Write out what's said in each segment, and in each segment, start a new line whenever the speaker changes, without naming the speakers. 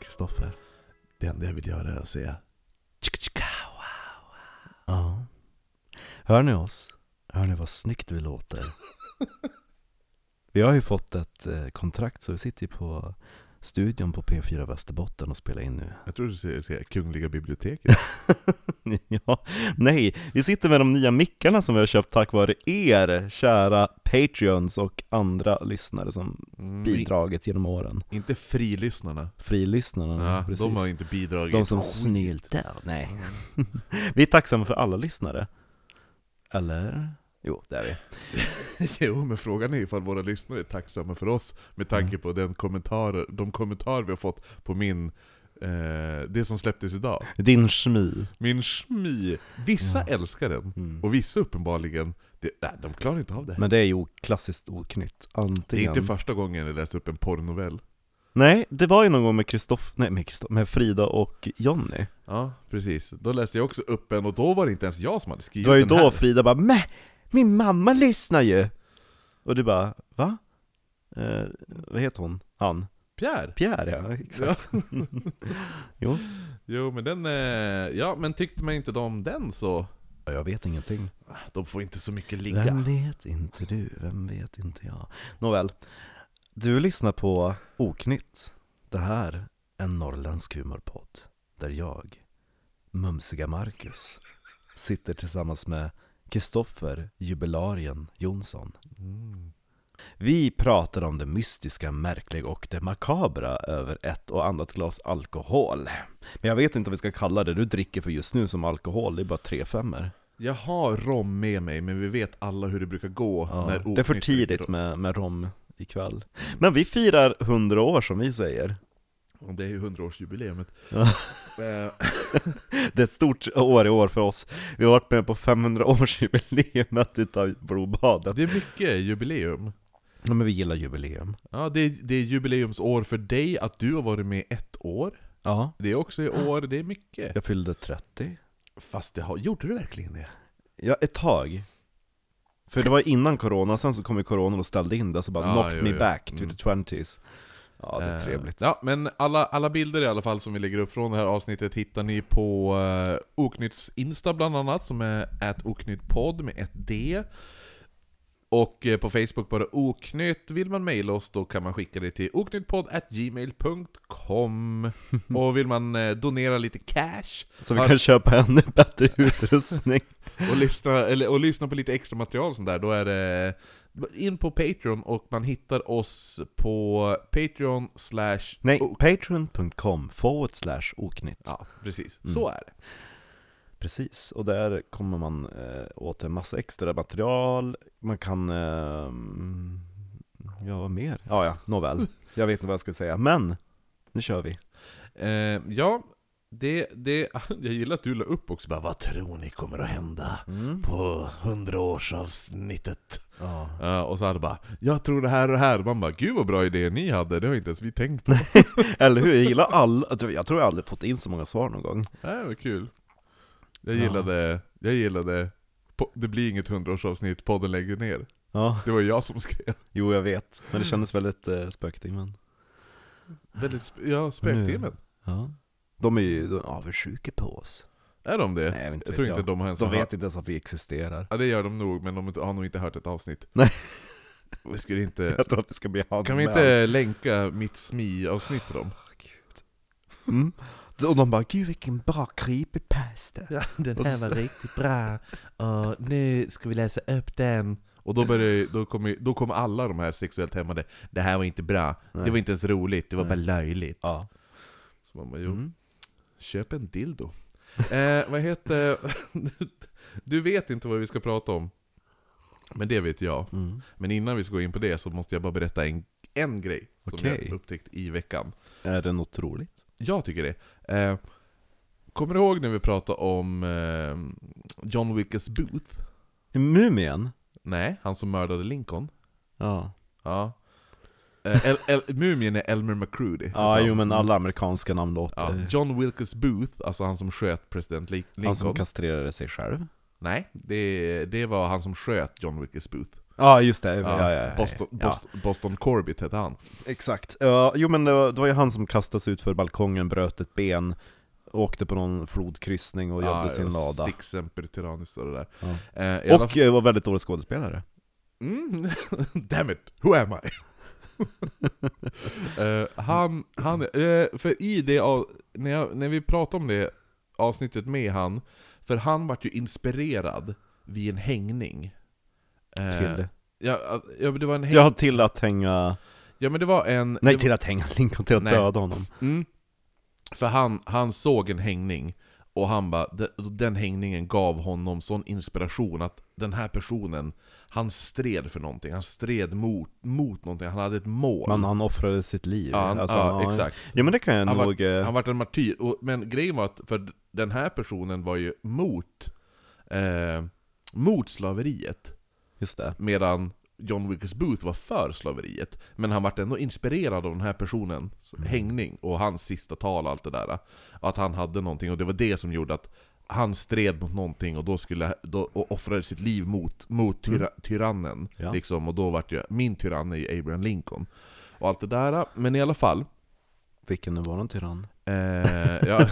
Kristoffer.
Det enda jag vill göra är att säga
Ja. Hör ni oss? Hör ni vad snyggt vi låter? vi har ju fått ett eh, kontrakt så vi sitter ju på studion på P4 Västerbotten och spelar in nu.
Jag tror du skulle säga Kungliga biblioteket.
ja, nej, vi sitter med de nya mickarna som vi har köpt tack vare er, kära Patreons och andra lyssnare som
Mm,
bidragit genom åren.
Inte frilyssnarna.
Frilyssnarna,
Ja,
precis.
de har inte bidragit.
De som snyltar, nej.
Mm.
vi är tacksamma för alla lyssnare. Eller? Jo, det är vi.
jo, men frågan är ifall våra lyssnare är tacksamma för oss med tanke
Mm.
på den kommentarer, de kommentarer vi har fått på min eh, det som släpptes idag.
Din schmi.
Min schmi. Vissa älskar den,
Mm.
och vissa uppenbarligen, det, nej, de klarar inte av det. här.
Men det är ju klassiskt oknytt,
det är
antingen
inte första gången jag läser upp en porrnovell.
Nej, det var ju någon gång med Kristoff, nej med Kristoff, med Frida och Jonny
Ja, precis. Då läste jag också upp en, och då var det inte ens jag som hade skrivit
Det var ju
den här.
då Frida bara 'Mäh! Min mamma lyssnar ju!' Och du bara 'Va?' Eh, vad heter hon? Han?
Pierre!
Pierre ja, exakt Jo,
Jo men den, eh, ja men tyckte man inte om den så, ah,
jag vet ingenting
de får inte så mycket
Vem
ligga.
vet inte du, vem vet inte jag Nåväl, du lyssnar på Oknytt Det här är en norrländsk humorpodd Där jag, Mumsiga Marcus, sitter tillsammans med Kristoffer Jubilarien Jonsson
Mm.
Vi pratar om det mystiska, märkliga och det makabra över ett och annat glas alkohol. Men jag vet inte vad vi ska kalla det du dricker för just nu som alkohol, det är bara tre femmor.
Jag har rom med mig men vi vet alla hur det brukar gå
Ja,
när
det är för
oknytt dyker
tidigt
upp.
med, med rom ikväll. Men vi firar 100 år som vi säger.
Och Det är ju hundraårsjubileumet.
Ja.
Eh,
Det är ett stort år i år för oss. Vi har varit med på 500-årsjubileumet utav blodbadet.
det är mycket jubileum.
Ja, men vi gillar jubileum.
Ja, det, är, det är jubileumsår för dig, att du har varit med ett år.
Ja.
Det är också i år, det är mycket.
Jag fyllde 30.
Fast det har, gjorde du verkligen det?
Ja, ett tag. För det var innan corona, sen så kom ju corona och ställde in det, så bara
Ja,
knocked
jo,
me
jo.
back to
Mm.
the 20s. Ja, det är
Eh,
trevligt.
Ja, men alla, alla bilder i alla fall som vi lägger upp från det här avsnittet hittar ni på eh, Oknytts Insta bland annat, som är oknyttpodd med ett D. Och eh, på Facebook bara Oknytt. Vill man mejla oss då kan man skicka det till oknyttpodd.gmail.com Och vill man eh, donera lite cash
Så vi
har-
kan köpa ännu bättre utrustning.
och lyssna, eller, och lyssna på lite extra material och sånt där, då är det in på Patreon och man hittar oss på Patreon slash...
Nej, patreon.com forward slash oknytt.
Ja, precis. Så är det.
Precis, och där kommer man eh, åt en massa extra material, man kan... Eh, ja, vad mer? Ja, ja, nåväl. Jag vet inte vad jag skulle säga, men nu kör vi.
Eh, ja, det, det, jag gillar att du la upp också bara, Vad tror ni kommer att hända på hundraårsavsnittet?
Ja.
Uh, och så hade bara Jag tror det här och det här. Man bara Gud vad bra idéer ni hade, det har inte ens vi tänkt på.
Eller hur? Jag gillar all... Jag tror jag aldrig fått in så många svar någon gång.
Nej, Äh, vad kul. Jag
Ja.
gillade, jag gillade po- Det blir inget hundraårsavsnitt, podden lägger ner.
Ja.
Det var jag som skrev.
Jo, jag vet. Men det kändes väldigt eh, spöktimmen.
Väldigt sp- ja,
Mm.
spöktimmen.
Ja. De är ju de är avundsjuka på oss.
Är de det?
Nej, inte
jag tror
vet
inte de har ens
De
hört-
vet inte ens att vi existerar.
Ja, det gör de nog, men de har nog inte hört ett avsnitt.
Nej.
Vi skulle inte...
Jag tror att vi ska bli anmälda.
Kan vi inte länka mitt smi-avsnitt till dem?
Mm. Och de bara 'Gud vilken bra creepypasta'
Ja, den
Och
här
så-
var riktigt bra. Och nu ska vi läsa upp den.
Och då, börjar, då, kommer, då kommer alla de här sexuellt hämmade Det här var inte bra, det var inte ens roligt, det var
Nej.
bara löjligt.
Ja.
Så man bara, jo,
Mm.
köp en dildo. eh, vad heter... du vet inte vad vi ska prata om. Men det vet jag.
Mm.
Men innan vi ska gå in på det så måste jag bara berätta en, en grej som
Okej.
jag upptäckt i veckan.
Är det något roligt?
Jag tycker det. Eh, kommer du ihåg när vi pratade om eh, John Wickes Booth?
Mumien?
Nej, han som mördade Lincoln.
Ja.
Ja. Eh, El, El, mumien är Elmer McCrudy.
Ja,
Heter
jo
han.
men alla amerikanska namn låter...
Ja, John Wilkes Booth, alltså han som sköt president Li- Lincoln.
Han som kastrerade sig själv?
Nej, det, det var han som sköt John Wilkes Booth.
Ja, just det. Ja, ja,
Ja,
ja,
Boston,
ja.
Boston, Boston Corbett hette han.
Exakt. Ja, jo men det var, det var ju han som kastades ut för balkongen, bröt ett ben, åkte på någon flodkryssning och gömde
Ja,
sin
och
lada.
Six Semper Tyrannis och det där.
Ja.
Eh, i alla
Och eh, var väldigt dålig skådespelare.
Mm. Damn it, who am I? Eh, han, han, eh, för i det, av, när, jag, när vi pratade om det avsnittet med han, för han vart ju inspirerad vid en hängning. Eh,
Till,
Ja, att- ja, men det var en häng, ja.
ja, till att hänga...
men det var en...
Nej,
det,
till att hänga Lincoln, till att
Nej.
döda honom.
Mm. För han, han såg en hängning, och han bara, de- den hängningen gav honom sån inspiration att den här personen, han stred för någonting, han stred mot, mot någonting, han hade ett mål.
Men han offrade sitt liv.
ja, han,
Alltså,
ja, exakt.
Ja men det kan jag
Han var-
nog... eh,
Han vart en martyr, och, men grejen var att för den här personen var ju mot, eh, mot slaveriet,
Just det.
medan John Wilkes Booth var för slaveriet. Men han vart ändå inspirerad av den här personens hängning och hans sista tal och allt det där. Att han hade någonting, och det var det som gjorde att han stred mot någonting och då skulle, då, och offrade sitt liv mot, mot tyra, tyrannen.
Ja.
Liksom, och då vart ju, min tyrann är ju Abraham Lincoln. Och allt det där, men i alla fall.
Vilken nu var någon tyrann?
Eh, ja.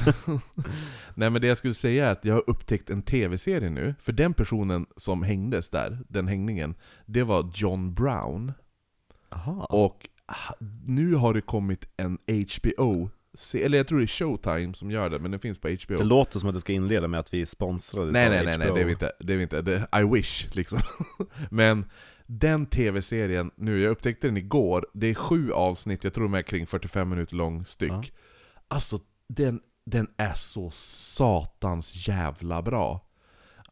Nej men det jag skulle säga är att jag har upptäckt en tv-serie nu, för den personen som hängdes där, den hängningen, det var John Brown.
Aha.
Och ha- nu har det kommit en HBO, se- eller jag tror det är Showtime som gör det, men den finns på HBO.
Det låter som att du ska inleda med att vi är sponsrade
Nej
utav
nej nej, nej
HBO.
det är vi inte, det är vi inte. Det, I wish liksom. Men den tv-serien nu, jag upptäckte den igår, det är sju avsnitt, jag tror de är kring 45 minuter lång styck.
Ja.
Alltså den, den är så satans jävla bra.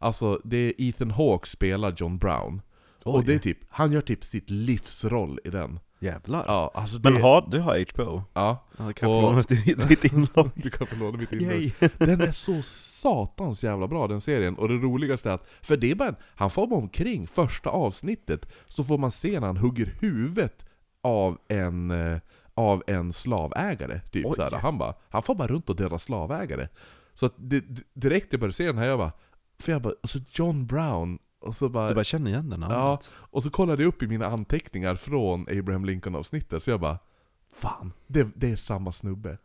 Alltså det är Ethan Hawke spelar John Brown. Och
Oj.
det är typ, han gör typ sitt livsroll i den.
Jävlar.
Ja, alltså det,
Men har, du har HBO?
ja.
Ja, kan
Och-
jag få låna ditt ditt inlogg?
Du kan få låna mitt inlägg.
Yay.
Den är så satans jävla bra den serien, och det roligaste är att, för det är bara en, han får bara omkring första avsnittet, så får man se när han hugger huvudet av en, eh, av en slavägare. Typ,
Oj.
såhär. Han, bara, han får bara runt och dödar slavägare. Så att det, det- direkt jag började se den här, jag bara, för jag bara, och så John Brown, och så bara,
Du bara känner igen den
ja,
namnet?
och så kollade jag upp i mina anteckningar från Abraham Lincoln-avsnittet, så jag bara Fan, det, det är samma snubbe.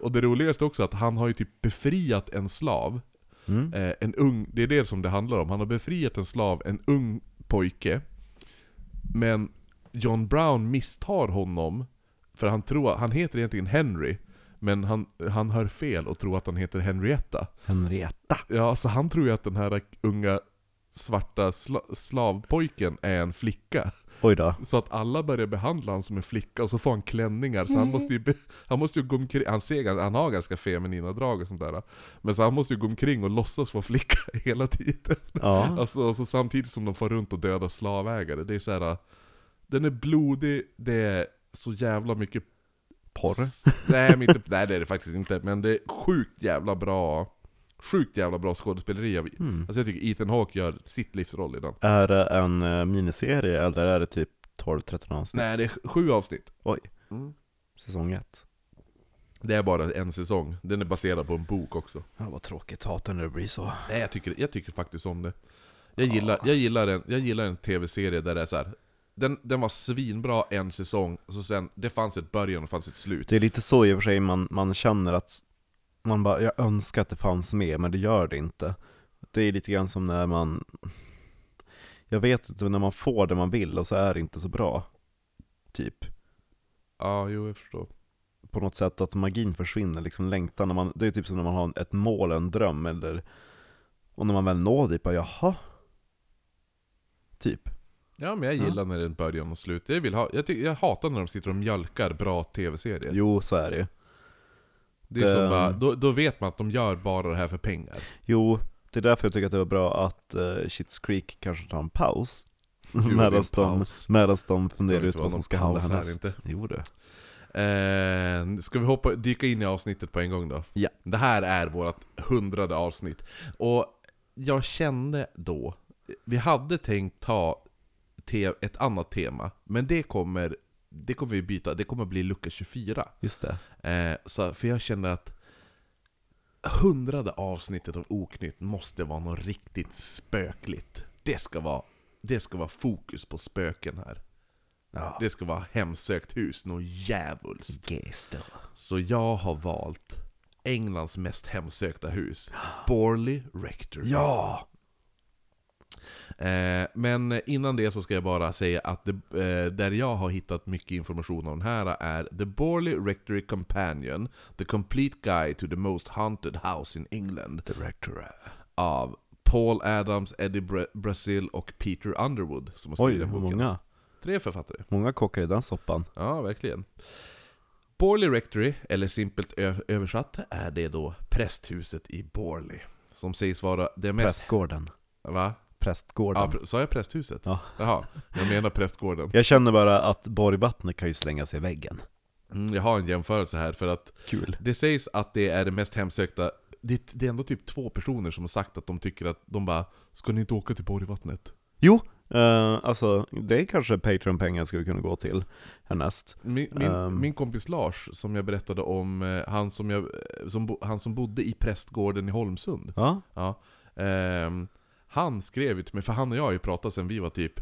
Och det roligaste också är att han har ju typ befriat en slav,
Mm.
eh, en ung, det är det som det handlar om, han har befriat en slav, en ung pojke. Men John Brown misstar honom, för han tror, han heter egentligen Henry, men han, han hör fel och tror att han heter Henrietta.
Henrietta.
Ja, så han tror ju att den här unga svarta sla- slavpojken är en flicka.
Oj då.
Så att alla börjar behandla honom som en flicka och så får han klänningar. Så han måste ju, be- han måste ju gå omkring, han, ser, gans- han har ganska feminina drag och sånt där. Men så han måste ju gå omkring och låtsas vara flicka hela tiden.
Ja.
Alltså, alltså samtidigt som de får runt och döda slavägare. Det är så här. äh, den är blodig, det är så jävla mycket
Porr.
S- Nej, men inte, nej det är det faktiskt inte, men det är sjukt jävla bra Sjukt jävla bra skådespeleri av
Mm.
Alltså jag tycker Ethan Hawke gör sitt livsroll i den
Är det en eh, miniserie eller är det typ 12-13 avsnitt?
Nej det är sju avsnitt
Oj.
Mm.
Säsong 1.
Det är bara en säsong, den är baserad på en bok också
Ja, vad tråkigt. Hatar när det blir så.
Nej jag tycker, jag tycker faktiskt om det Jag gillar, jag gillar, en, jag gillar en tv-serie där det är så här. Den, den var svinbra en säsong, så sen, det fanns ett början och det fanns ett slut
Det är lite så i och för sig man, man känner att man bara, jag önskar att det fanns med, men det gör det inte. Det är lite grann som när man, jag vet inte, när man får det man vill och så är det inte så bra. Typ,
Ja, jo jag förstår
på något sätt att magin försvinner, liksom längtan. När man, det är typ som när man har ett mål, en dröm, eller, och när man väl når dit, bara jaha. Typ.
Ja men jag
Ja.
gillar när det är ett början och slut, jag, vill ha, jag, tycker, jag hatar när de sitter och mjölkar bra tv-serier
Jo, så är det ju.
Det är som
Ehm.
bara, då, då vet man att de gör bara det här för pengar.
Jo, det är därför jag tycker att det var bra att uh, Shits Creek kanske tar en paus.
och din
Medan de,
paus.
medan de funderar
Det
ut
var
vad som
någon
ska hända
paus här
härnäst.
inte.
Jo du.
Eh, ska vi hoppa, dyka in i avsnittet på en gång då?
Ja.
Det här är vårt hundrade avsnitt. Och jag kände då, vi hade tänkt ta te, ett annat tema, men det kommer, det kommer vi byta, det kommer bli lucka 24.
Just det.
Eh, så, för jag kände att hundrade avsnittet av Oknytt måste vara något riktigt spökligt. Det ska vara det ska vara fokus på spöken här.
Ja.
Det ska vara hemsökt hus, något djävulskt.
Geister.
Så jag har valt Englands mest hemsökta hus, Borley Rectory.
Ja!
Eh, men innan det så ska jag bara säga att det, eh, där jag har hittat mycket information om den här är The Borley Rectory Companion, The Complete Guide to the Most Haunted House in England
Director.
av Paul Adams, Eddie Bra- Brazil och Peter Underwood som har
Oj,
skrivit den
hur
boken.
många?
Tre författare.
Många kockar i den soppan.
Ja, verkligen. Borley Rectory, eller simpelt ö- översatt, är det då prästhuset i Borley. Som sägs vara det mest...
Prästgården.
Va?
Prästgården.
Ja, pr- sa jag prästhuset?
Ja.
Jaha, jag menar prästgården.
Jag känner bara att Borgvattnet kan ju slänga sig i väggen.
Mm, jag har en jämförelse här för att
Kul.
det sägs att det är det mest hemsökta det, det är ändå typ två personer som har sagt att de tycker att de bara Ska ni inte åka till Borgvattnet?
Jo, eh, alltså det är kanske Patreon-pengar skulle kunna gå till härnäst.
Min, min,
Ehm.
min kompis Lars, som jag berättade om, eh, han som, jag, eh, som, bo, han som bodde i prästgården i Holmsund
Ja,
Ja. Ehm, han skrev ju till mig, för han och jag har ju pratat sen vi var typ,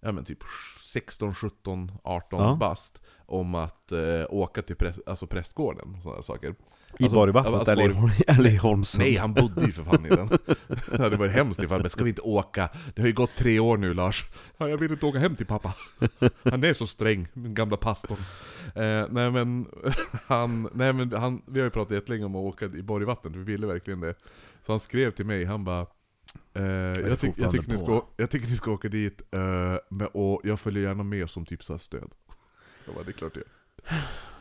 ja men typ 16, 17, 18
Ja.
bast. Om att eh, åka till präst, alltså prästgården och sådana saker.
i
Alltså,
Borgvattnet
alltså,
eller, i- eller i Holmsund.
Nej, han bodde ju för fan i den. Det hade varit hemskt ifall men ska vi inte åka? Det har ju gått tre år nu Lars. Ja, jag vill inte åka hem till pappa. Han är så sträng, min gamla pastorn. Eh, nej, men, han, nej men han, vi har ju pratat jättelänge om att åka i Borgvatten, vi ville verkligen det. Så han skrev till mig, han bara eh, jag, tyck, jag,
fortfarande
tycker ni ska,
på?
å- jag tycker ni ska åka dit, eh, men, och jag följer gärna med som typ så här stöd. Jag bara, det är klart det.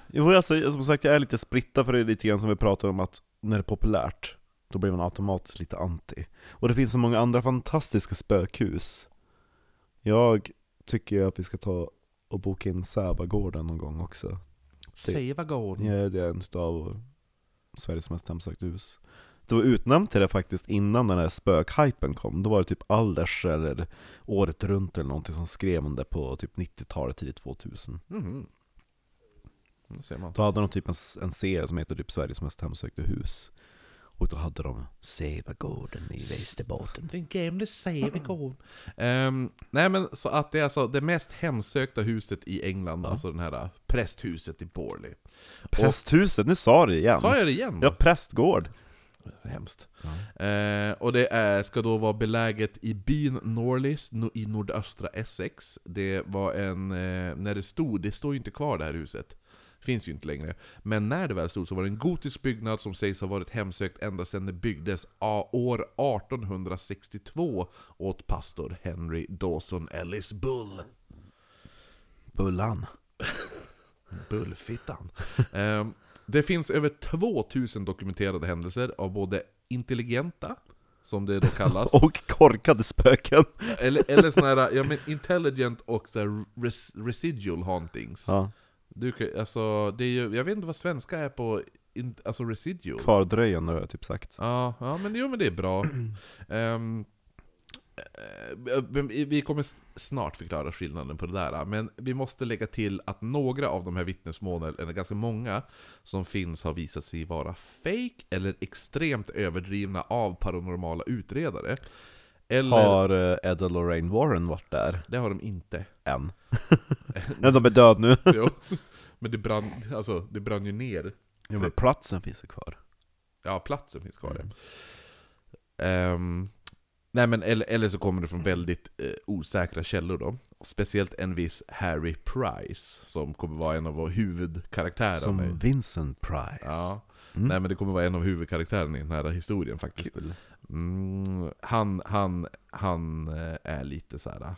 Jo, alltså, som sagt, jag är lite sprittad för det är lite grann som vi pratade om att när det är populärt, då blir man automatiskt lite anti. Och det finns så många andra fantastiska spökhus. Jag tycker att vi ska ta och boka in Sävagården någon gång också.
Sävagården.
Ja, det är en av Sveriges mest hemsökta hus. Det var utnämnt till det faktiskt innan den här spökhypen kom. Då var det typ Alders eller Året Runt eller någonting som skrev om det på typ 90-talet, tidigt 2000.
Mhm. Nu ser man.
Då hade de typ en, en serie som heter typ Sveriges mest hemsökta hus. Och då hade de Sävagården i Västerbotten.
Den gamle Sävegården. Um, nej men så att det är alltså det mest hemsökta huset i England, alltså den här prästhuset i Borley.
Prästhuset, nu sa du det igen.
Och, sa jag det igen?
Ja, prästgård.
Hemskt.
Ja.
Eh, och det är, ska då vara beläget i byn Norleys no, i nordöstra Essex. Det var en, eh, när det stod, det står ju inte kvar det här huset. Finns ju inte längre. Men när det väl stod så var det en gotisk byggnad som sägs ha varit hemsökt ända sedan det byggdes a- år 1862 åt pastor Henry Dawson Ellis Bull.
Bullan.
Bullfittan. Ehm, det finns över 2000 dokumenterade händelser av både intelligenta, som det då kallas,
Och korkade spöken.
eller, eller sån här, ja men intelligent och så här res, residual hauntings.
Ja,
Du kan, alltså, det är ju, jag vet inte vad svenska är på, in, alltså residual.
kvardröjande har jag typ sagt.
Ja, ja men, jo, men det är bra. Ehm, eh, men vi kommer s- snart förklara skillnaden på det där, men vi måste lägga till att några av de här vittnesmålen, eller ganska många, som finns har visat sig vara fake eller extremt överdrivna av paranormala utredare. Eller,
Har eh, Ed och Lorraine Warren varit där
det har de inte.
än? Nej, de är döda nu.
jo. Men det brann, alltså, det brann ju ner.
Ja, men platsen finns ju kvar.
Ja, platsen finns kvar. Mm. nej men, eller, eller så kommer det från väldigt eh, osäkra källor då. Speciellt en viss Harry Price, som kommer vara en av våra huvudkaraktärer.
Som Vincent Price.
Ja.
Mm.
Nej men det kommer vara en av huvudkaraktärerna i den här historien faktiskt.
Kul.
Mm, han, han, han eh, är lite så här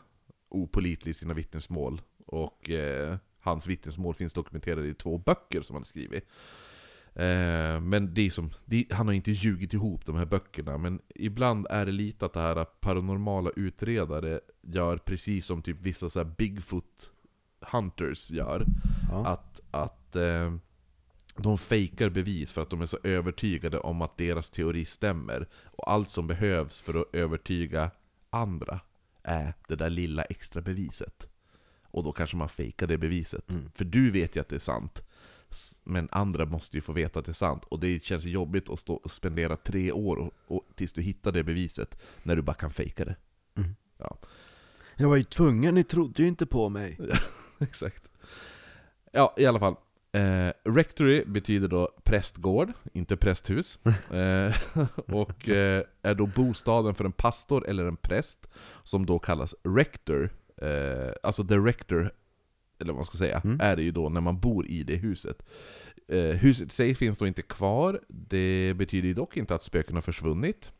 opolitlig i sina vittnesmål. Och eh, hans vittnesmål finns dokumenterade i två böcker som han har skrivit. Eh, men det är som, det, han har inte ljugit ihop de här böckerna. Men ibland är det lite att det här eh, paranormala utredare gör precis som typ vissa så här Bigfoot hunters gör
Ja.
att, att eh, de fejkar bevis för att de är så övertygade om att deras teori stämmer. Och allt som behövs för att övertyga andra är det där lilla extra beviset. Och då kanske man fejkar det beviset.
Mm.
För du vet ju att det är sant. S- Men andra måste ju få veta att det är sant. Och det känns ju jobbigt att stå och spendera tre år och, och, tills du hittar det beviset, när du bara kan fejka det.
Mm.
Ja.
Jag var ju tvungen, ni trodde ju inte på mig.
Exakt. Ja, i alla fall. Eh, rectory betyder då prästgård, inte prästhus. Eh, och eh, är då bostaden för en pastor eller en präst, som då kallas rector. Eh, alltså the rector, eller vad man ska säga,
Mm.
är det ju då när man bor i det huset. Eh, huset i sig finns då inte kvar, det betyder ju dock inte att spöken har försvunnit.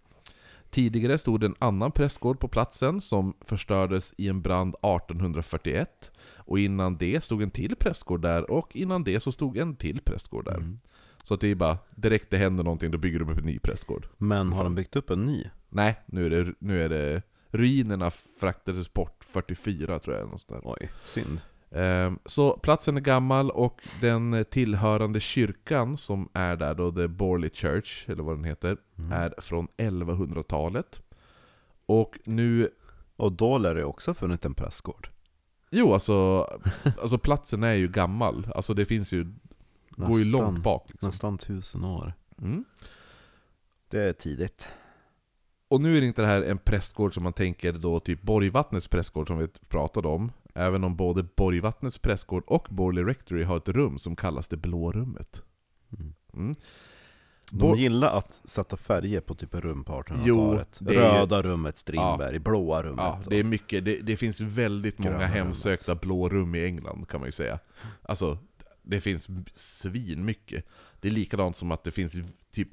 Tidigare stod en annan prästgård på platsen som förstördes i en brand 1841. Och innan det stod en till prästgård där, och innan det så stod en till prästgård där.
Mm.
Så att det är bara, direkt det händer någonting, då bygger de upp en ny prästgård.
Men har de byggt upp en ny?
Nej, nu är det, nu är det ruinerna fraktades bort 44 tror jag. eller något sånt där.
Oj, synd.
Ehm, Så platsen är gammal och den tillhörande kyrkan som är där då, The Borley Church, eller vad den heter,
Mm.
är från 1100-talet. Och nu
Och då lär det också ha funnits en prästgård.
Jo, alltså, alltså platsen är ju gammal. Alltså det finns ju, går ju
Nästan-
långt bak. Liksom.
Nästan tusen år.
Mm.
Det är tidigt.
Och nu är det inte det här en prästgård som man tänker då typ Borgvattnets prästgård som vi pratade om. Även om både Borgvattnets prästgård och Borley Rectory har ett rum som kallas det blå rummet.
Mm.
Mm.
De
Bo-
gillar att sätta färger på typ rum på
Jo,
1800-talet.
det är ju-
Röda rummet Strindberg, blåa rummet.
Ja, det är mycket. Det, det finns väldigt många
Gröna
hemsökta blå rum i England kan man ju säga. Alltså, det finns svin mycket. Det är likadant som att det finns typ,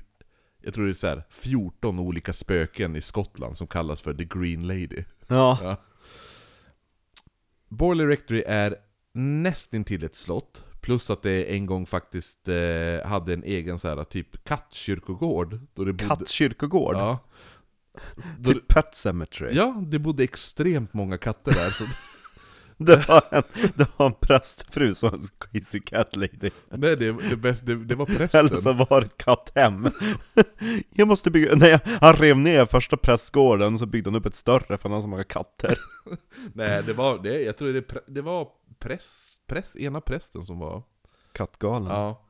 jag tror det är så här, 14 olika spöken i Skottland som kallas för The Green Lady.
Ja.
Ja. Borley Rectory är nästintill ett slott, plus att det en gång faktiskt eh, hade en egen så här, typ kattkyrkogård. Då det bodde,
Kattkyrkogård.
Ja. Då,
Typ Pet Cemetery.
ja, det bodde extremt många katter där. Så,
Det, var en, det var en prästfru som var en crazy cat lady.
nej, det, det, bäst- det, det var
Eller
prästen.
så var det ett katthem. Jag måste bygga... Nej, han rev ner första prästgården och så byggde han upp ett större för han har så många katter.
Nej, det var, det, jag tror det, prä- det var präst, präst, ena prästen som var...
Kattgalen.
Ja.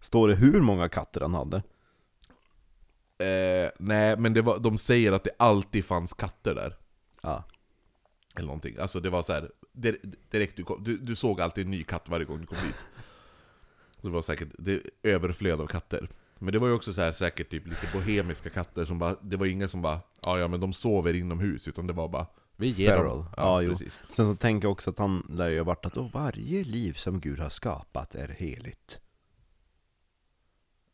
Står det hur många katter han hade?
Eh, nej, men det var, de säger att det alltid fanns katter där.
Ja.
Eller någonting. Alltså det var så här, dir- direkt du, kom, du, du såg alltid en ny katt varje gång du kom dit. Så det var säkert det överflöd av katter. Men det var ju också så här, säkert typ lite bohemiska katter som bara, det var ingen som bara ja, ja men de sover inomhus, utan det var bara Vi ger
Feral.
dem.
Ja,
Ja,
jo.
precis.
Sen så tänker jag också att han lär ju ha varit att "Åh, varje liv som Gud har skapat är heligt.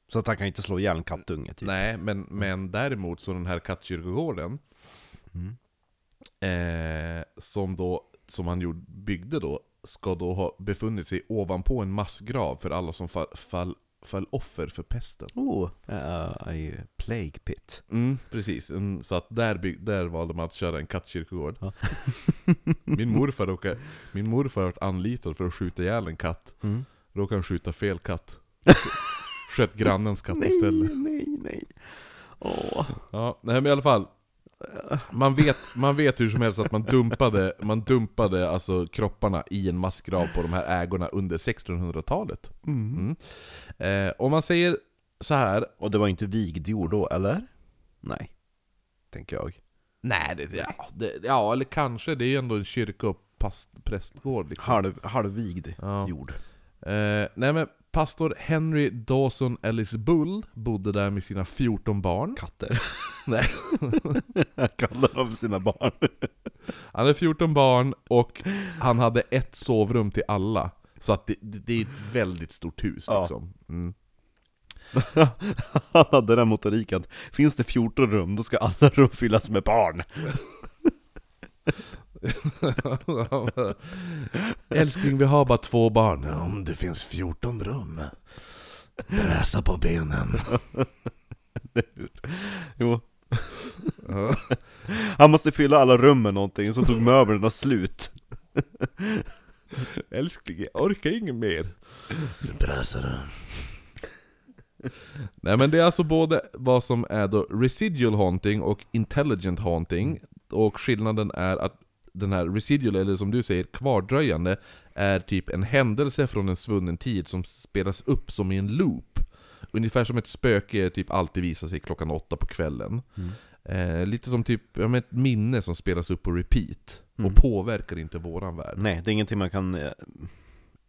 Så att han kan inte slå ihjäl en kattunge typ.
Nej, men, men däremot så den här kattkyrkogården
Mm.
eh, som, då, som han gjorde, byggde då, ska då ha befunnit sig ovanpå en massgrav för alla som fall, fall, föll offer för pesten.
Oh, uh, I plague pit.
Mm, precis. Mm, Så att där, bygg, där valde man att köra en kattkyrkogård.
Ja.
min, morfar råkade, min morfar vart anlitad för att skjuta ihjäl en katt.
Mm.
Råkade han skjuta fel katt. Sköt grannens katt istället.
nej, nej. Åh.
Ja, nej men i alla fall. Man vet, man vet hur som helst att man dumpade, man dumpade alltså kropparna i en massgrav på de här ägorna under 1600-talet. Mm. Eh, om man säger så här
Och det var inte vigdjur då, eller? Nej. Tänker jag.
Nej, det, ja, det, ja, eller kanske. Det är ju ändå en kyrka och past, prästgård. Liksom.
Halv, halvvigd
Ja.
jord.
Eh, nej men, pastor Henry Dawson Ellis Bull bodde där med sina 14 barn.
Katter.
Nej.
Kallar de sina barn.
Han hade 14 barn och han hade ett sovrum till alla. Så att det, det, det är ett väldigt stort hus
Ja.
liksom. Mm.
Han hade den motoriken. Finns det 14 rum, då ska alla rum fyllas med barn.
Älskling, vi har bara två barn. Om det finns 14 rum. Bräsa på benen.
Jo. Han måste fylla alla rum med någonting, så tog möblerna slut.
Älskling, jag orkar inget mer. Nu brösar du. Nej men det är alltså både vad som är då residual haunting och intelligent haunting. Och skillnaden är att den här residual, eller som du säger, kvardröjande, är typ en händelse från en svunnen tid som spelas upp som i
Mm.
en loop. Ungefär som ett spöke typ alltid visar sig klockan åtta på kvällen. Eh, lite som typ, ja, men ett minne som spelas upp på repeat.
Mm.
Och påverkar inte våran värld.
Nej, det är ingenting man kan eh,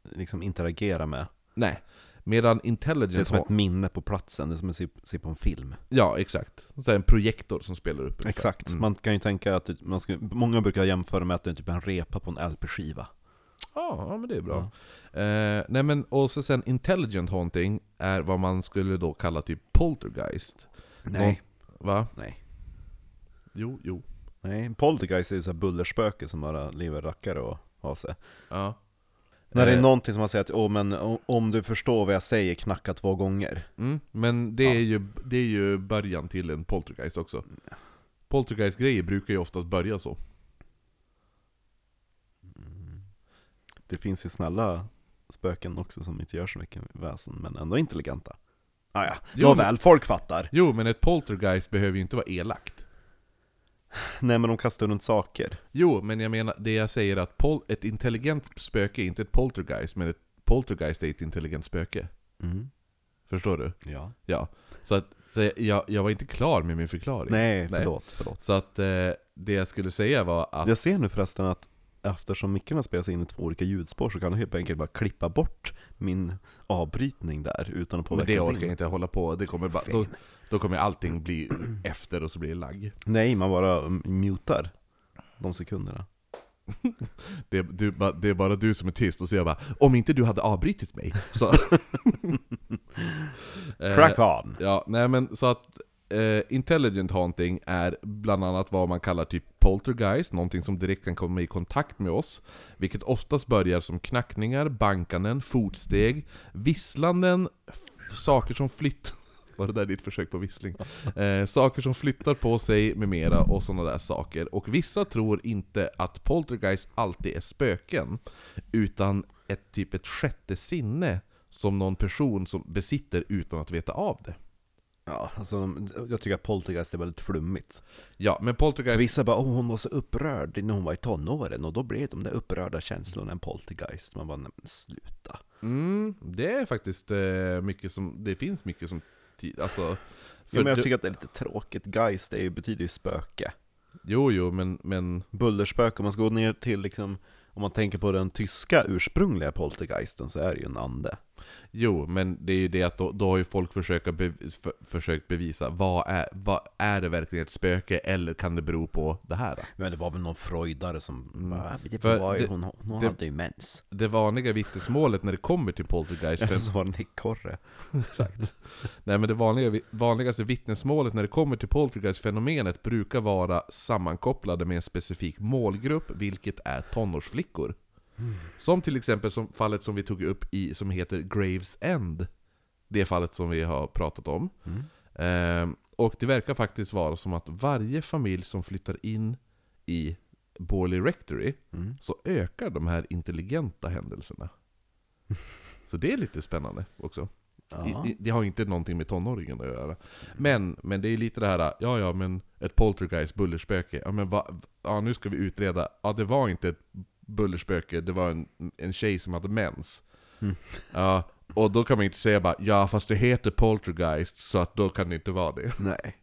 liksom interagera med.
Nej. Medan
Det är
intelligence
som
har...
ett minne på platsen, det är som att se, se på en film.
Ja, exakt. Så här en projektor som spelar upp. ungefär.
Exakt,
Mm.
man kan ju tänka att det- man ska, många brukar jämföra med att det är typ en repa på en LP-skiva.
Ja, ja, men det är bra. Eh, nej men, och så sen intelligent haunting är vad man skulle då kalla typ poltergeist.
Nej,
Va?
nej.
Jo, jo.
Nej, poltergeist är ju så här bullerspöke som bara lever rackare och har sig.
Ja.
När det är
Eh,
någonting som man säger att oh, men, o- om du förstår vad jag säger, knacka två gånger.
Mm, men det,
Ja. Mm.
är ju, det är ju början till en poltergeist också. Poltergeist-grejer brukar ju oftast börja så.
Det finns ju snälla spöken också som inte gör så mycket väsen, men ändå intelligenta. Ah, ja,
Jo,
nåväl, folk fattar.
Jo, men ett poltergeist behöver ju inte vara elakt.
Nej men de kastar runt saker.
Jo, men jag menar, det jag säger är att pol- ett intelligent spöke är inte ett poltergeist, men ett poltergeist är ett intelligent spöke. Förstår du?
Mm. Ja.
Ja. Så, att, så jag, jag var inte klar med min förklaring.
Nej, förlåt, förlåt.
Så att eh, det jag skulle säga var att...
Jag ser nu förresten att eftersom mickarna spelas in i två olika ljudspår så kan du helt enkelt bara klippa bort min avbrytning där utan att
men
påverka
det
din.
orkar jag inte hålla på, det kommer bara, då, då kommer allting bli efter och så blir det lagg.
Nej, man bara mm, mutar de sekunderna.
Det, du, ba- det är bara du som är tyst, och så jag bara Om inte du hade avbrutit mig så... Eh,
Crack on!
Ja, nej men så att eh, Intelligent haunting är bland annat vad man kallar typ poltergeist, någonting som direkt kan komma i kontakt med oss. Vilket oftast börjar som knackningar, bankanden, fotsteg, visslanden, f- saker som flytt... Var det där ditt försök på vissling? Eh, saker som flyttar på sig med mera och sådana där saker. Och vissa tror inte att poltergeist alltid är spöken, utan ett typ ett sjätte sinne som någon person som besitter utan att veta av det.
Ja, alltså, de- jag tycker att poltergeist är väldigt flummigt.
Ja, men poltergeist...
Vissa bara åh hon var så upprörd när hon var i tonåren och då blev de där upprörda känslorna en poltergeist. Man bara, nej men sluta.
Mm, det är faktiskt eh, mycket som... Det finns mycket som... ti- Alltså... För
Ja, men jag
du,
tycker att det är lite tråkigt, geist det är ju, betyder ju spöke.
jo, jo, men... men
bullerspöke, om man ska gå ner till liksom om man tänker på den tyska ursprungliga poltergeisten så är det ju en ande.
jo, men det är ju det att då, då har ju folk försökt, be, för, försökt bevisa vad är, vad är det verkligen ett spöke eller kan det bero på det här? Då?
Men det var väl någon freudare som bara, Mm. det
För
var ju,
det-
hon, hon
det-
hade ju mens.
Det vanliga vittnesmålet när det kommer till poltergeist...
Eller
För,
så var det en ekorre.
Exakt. Nej men det vanliga, vanligaste vittnesmålet när det kommer till poltergeist-fenomenet brukar vara sammankopplade med en specifik målgrupp, vilket är tonårsflickor. Som till exempel som fallet som vi tog upp i, som heter Graves End. Det fallet som vi har pratat om.
Mm.
Ehm, och det verkar faktiskt vara som att varje familj som flyttar in i Borley Rectory,
Mm.
så ökar de här intelligenta händelserna. Så det är lite spännande också.
Ja.
I- i- Det har inte någonting med tonåringen att göra. Men, men det är lite det här, ja ja men ett poltergeist, bullerspöke. Ja men va, ja, nu ska vi utreda, ja det var inte ett bullerspöke, det var en, en tjej som hade mens.
Mm.
Ja, och då kan man inte säga bara, ja fast det heter poltergeist så att då kan det inte vara det.
Nej.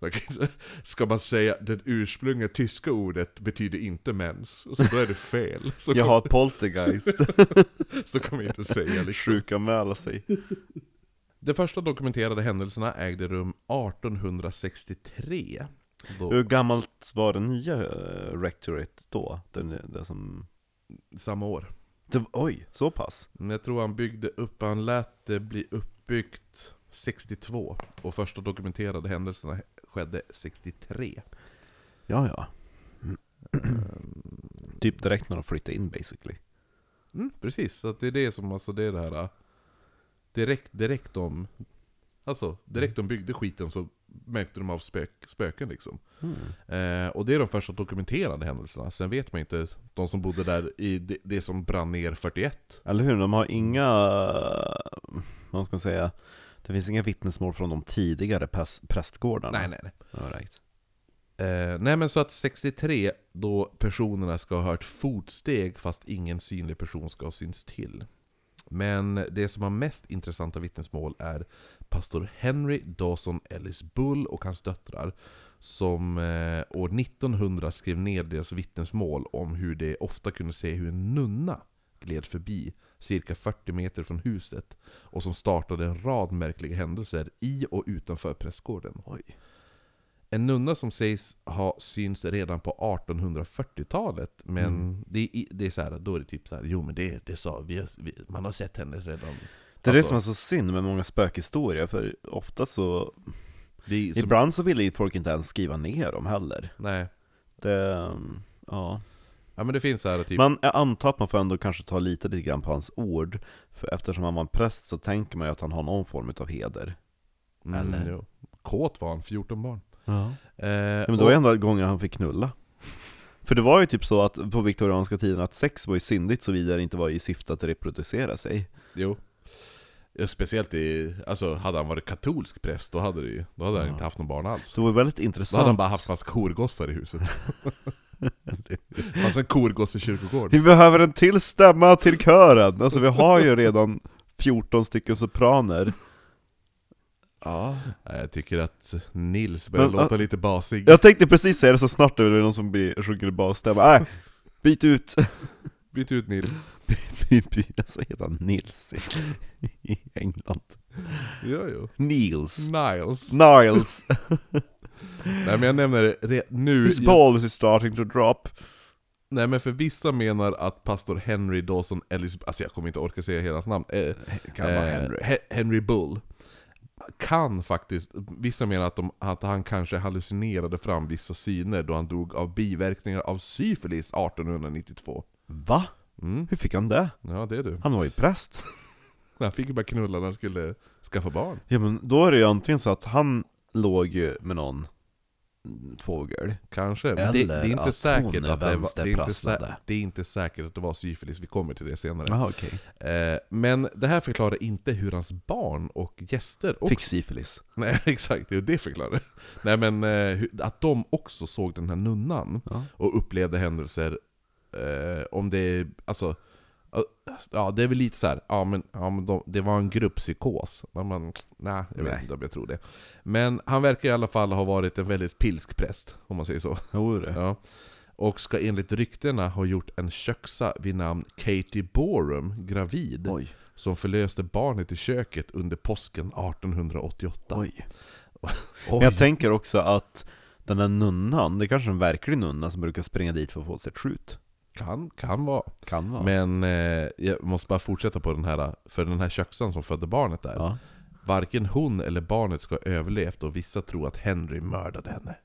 Man kan inte- Ska man säga det ursprungliga tyska ordet betyder inte mens, så då är det fel. Så,
Jag
kom,
har ett poltergeist.
så kan man inte säga liksom.
Sjukanmäla sig.
De första dokumenterade händelserna ägde rum 1863. Då,
Hur gammalt var det nya eh, rectoret då? Den, eh, den som...
samma år.
Det, oj, så pass?
Men jag tror han byggde upp, han lät det bli uppbyggt 62. Och första dokumenterade händelserna skedde 63.
Ja, ja. typ direkt när de flyttade in basically.
Mm, precis, så att det är det som, alltså det är det här... äh, Direkt, direkt de... Alltså, direkt de byggde skiten så märkte de av spök, spöken liksom.
Hmm.
Eh, och det är de första dokumenterade händelserna. Sen vet man inte, de som bodde där i det, det som brann ner 41.
Eller hur, de har inga, vad ska man säga, det finns inga vittnesmål från de tidigare präst, prästgårdarna.
Nej, nej, nej.
All right.
Eh, nej men så att 63, då personerna ska ha hört fotsteg fast ingen synlig person ska ha synts till. Men det som har mest intressanta vittnesmål är pastor Henry Dawson Ellis Bull och hans döttrar som eh, år 1900 skrev ner deras vittnesmål om hur de ofta kunde se hur en nunna gled förbi cirka 40 meter från huset och som startade en rad märkliga händelser i och utanför prästgården.
Oj.
En nunna som sägs ha syns redan på 1840-talet, men
Mm.
det, är, det är så här, då är det typ så här, jo men det, det sa vi, har- vi, man har sett henne redan.
Det är det
Alltså-
som är så synd med många spökhistorier, för ofta så...
Det är, som,
Ibland så vill ju folk inte ens skriva ner dem heller.
nej.
Det, mm, ja.
Ja men det finns så här typ,
Man, jag antar att man får ändå kanske ta lite, lite grann på hans ord, för eftersom han var en präst så tänker man ju att han har någon form av heder.
mm,
eller-
jo. kåt var han, 14 barn.
Ja.
Eh,
Men det var ju enda gången han fick knulla. För det var ju typ så att på viktorianska tiden att sex var ju syndigt såvida det inte var i syfte att reproducera sig.
Jo. Ja, Speciellt i, alltså hade han varit katolsk präst då hade, det, ju- då hade han
Ja.
inte haft någon barn alls.
Det var ju väldigt
Då
intressant.
hade han bara haft massa korgossar i huset. Massa korgosse i kyrkogården.
Vi behöver en till stämma till kören! Alltså vi har ju redan 14 stycken sopraner. Ja.
Nej, Jag tycker att Nils börjar
Men,
låta lite basig.
Jag tänkte precis säga det så snart det är någon som blir, sjunger basstämma. Nej, byt ut!
Byt ut Nils.
By- by- alltså heter han Nils i, i England?
Jo, jo.
Niels.
Niles.
Niles.
Nej men jag nämner det re- nu.
His balls is starting to drop.
Nej men för vissa menar att pastor Henry Dawson Ellis, alltså jag kommer inte orka säga hela hans namn. Eh,
Kan vara Henry.
Eh, He- Henry Bull. Kan faktiskt, vissa menar att, de, att han kanske hallucinerade fram vissa syner då han dog av biverkningar av syfilis 1892.
Va?
Mm,
Hur fick han det?
ja det är du.
Han var ju präst.
Han fick ju bara knulla när han skulle skaffa barn.
Ja men då är det ju antingen så att han låg ju med någon fågel.
Kanske. Men det, det
Eller
är inte
att
säkert
hon är
att det var, det, är inte sä-
vänsterprasslade.
det är inte säkert att det var syfilis, vi kommer till det senare.
Jaha Ah, okej.
Eh, men det här förklarar inte hur hans barn och gäster också
Fick syfilis.
Nej exakt, det är det förklarar det. Nej men eh, hur- att de också såg den här nunnan
Ja.
och upplevde händelser, eh, om det, alltså, eh, ja det är väl lite så här, ja men, ja, men de, det var en grupppsykos. Men man, nej, jag vet
Nej.
inte om jag tror det. Men han verkar i alla fall ha varit en väldigt pilsk präst, om man säger så.
Jo det.
Ja. Och ska enligt ryktena ha gjort en köksa vid namn Katie Borum gravid,
Oj,
som förlöste barnet i köket under påsken 1888.
oj. Men
Oj.
jag tänker också att den där nunnan, det är kanske en verklig nunna som brukar springa dit för att få sig ett skjut.
Kan, kan vara.
Kan vara.
Men eh, jag måste bara fortsätta på den här, för den här köksan som födde barnet där.
ja.
Varken hon eller barnet ska ha överlevt och vissa tror att Henry mördade henne.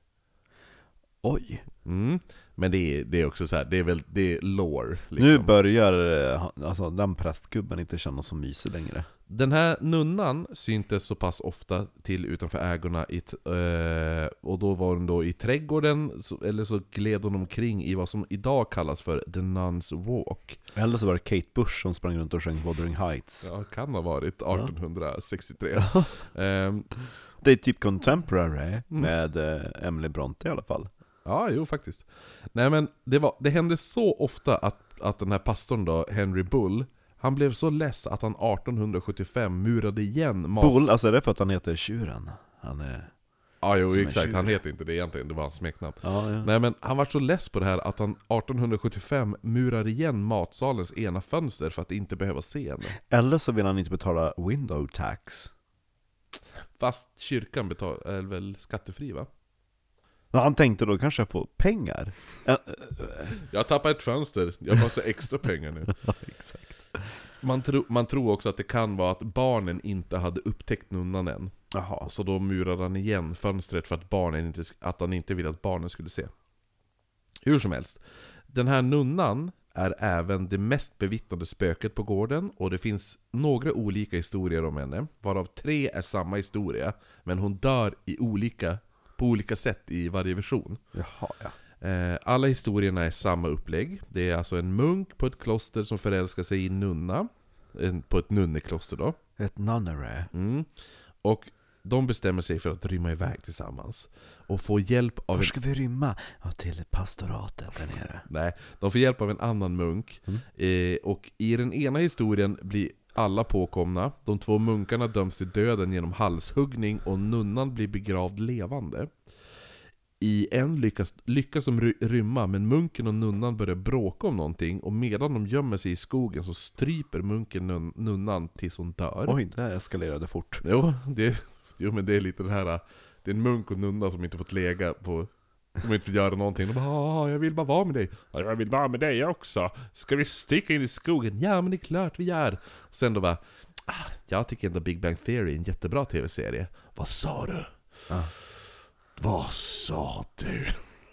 Oj.
Mm. Men det är, det är också så här, det är väl, det är lore.
Nu
Liksom.
börjar eh, han- alltså, den prästgubben inte känna så mysig längre.
Den här nunnan syntes så pass ofta till utanför ägorna i, t- eh, och då var hon då i trädgården, så, eller så gled hon omkring i vad som idag kallas för The Nuns Walk.
Eller så var det Kate Bush som sprang runt och sjöng Wuthering Heights.
Ja, kan ha varit 1863. Ehm,
Det är typ contemporary med eh, Emily Bronte i alla fall.
Ja, jo faktiskt. Nej men det, var, det hände så ofta att, att den här pastorn då, Henry Bull, han blev så less att han 1875 murade igen mas...
Bull, alltså är det för att han heter tjuren? Han är...
Ja, jo
som är
exakt. Han
tjuv.
heter inte det egentligen, det var hans smeknamn.
Ja, ja.
Nej men han var så less på det här att han 1875 murar igen matsalens ena fönster för att inte behöva se henne.
Eller så vill han inte betala window tax.
Fast kyrkan betal, är väl skattefri va?
Men han tänkte då kanske jag får pengar. eh, Ja,
Jag tappar ett fönster, jag måste ha extra pengar nu.
exakt.
Man, tro, man tror också att det kan vara att barnen inte hade upptäckt nunnan än.
Jaha.
Så då murade han igen fönstret för att, barnen inte, att han inte ville att barnen skulle se. Hur som helst. Den här nunnan är även det mest bevittnade spöket på gården och det finns några olika historier om henne, varav tre är samma historia, men hon dör i olika, på olika sätt i varje version.
Jaha, ja.
Eh, Alla historierna är samma upplägg. Det är alltså en munk på ett kloster som förälskar sig i en nunna, en- på ett nunnekloster då.
Ett nunnery.
Mm. Och de bestämmer sig för att rymma iväg tillsammans. Och får hjälp av
Var
en...
ska vi rymma? Ja, till pastoratet där nere.
Nej, de får hjälp av en annan munk. Eh, och i den ena historien blir alla påkomna. De två munkarna döms till döden genom halshuggning och nunnan blir begravd levande. I en lyckas, lyckas de ry- rymma, men munken och nunnan börjar bråka om någonting och medan de gömmer sig i skogen så stryper munken nun, nunnan tills hon dör.
Oj, det här eskalerade fort.
Jo, det, jo, men det är lite det här, äh, det är en munk och nunna som inte fått lägga på de inte fått göra någonting. De bara "Ah, jag vill bara vara med dig. "Ja, Jag vill vara med dig också. Ska vi sticka in i skogen? Ja men det är klart vi gör. Sen då bara, "Ah, jag tycker ändå Big Bang Theory är en jättebra tv-serie. Vad sa du?
Ja.
Vad sa du?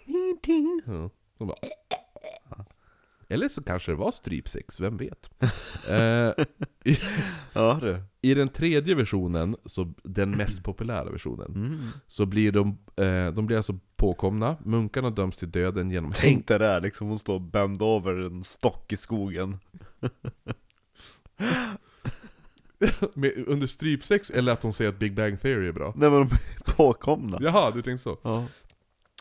Ingenting. Ja. De bara, "Äh, Eller så kanske det var strypsex, vem vet? eh,
Ja du.
i den tredje versionen, så den mest populära versionen, så blir de, eh, de blir alltså påkomna, munkarna döms till döden genom häng...
Tänk dig det där, liksom hon står bänd över en stock i skogen.
Med, under strypsex, eller att de säger att Big Bang Theory är bra.
Nej men de är påkomna.
Jaha, du tänkte så.
Ja.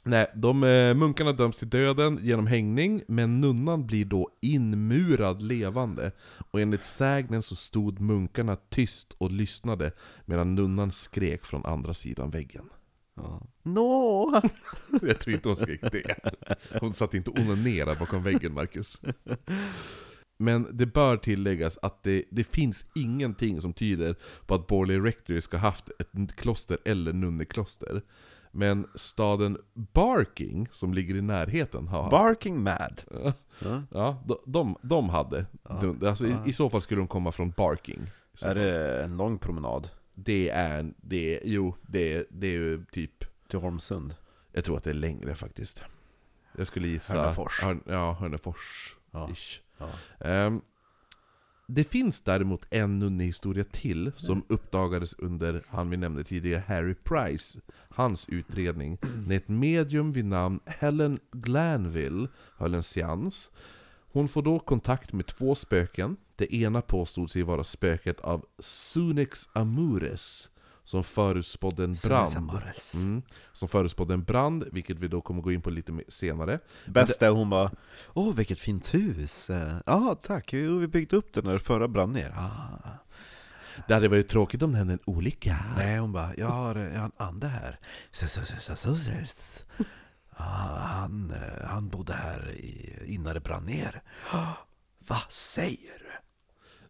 Nej, de, eh, munkarna döms till döden genom hängning, men nunnan blir då inmurad levande. Och enligt sägnen så stod munkarna tyst och lyssnade, medan nunnan skrek från andra sidan väggen.
ja. Nå!
Jag tror inte hon skrek det. Hon satt inte och onanerade bakom väggen, Marcus. Men det bör tilläggas att det, det finns ingenting som tyder på att Borley Rectory ska ha haft ett kloster eller nunnekloster. Men staden Barking, som ligger i närheten, har haft.
Barking mad. Ja.
Ja, de, de, de hade. De, alltså, i, I så fall skulle de komma från Barking. Så
Är det en lång promenad
Det är, en- det är, jo, det är, det är ju typ
till Holmsund?
Jag tror att det är längre faktiskt. Jag skulle gissa...
Hörnefors.
Hörn, ja, Hörnefors.
Ja.
Ish.
Ja.
Ehm, det finns däremot en nunnehistoria till som uppdagades under han vi nämnde tidigare, Harry Price, hans utredning. När ett medium vid namn Helen Glanville höll en seans. Hon får då kontakt med två spöken. Det ena påstod sig vara spöket av Sunex Amures, som förutspådde en brand. Mm, som förutspådde en brand, vilket vi då kommer gå in på lite mer- senare.
Bäst är hon bara Åh vilket fint hus! Eh, Ja tack, jo, vi byggde upp det när det förra brann ner. Ah.
Det hade varit tråkigt om det hände en olycka.
Nej hon bara, jag har, jag har en ande här. Så- så- så- så- så- så- så. Ah, Han, eh, han bodde här i, innan det brann ner. Ah, Vad säger du?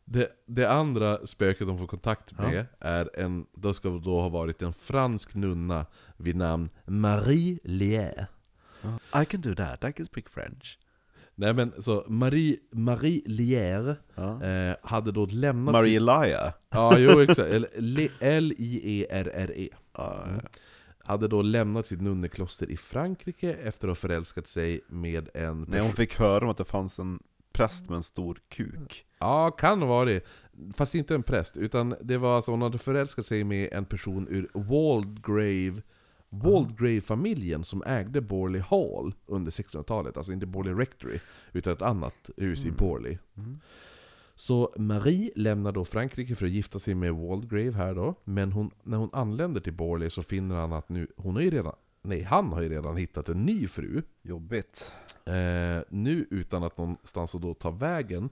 Det, det andra spöket de får kontakt med är en, då ska det då ha varit en fransk nunna vid namn Marie Lier.
I can do that, I can speak French.
Nej men så Marie, Marie Lier
Ja.
eh, hade då lämnat...
Marie Elia.
Ja, jo exakt. Eller Le- L-I-E-R-R-E.
Ja,
Mm. Hade då lämnat sitt nunnekloster i Frankrike efter att ha förälskat sig med en
När hon fick höra om att det fanns en präst med en stor kuk.
Ja, kan vara det. Fast inte en präst, utan det var alltså hon hade förälskat sig med en person ur Waldgrave Waldgrave-familjen som ägde Borley Hall under 1600-talet, alltså inte Borley Rectory, utan ett annat hus i Borley. Så Marie lämnar då Frankrike för att gifta sig med Waldgrave här då, men hon, när hon anländer till Borley så finner han att nu, hon har ju redan, nej han har ju redan hittat en ny fru.
Jobbigt.
Eh, nu utan att någonstans att då ta vägen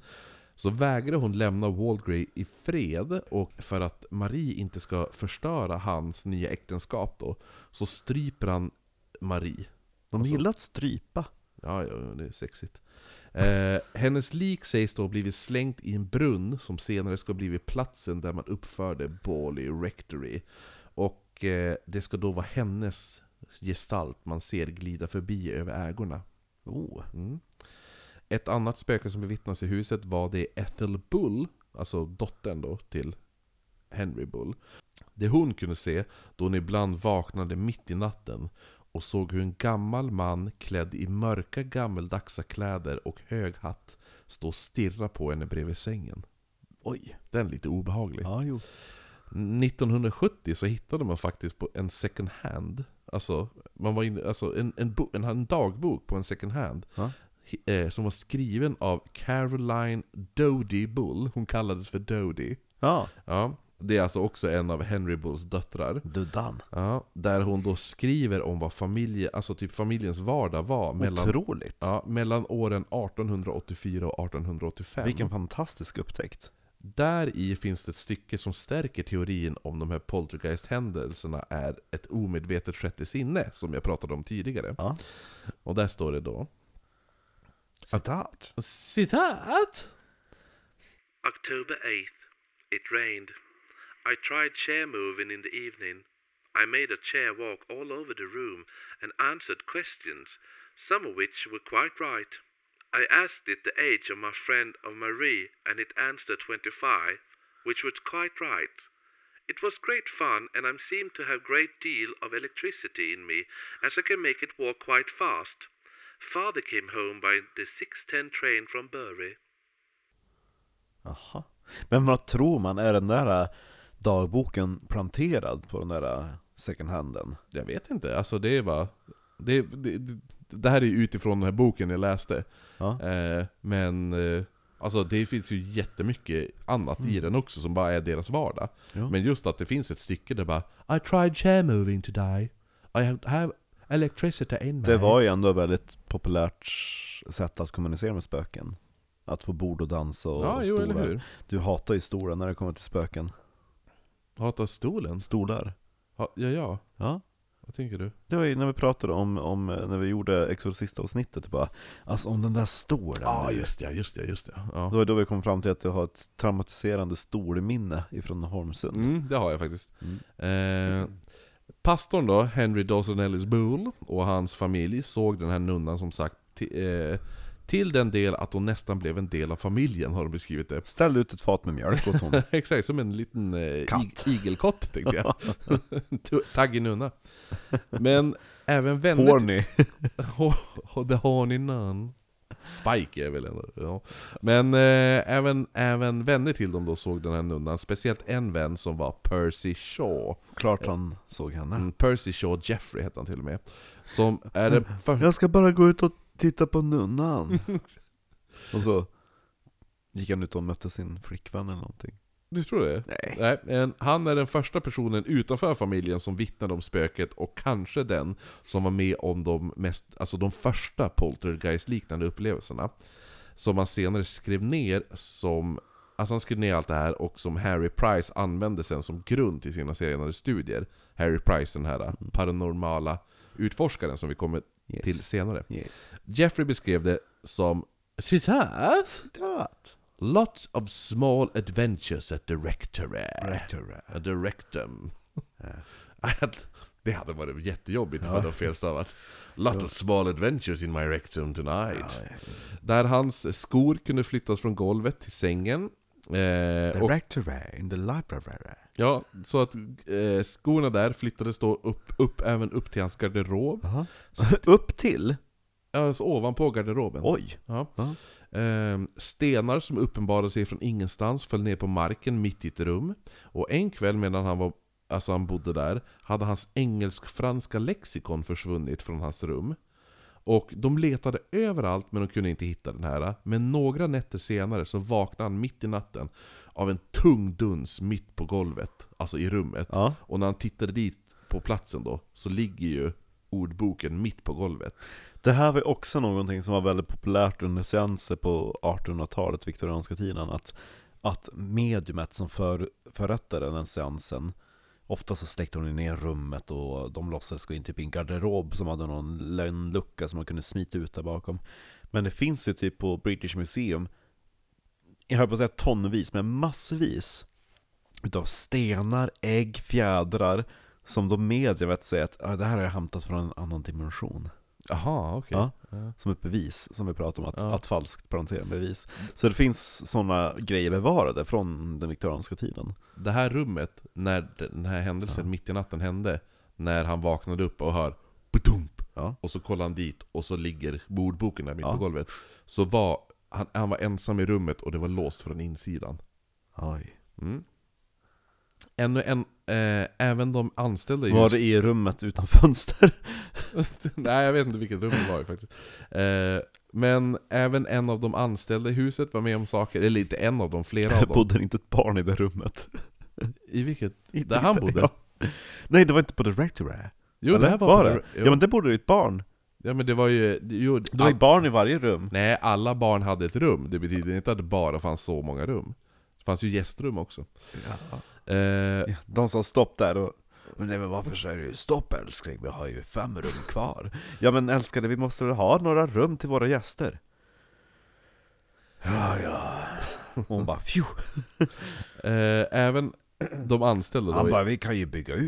så vägrar hon lämna Walgrey i fred och för att Marie inte ska förstöra hans nya äktenskap då så stryper han Marie.
De
Alltså-
gillar att strypa.
Ja, ja, ja, det är sexigt. Eh, hennes lik sägs då ha blivit slängt i en brunn som senare ska ha blivit platsen där man uppförde Bawley Rectory. Och eh, det ska då vara hennes gestalt man ser glida förbi över ägorna.
Oh.
Mm. Ett annat spöke som bevittnas i huset var det Ethel Bull, alltså dottern då till Henry Bull. Det hon kunde se då hon ibland vaknade mitt i natten och såg hur en gammal man klädd i mörka gammeldagsa kläder och hög hatt stod och stirra på henne bredvid sängen.
Oj.
Den är lite obehaglig.
Ja, jo.
1970 så hittade man faktiskt på en second hand, alltså, man var inne, alltså en, en, bo, en, en dagbok på en second hand,
Ja.
hi- eh, som var skriven av Caroline Dodie Bull, hon kallades för Dodie.
Ja.
Ja, det är alltså också en av Henry Bulls döttrar.
Dudan.
Ja, där hon då skriver om vad familje, alltså typ familjens vardag var mellan,
Otroligt.
ja, mellan åren 1884 och 1885.
Vilken fantastisk upptäckt.
Där i finns det ett stycke som stärker teorin om de här poltergeist-händelserna är ett omedvetet sjätte sinne, som jag pratade om tidigare.
Ja.
Och där står det då
Citat.
Citat!
October 8th. It rained. I tried chair moving in the evening. I made a chair walk all over the room and answered questions, some of which were quite right. I asked it the age of my friend of Marie, and it answered 25, which was quite right. It was great fun, and I seem to have great deal of electricity in me, as I can make it walk quite fast. Father came home by the 6.10 train from Bury.
Jaha. Men vad tror man, är den där äh, dagboken planterad på den där äh, second handen?
Jag vet inte, alltså det är bara... Det, det, det- det här är ju utifrån den här boken jag läste.
Ja.
Eh, men eh, alltså det finns ju jättemycket annat i den också som bara är deras vardag.
Mm. Ja.
Men just att det finns ett stycke där bara
I tried chair moving today. I have- have electricity in me.
Det var ju ändå ett väldigt populärt sätt att kommunicera med spöken. Att få bord och dansa och
Ja, jo
stolar.
eller hur.
Du hatar ju stolar när det kommer till spöken.
Hata stolen?
Stolar?
Ha, ja, ja.
Ja.
Vad tänker du?
Det var ju när vi pratade om, om eh, när vi gjorde Exorcist-avsnittet, bara Alltså om den där stolen nu.
ja, just ja, just ja.
Det var då vi kom fram till att jag har ett traumatiserande storminne ifrån Holmsund.
Mm, det har jag faktiskt. Eh, pastorn då, Henry Dawson Ellis Boole och hans familj såg den här nunnan som sagt ti- eh, till den del att hon nästan blev en del av familjen har de beskrivit det.
Ställ ut ett fat med mjölk åt honom.
Exakt, som en liten eh,
Katt.
ig- igelkott tänkte jag. Tu- Taggig nunna. Men även vänner...
Horny.
Hår... Det har ni nån. Spike är väl ändå... Ja. Men eh, även, även vänner till dem då såg den här nunnan, speciellt en vän som var Percy Shaw.
Klart han såg henne.
Mm, Percy Shaw Jeffrey hette han till och med. Som är
Mm.
den första...
Jag ska bara gå ut och titta på nunnan. och så gick han ut och mötte sin flickvän eller någonting.
Du tror det?
Nej.
men han är den första personen utanför familjen som vittnade om spöket och kanske den som var med om de, mest, alltså de första poltergeist-liknande upplevelserna. Som han senare skrev ner som Alltså han skrev ner allt det här och som Harry Price använde sen som grund till sina senare studier. Harry Price, den här paranormala utforskaren som vi kommer
Mm. Yes.
till senare.
Yes.
Jeffrey beskrev det som citat Lots of small adventures at the rectory. At the rectum. Att- Det hade varit jättejobbigt ifall det var felstavat. Lot of small adventures in my rectum tonight. Där hans skor kunde flyttas från golvet till sängen. Eh, och,
rectory in the library.
ja, så att eh, skorna där flyttades då upp, upp, även upp till hans garderob.
Upp till?
Alltså ovanpå garderoben.
Oj.
Ja.
Ja.
Ehm, stenar som uppenbarade sig från ingenstans föll ner på marken mitt i ett rum. Och en kväll medan han, var, alltså han bodde där hade hans engelsk-franska lexikon försvunnit från hans rum. Och de letade överallt men de kunde inte hitta den här. Men några nätter senare så vaknade han mitt i natten av en tung duns mitt på golvet, alltså i rummet.
Ja.
Och när han tittade dit på platsen då, så ligger ju ordboken mitt på golvet.
Det här var ju också någonting som var väldigt populärt under seanser på 1800-talet, viktorianska tiden, att, att mediumet som för, förrättade den seansen, ofta så släckte de ner rummet och de låtsades gå in typ i en garderob som hade någon lönnlucka som man kunde smita ut där bakom. Men det finns ju typ på British Museum, jag höll på att säga tonvis, men massvis utav stenar, ägg, fjädrar, som då mediumet säger att "Ah, det här har jag hämtat från en annan dimension.
Jaha, okej.
Ja. Som ett bevis, som vi pratade om, att,
Ja.
att falskt plantera bevis. Så det finns sådana grejer bevarade från den viktorianska tiden.
det här rummet, när den här händelsen mitt i natten hände, när han vaknade upp och hör bedump,
Ja.
och så kollar han dit och så ligger bordboken där mitt
Ja.
på golvet. Så var han, han var ensam i rummet och det var låst från insidan.
Oj.
Mm. Ännu en, eh, även de anställda i
Var
hus-
det i rummet utan fönster?
Nej, jag vet inte vilket rum det var i faktiskt. Eh, men även en av de anställda i huset var med om saker, eller inte en av dem, flera av dem.
Bodde det inte ett barn i det rummet?
I vilket?
Inte-
Där han
inte-
bodde?
ja. Nej, det var inte på The Rectory.
Jo,
Eller?
det här var, på
det?
Jo,
Ja, men det bodde ju ett barn.
ja, men det var ju... Jo,
Det var ju
all-
barn i varje rum.
Nej, alla barn hade ett rum. Det betyder inte att det bara fanns så många rum. Det fanns ju gästrum också.
Ja.
Eh,
Ja, De sa stopp där och men nej, men varför säger du stopp älskling? Vi har ju fem rum kvar. Ja men älskade, vi måste väl ha några rum till våra gäster? Ja, ja. Och hon bara pju.
eh, även de anställda då.
Han bara, vi kan ju bygga ut.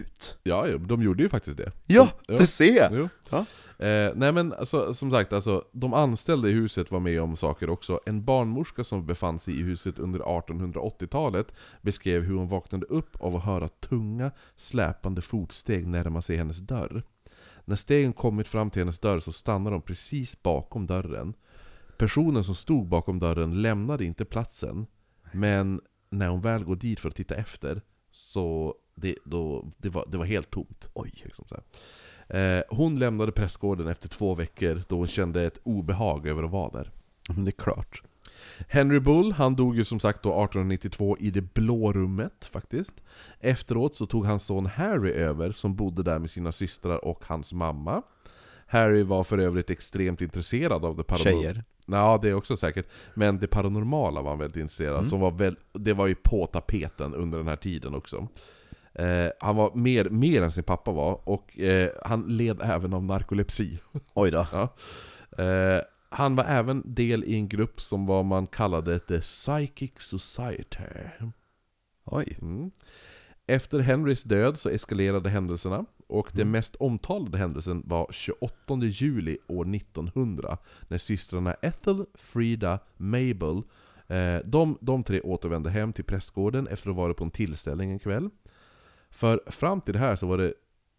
Mm.
Ja, ja, de gjorde ju faktiskt det.
Ja,
Ja.
det ser jag!
Jo.
Ja.
Eh, nej men alltså, som sagt, alltså, de anställda i huset var med om saker också. En barnmorska som befann sig i huset under 1880-talet beskrev hur hon vaknade upp av att höra tunga, släpande fotsteg närma sig hennes dörr. När stegen kommit fram till hennes dörr så stannade de precis bakom dörren. Personen som stod bakom dörren lämnade inte platsen, men när hon väl går dit för att titta efter, så det, då, det, var, det var helt tomt. Oj. Liksom så här. Eh, Hon lämnade prästgården efter två veckor då hon kände ett obehag över att vara där.
Men det är klart.
Henry Bull, han dog ju som sagt då 1892 i det blå rummet faktiskt. Efteråt så tog hans son Harry över som bodde där med sina systrar och hans mamma. Harry var för övrigt extremt intresserad av det paranormala.
Tjejer.
Ja, det är också säkert. Men det paranormala var han väldigt intresserad av. som var väl, Det var ju på tapeten under den här tiden också. Eh, han var mer, mer än sin pappa var, och eh, han led även av narkolepsi.
Oj då.
Ja. Eh, han var även del i en grupp som vad man kallade The Psychic Society.
Oj.
Mm. Efter Henrys död så eskalerade händelserna och den mest omtalade händelsen var 28 juli år 1900 när systrarna Ethel, Frida, Mabel eh, de, de tre återvände hem till prästgården efter att ha varit på en tillställning en kväll. För fram till det här så var det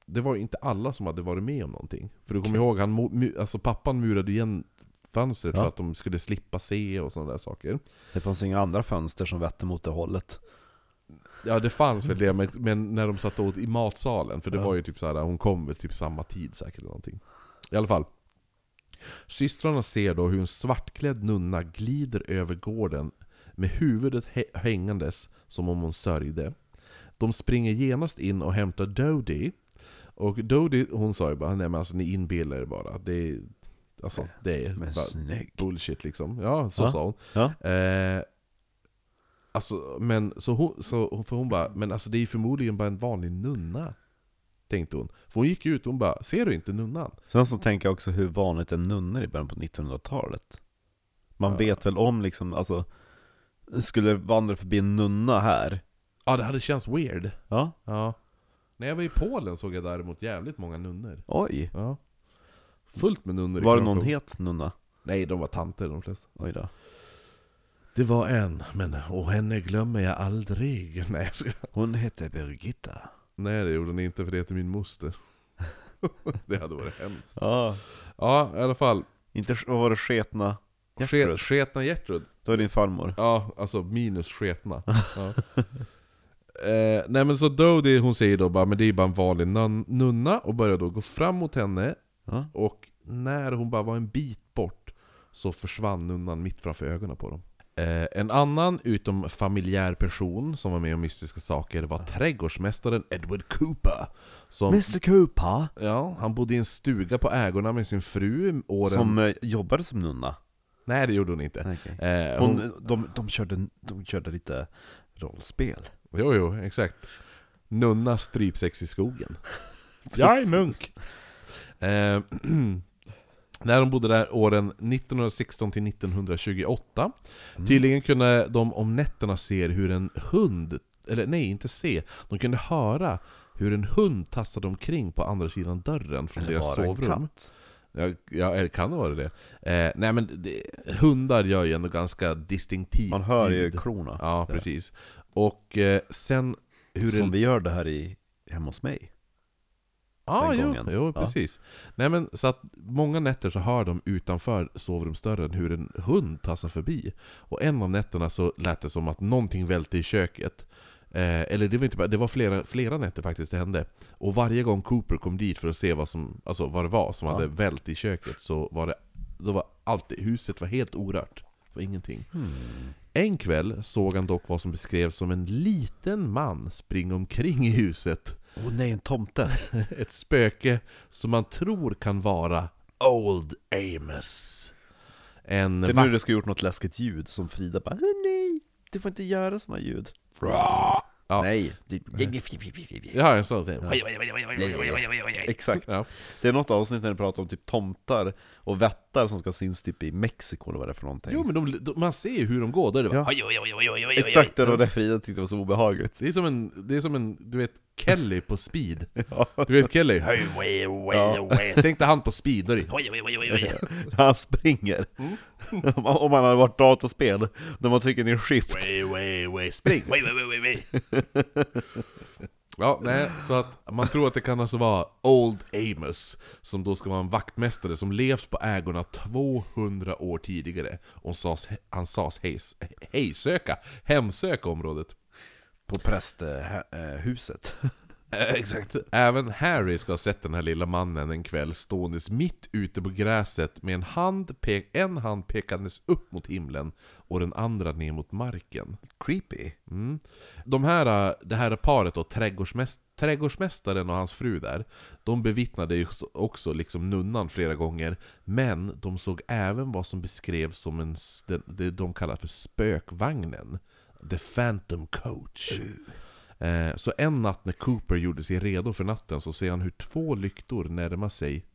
det var ju inte alla som hade varit med om någonting. För du kommer ihåg, han, mu- mu- alltså pappan murade igen fönstret
Ja.
för att de skulle slippa se och sådana där saker.
Det fanns inga andra fönster som vette mot det hållet.
Ja det fanns väl det, men, men när de satt åt i matsalen, för det var ju typ så här, hon kom väl typ samma tid säkert eller någonting. I alla fall. Systrarna ser då hur en svartklädd nunna glider över gården med huvudet hä- hängandes som om hon sörjde. De springer genast in och hämtar Dodie. Och Dodie hon sa ju bara nej men alltså ni inbillar er bara. Det är, alltså, det är
Men
bara
snygg.
bullshit liksom. Ja, så
Ja.
sa hon.
Ja.
Eh, alltså, men så hon, så, hon- för hon bara, men alltså det är ju förmodligen bara en vanlig nunna. Tänkte hon. För hon gick ut och hon bara, ser du inte nunnan?
Sen så tänker jag också hur vanligt är nunnor i början på 1900-talet? Man
Ja.
vet väl om liksom, alltså, skulle vandra förbi en nunna här?
Ja det hade känts weird.
Ja.
Ja. När jag var i Polen såg jag däremot jävligt många nunnor.
Oj.
Ja. Fullt med nunnor i
Var det någon
Krakow.
het nunna?
Nej, de var tanter de flesta.
Oj då.
Det var en, men och henne glömmer jag aldrig. Nej, jag ska...
Hon hette Birgitta.
Nej det gjorde ni inte för det heter min moster. det hade varit hemskt.
Ja.
Ja, i alla fall.
Inte, vad var det, sketna?
Ske-
Gertrud.
Sketna Gertrud.
Det var din farmor.
Ja, alltså minus sketna. Ja. eh, nej men så Dodie hon säger då bara men det är ju bara en vanlig nun- nunna och börjar då gå fram mot henne
Ja.
och när hon bara var en bit bort så försvann nunnan mitt framför ögonen på dem. Eh, en annan utom familjär person som var med om mystiska saker var trädgårdsmästaren Edward Cooper. Som,
Mr Cooper.
ja, han bodde i en stuga på ägorna med sin fru åren...
Som eh, jobbade som nunna.
Nej det gjorde hon inte.
Okay.
Eh,
Hon, de, de, körde, de körde lite rollspel.
Jo, jo, exakt. Nunna strypsex i skogen. Jag är munk! Eh, när de bodde där åren 1916 till 1928.
Mm.
Tydligen kunde de om nätterna se hur en hund, eller nej, inte se, de kunde höra hur en hund tassade omkring på andra sidan dörren från deras
var det en
sovrum.
katt?
Ja, ja, eller kan det vara det? Eh, nej men det, hundar gör ju ändå ganska distinktivt
Man hör ju
ljud.
klorna.
Ja,
där.
precis. Och eh, sen hur
Som
det...
vi gör det här i, hemma hos mig.
ah,
den
jo,
gången.
jo,
Ja.
precis. Nej men så att många nätter så hör de utanför sovrumsdörren hur en hund tassar förbi. Och en av nätterna så lät det som att någonting välte i köket. Eh, eller det var inte bara, det var flera, flera nätter faktiskt det hände. Och varje gång Cooper kom dit för att se vad som, alltså vad det var som
Ja.
hade vält i köket så var det, då var alltid, huset var helt orört. Det var ingenting.
Hmm.
En kväll såg han dock vad som beskrevs som en liten man springa omkring i huset.
Åh nej, en tomte.
Ett spöke som man tror kan vara Old Amos. En
Det är
vak-
nu du ska ha gjort något läskigt ljud som Frida bara "Åh, nej. Du får inte göra såna ljud.
Ja.
Nej. Du,
Jag har en sån till.
Exakt.
Ja.
Det är något avsnitt när de pratar om typ tomtar och vättar som ska synas typ i Mexiko eller vad det är för någonting.
Jo men de, de, man ser ju hur de går, då är det bara,
Ja. Exakt, det var det Frida tyckte var så obehagligt.
Det är som en, det är som en, du vet Kelly på speed.
Ja.
Du vet Kelly? Tänk dig han på speed, då är det
När han springer. Om- Om man hade varit dataspel, när man trycker ner shift.
spring! Ja, nej, så att man tror att det kan alltså vara Old Amos Som då ska vara en vaktmästare som levt på ägorna 200 år tidigare Och sas, han sas hejs, hejsöka, hemsöka området
På prästhuset.
Eh, Exakt. Även Harry ska ha sett den här lilla mannen en kväll ståendes mitt ute på gräset med en hand, pe- en hand pekandes upp mot himlen och den andra ner mot marken.
Creepy.
Mm. De här, eh, det här paret då, trädgårdsmäst- trädgårdsmästaren och hans fru där, de bevittnade ju också- också liksom nunnan flera gånger, men de såg även vad som beskrevs som en, s- det- det de kallar för spökvagnen. The Phantom Coach. Eh, Så en natt när Cooper gjorde sig redo för natten så ser han hur två lyktor närmar sig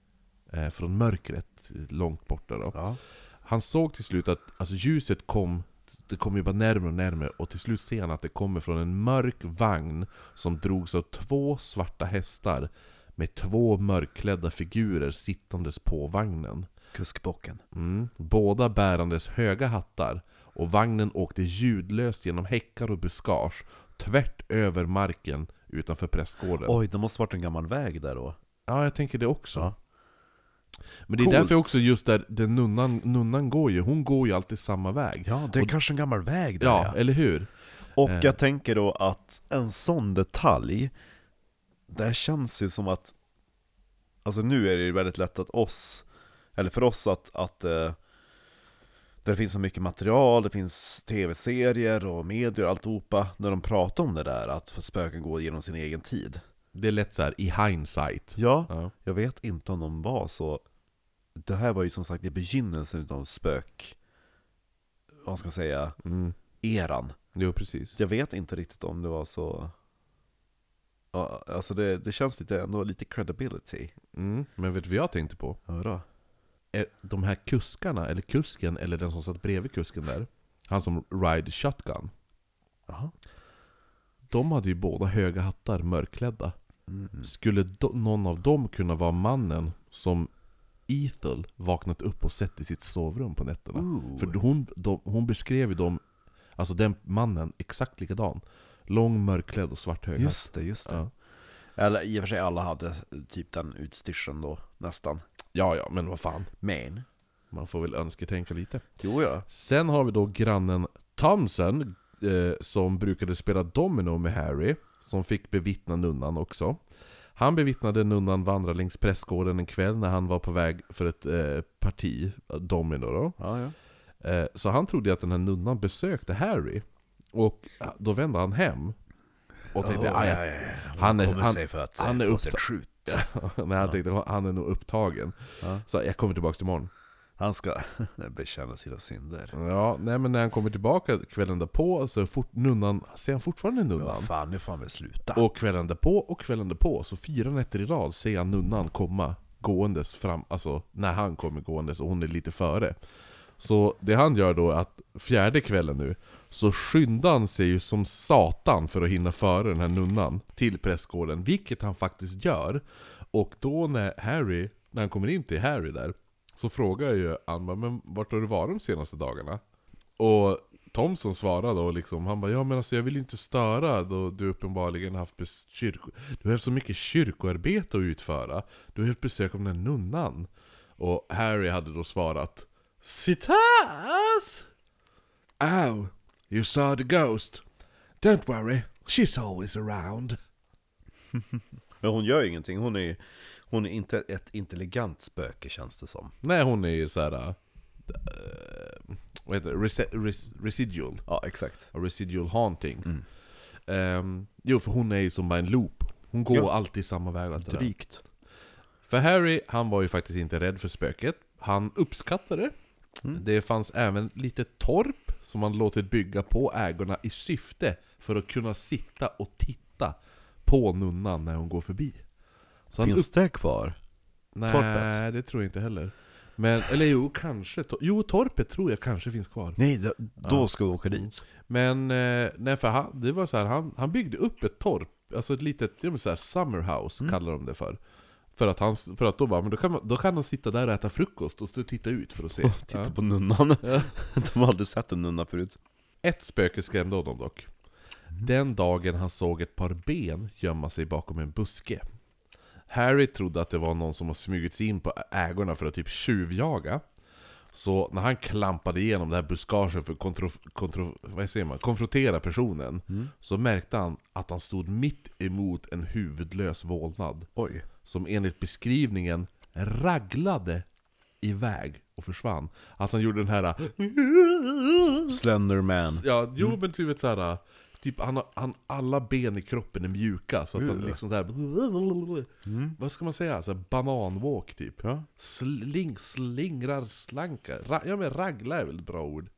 eh, från mörkret eh, långt borta. Då.
Ja.
Han såg till slut att alltså, ljuset kom, det kom ju bara närmare och närmare och till slut ser han att det kommer från en mörk vagn som drogs av två svarta hästar med två mörkklädda figurer sittandes på vagnen.
Kuskbocken.
Mm. Båda bärandes höga hattar och vagnen åkte ljudlöst genom häckar och buskage tvärt över marken utanför prästgården.
Oj, det måste varit en gammal väg där då.
Ja, jag tänker det också.
Ja.
Men det är
Coolt.
därför också just där den nunnan, nunnan går ju, hon går ju alltid samma väg.
Ja, det är kanske en gammal väg där
Ja, eller hur?
Och
Eh.
jag tänker då att en sån detalj, det känns ju som att, alltså nu är det ju väldigt lätt att oss, eller för oss att, att eh, det finns så mycket material, det finns tv-serier och medier och alltihopa, när de pratar om det där, att spöken går genom sin egen tid.
Det är lätt så här i hindsight.
Ja,
Ja.
jag vet inte om de var så, det här var ju som sagt i begynnelsen utav spök, vad ska man säga,
Mm.
eran.
Jo, precis.
Jag vet inte riktigt om det var så... Ja, Alltså det, det känns lite, ändå lite credibility.
Mm. Men vet du vad jag tänkte på?
Hörra.
Eh, De här kuskarna, eller kusken, eller den som satt bredvid kusken där. Han som ride shotgun.
Jaha.
De hade ju båda höga hattar, mörkklädda.
Mm.
Skulle do- någon av dem kunna vara mannen som Ethel vaknat upp och sett i sitt sovrum på nätterna? För hon, de, hon beskrev ju dem, alltså den mannen, exakt likadan. Lång, mörkklädd och svart höga.
Just det, just det.
Ja.
Eller i och för sig alla hade typ den utstyrseln då, nästan.
ja, ja, men vad fan.
Men.
Man får väl önsketänka lite.
Jo ja.
Sen har vi då grannen Thompson, eh, som brukade spela domino med Harry, som fick bevittna nunnan också. Han bevittnade nunnan vandra längs prästgården en kväll när han var på väg för ett eh, parti, eh, domino då.
Ja, ja.
Eh, så han trodde ju att den här nunnan besökte Harry. Och eh, då vände han hem. Och tänkte, "Aj, Han är-
kommer
han-
sig för att eh,
han är
få
uppta-
sig ett skjut.
Nej, han tänkte han är nog upptagen.
Ja.
Så jag kommer tillbaka imorgon.
Han ska bekänna sina synder.
Ja, nej men när han kommer tillbaka kvällen därpå så är fort, nunnan, ser han fortfarande
Ja,
nunnan.
fan, nu får han väl sluta.
Och kvällen därpå och kvällen därpå, så fyra nätter i rad ser jag nunnan komma gåendes fram, alltså när han kommer gåendes och hon är lite före. Så det han gör då är att fjärde kvällen nu, så skyndar han sig ju som satan för att hinna före den här nunnan till prästgården, vilket han faktiskt gör. Och då när Harry, när han kommer in till Harry där, så frågar ju han bara, men vart har du varit de senaste dagarna? Och Thomson svarade då liksom, han bara ja men alltså jag vill inte störa då du uppenbarligen haft bes- kyrko... Du har haft så mycket kyrkoarbete att utföra. Du har haft besök av den här nunnan. Och Harry hade då svarat Citas! Oh, you saw the ghost. Don't worry, she's always around.
Men hon gör ju ingenting. Hon är, hon är inte ett intelligent spöke känns det som.
Nej hon är ju såhär... Uh, vad heter det? Resi- res- residual.
Ja, exakt.
A residual haunting.
Mm.
Ehm, jo, för hon är ju som bara en loop. Hon går
Ja.
alltid samma väg. och Allt det där.
Drygt.
För Harry, han var ju faktiskt inte rädd för spöket. Han uppskattade det.
Mm.
Det fanns även lite torp som man låtit bygga på ägorna i syfte för att kunna sitta och titta på nunnan när hon går förbi. Så han
Finns det kvar?
Nej,
torpet?
det tror jag inte heller. Men, eller jo, kanske. to- Jo, torpet tror jag kanske finns kvar.
Nej, då, då ska vi åka dit.
Men, eh, nej för han, det var så här, han, han byggde upp ett torp, alltså ett litet, ja, men så här, summerhouse kallar de det för. För att, han, för att då bara, men då kan, man, då kan han sitta där och äta frukost och stå och titta ut för att se.
Titta
Ja.
på nunnan. De har aldrig sett en nunna förut.
Ett spöke skrämde honom dock. Den dagen han såg ett par ben gömma sig bakom en buske. Harry trodde att det var någon som har smugit sig in på ägorna för att typ tjuvjaga. Så när han klampade igenom det här buskaget för att kontro, kontro, vad säger man, konfrontera personen Så märkte han att han stod mitt emot en huvudlös vålnad
Oj.
Som enligt beskrivningen raglade iväg och försvann Att han gjorde den här
Slenderman.
Ja, jo men du vet såhär Typ han, har- han, alla ben i kroppen är mjuka så att han liksom såhär Vad ska man säga? Så här, bananwalk typ
Ja.
Sling, slingrar, slankar Ra, Ja men ragla är väl ett bra ord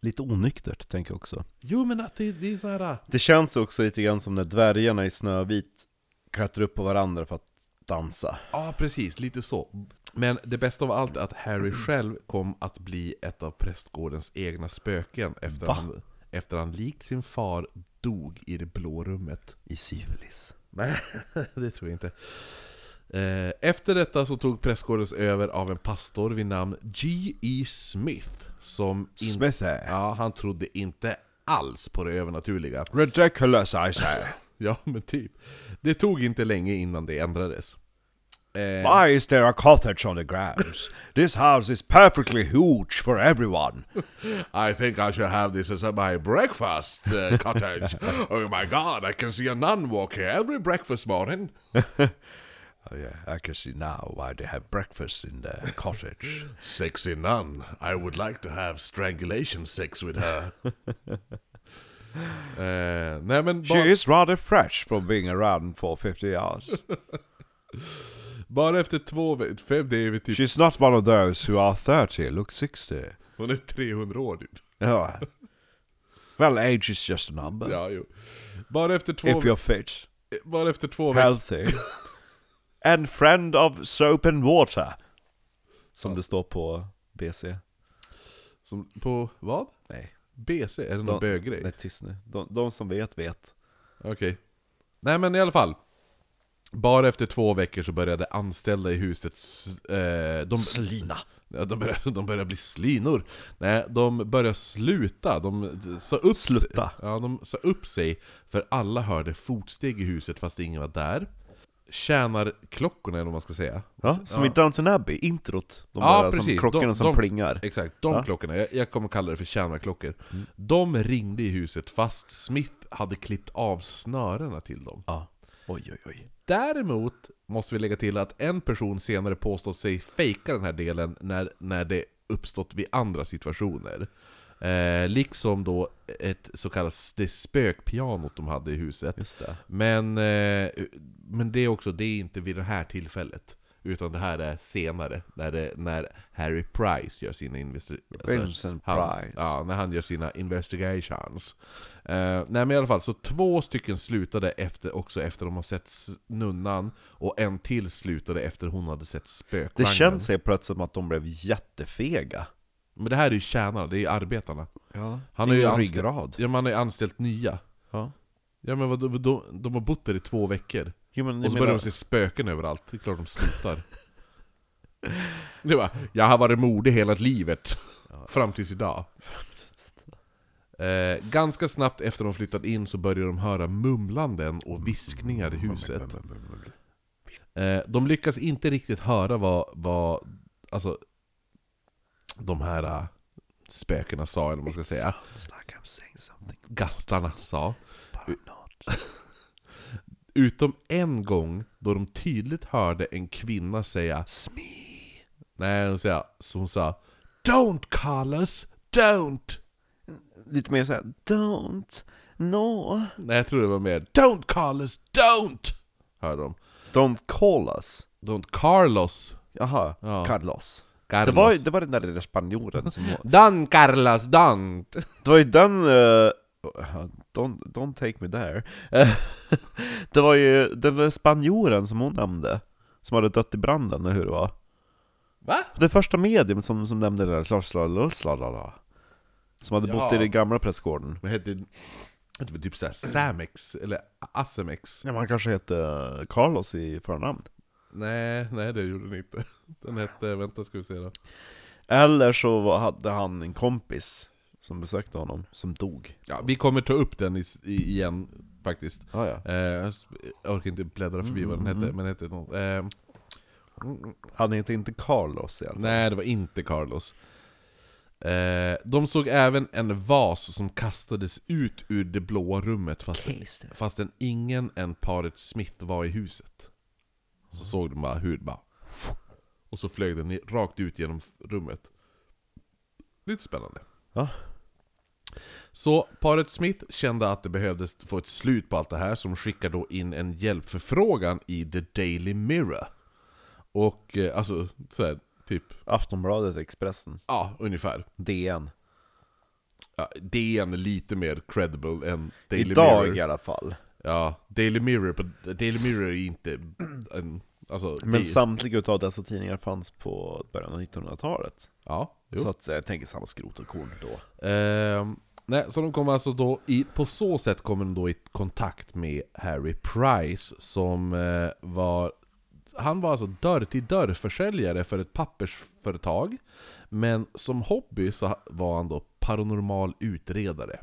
Lite onyktert, tänker jag också.
Jo men att det, det är såhär
Det känns också lite grann som när dvärgarna i Snövit klättrar upp på varandra för att dansa.
Ja, precis. Lite så. Men det bästa av allt är att Harry själv kom att bli ett av prästgårdens egna spöken efter
Va?
han, efter han likt sin far dog i det blå rummet.
I Syfilis.
Nej, det tror jag inte. Eh, Efter detta så tog prästgårdens över av en pastor vid namn G.E. Smith. Som in-
Smithy.
Ja, han trodde inte alls på det övernaturliga.
Ridiculous I say.
Ja, men typ. Det tog inte länge innan det ändrades. Eh,
Why is there a cottage on the grounds? This house is perfectly huge for everyone.
I think I should have this as my breakfast uh, cottage. oh my god, I can see a nun walk here every breakfast morning.
Oh yeah, I can see now why they have breakfast in the cottage.
Sexy nun. I would like to have strangulation sex with her. eh, nej men
She
bara,
is rather fresh from being around for 50 years.
bara efter två ve- fem det är vi typ,
She's not one of those who are 30, look 60.
hon är 300 år typ.
Yeah. Well, age is just a number.
Ja, jo. Bara efter två,
If you're fit,
bara efter två veckor.
healthy, and friend of soap and water. Som det står på BC.
Som, på vad?
Nej.
BC? Är det någon
De-
böggrej?
Nej, tyst nu. De, de som vet, vet.
Okej. Nej men i alla fall. Bara efter två veckor så började anställda i huset... s- Eh, de,
Slina.
ja, de, började, de började bli slinor. Nej, de började sluta. De sa upp,
Slutta.
Ja, de sa upp sig. För alla hörde fotsteg i huset fast ingen var där. Tjänarklockorna eller vad man ska säga.
Ja, som i Downton Abbey, introt. De
Ja,
där som
precis.
klockorna
De-
som
de-
plingar.
Exakt, de
Ja. Mm.
klockorna. Jag, jag kommer kalla det för tjänarklockor. De ringde i huset fast Smith hade klippt av snörena till dem.
Ja. Oj, oj, oj.
Däremot måste vi lägga till att en person senare påstått sig fejka den här delen när, när det uppstått vid andra situationer. Eh, liksom då ett så kallat det spökpianot de hade i huset.
Just det.
Men, eh, men det är också, det är inte vid det här tillfället. Utan det här är senare, när, det, när Harry Price gör sina investeringar.
Vincent
Hans,
Price.
ja, när han gör sina investigations. Uh, nej men i alla fall, så två stycken slutade efter, också efter de har sett s- nunnan, och en till slutade efter hon hade sett
Det
spökvagnen.
känns helt plötsligt som att de blev jättefega.
Men det här är ju tjänarna, det är ju arbetarna.
Ja.
Han har ju
Ingen
anställt-
ryggrad.
Ja, man har ju anställt nya.
Ja.
Ja men vadå, vadå, de har bott där i två veckor.
Jo, men,
Och
jag
så börjar
menar,
de se spöken överallt, det är klart de slutar. Det var, jag har varit modig hela livet. Fram tills idag. Eh, ganska snabbt efter de flyttat in så började de höra mumlanden och viskningar i huset. Eh, de lyckas inte riktigt höra vad, vad alltså, de här eh, spökena sa, eller vad man ska säga.
It's like I'm saying something,
Gastarna sa.
but I'm not.
Utom en gång då de tydligt hörde en kvinna säga
Smee.
Nej, hon sa, så hon sa Don't Carlos, don't!
Lite mer såhär, don't, no.
Nej, jag tror det var mer Don't Carlos, don't! Hörde de.
Don't call us.
Don't Carlos.
Jaha,
Ja.
Carlos. Det var, ju-
Carlos.
det var den där lilla spanjoren som... var-
Dan Carlos, Dan!
Det var ju den... eh, don't, don't take me there. Eh, det var ju den där spanjoren som hon nämnde, som hade dött i branden, eller hur det var?
Va?
Det första medium som, som nämnde det där, slalalala, som hade bott i
Ja.
den gamla prästgården.
Vad hette det? var typ såhär Samex, eller Asemex.
Ja, man kanske hette eh, Carlos i förnamn.
Nej, nej det gjorde den inte. Den hette, vänta ska vi se då.
Eller så var, hade han en kompis som besökte honom, som dog.
Ja, vi kommer ta upp den i, i, igen faktiskt.
Ah, ja.
Eh, jag s- jag orkar inte bläddra förbi vad den
Mm,
hette, men den hette något. Eh,
Han hette inte Carlos i alla fall.
nej, det var inte Carlos. Eh, de såg även en vas som kastades ut ur det blåa rummet fastän, fastän ingen än paret Smith var i huset. Så såg de bara hur det bara... Och så flög den i- rakt ut genom rummet. Lite spännande.
Ja.
Så paret Smith kände att det behövdes få ett slut på allt det här, som skickar då in en hjälpförfrågan i The Daily Mirror. Och eh, alltså, så här, typ,
Aftonbladet, Expressen,
ja, ungefär.
DN.
Ja, DN är lite mer credible än Daily
Idag
Mirror.
i alla fall.
Ja, Daily Mirror, på, Daily Mirror är inte en, alltså,
Men
det-
samtliga utav dessa tidningar fanns på början av 1900-talet.
ja, jo.
Så att eh, jag tänker samma skrot och korn då.
Ehm, nej, så de kommer alltså då i, på så sätt kommer de då i kontakt med Harry Price som eh, var han var alltså dörr-till-dörr-försäljare för ett pappersföretag Men som hobby så var han då paranormal utredare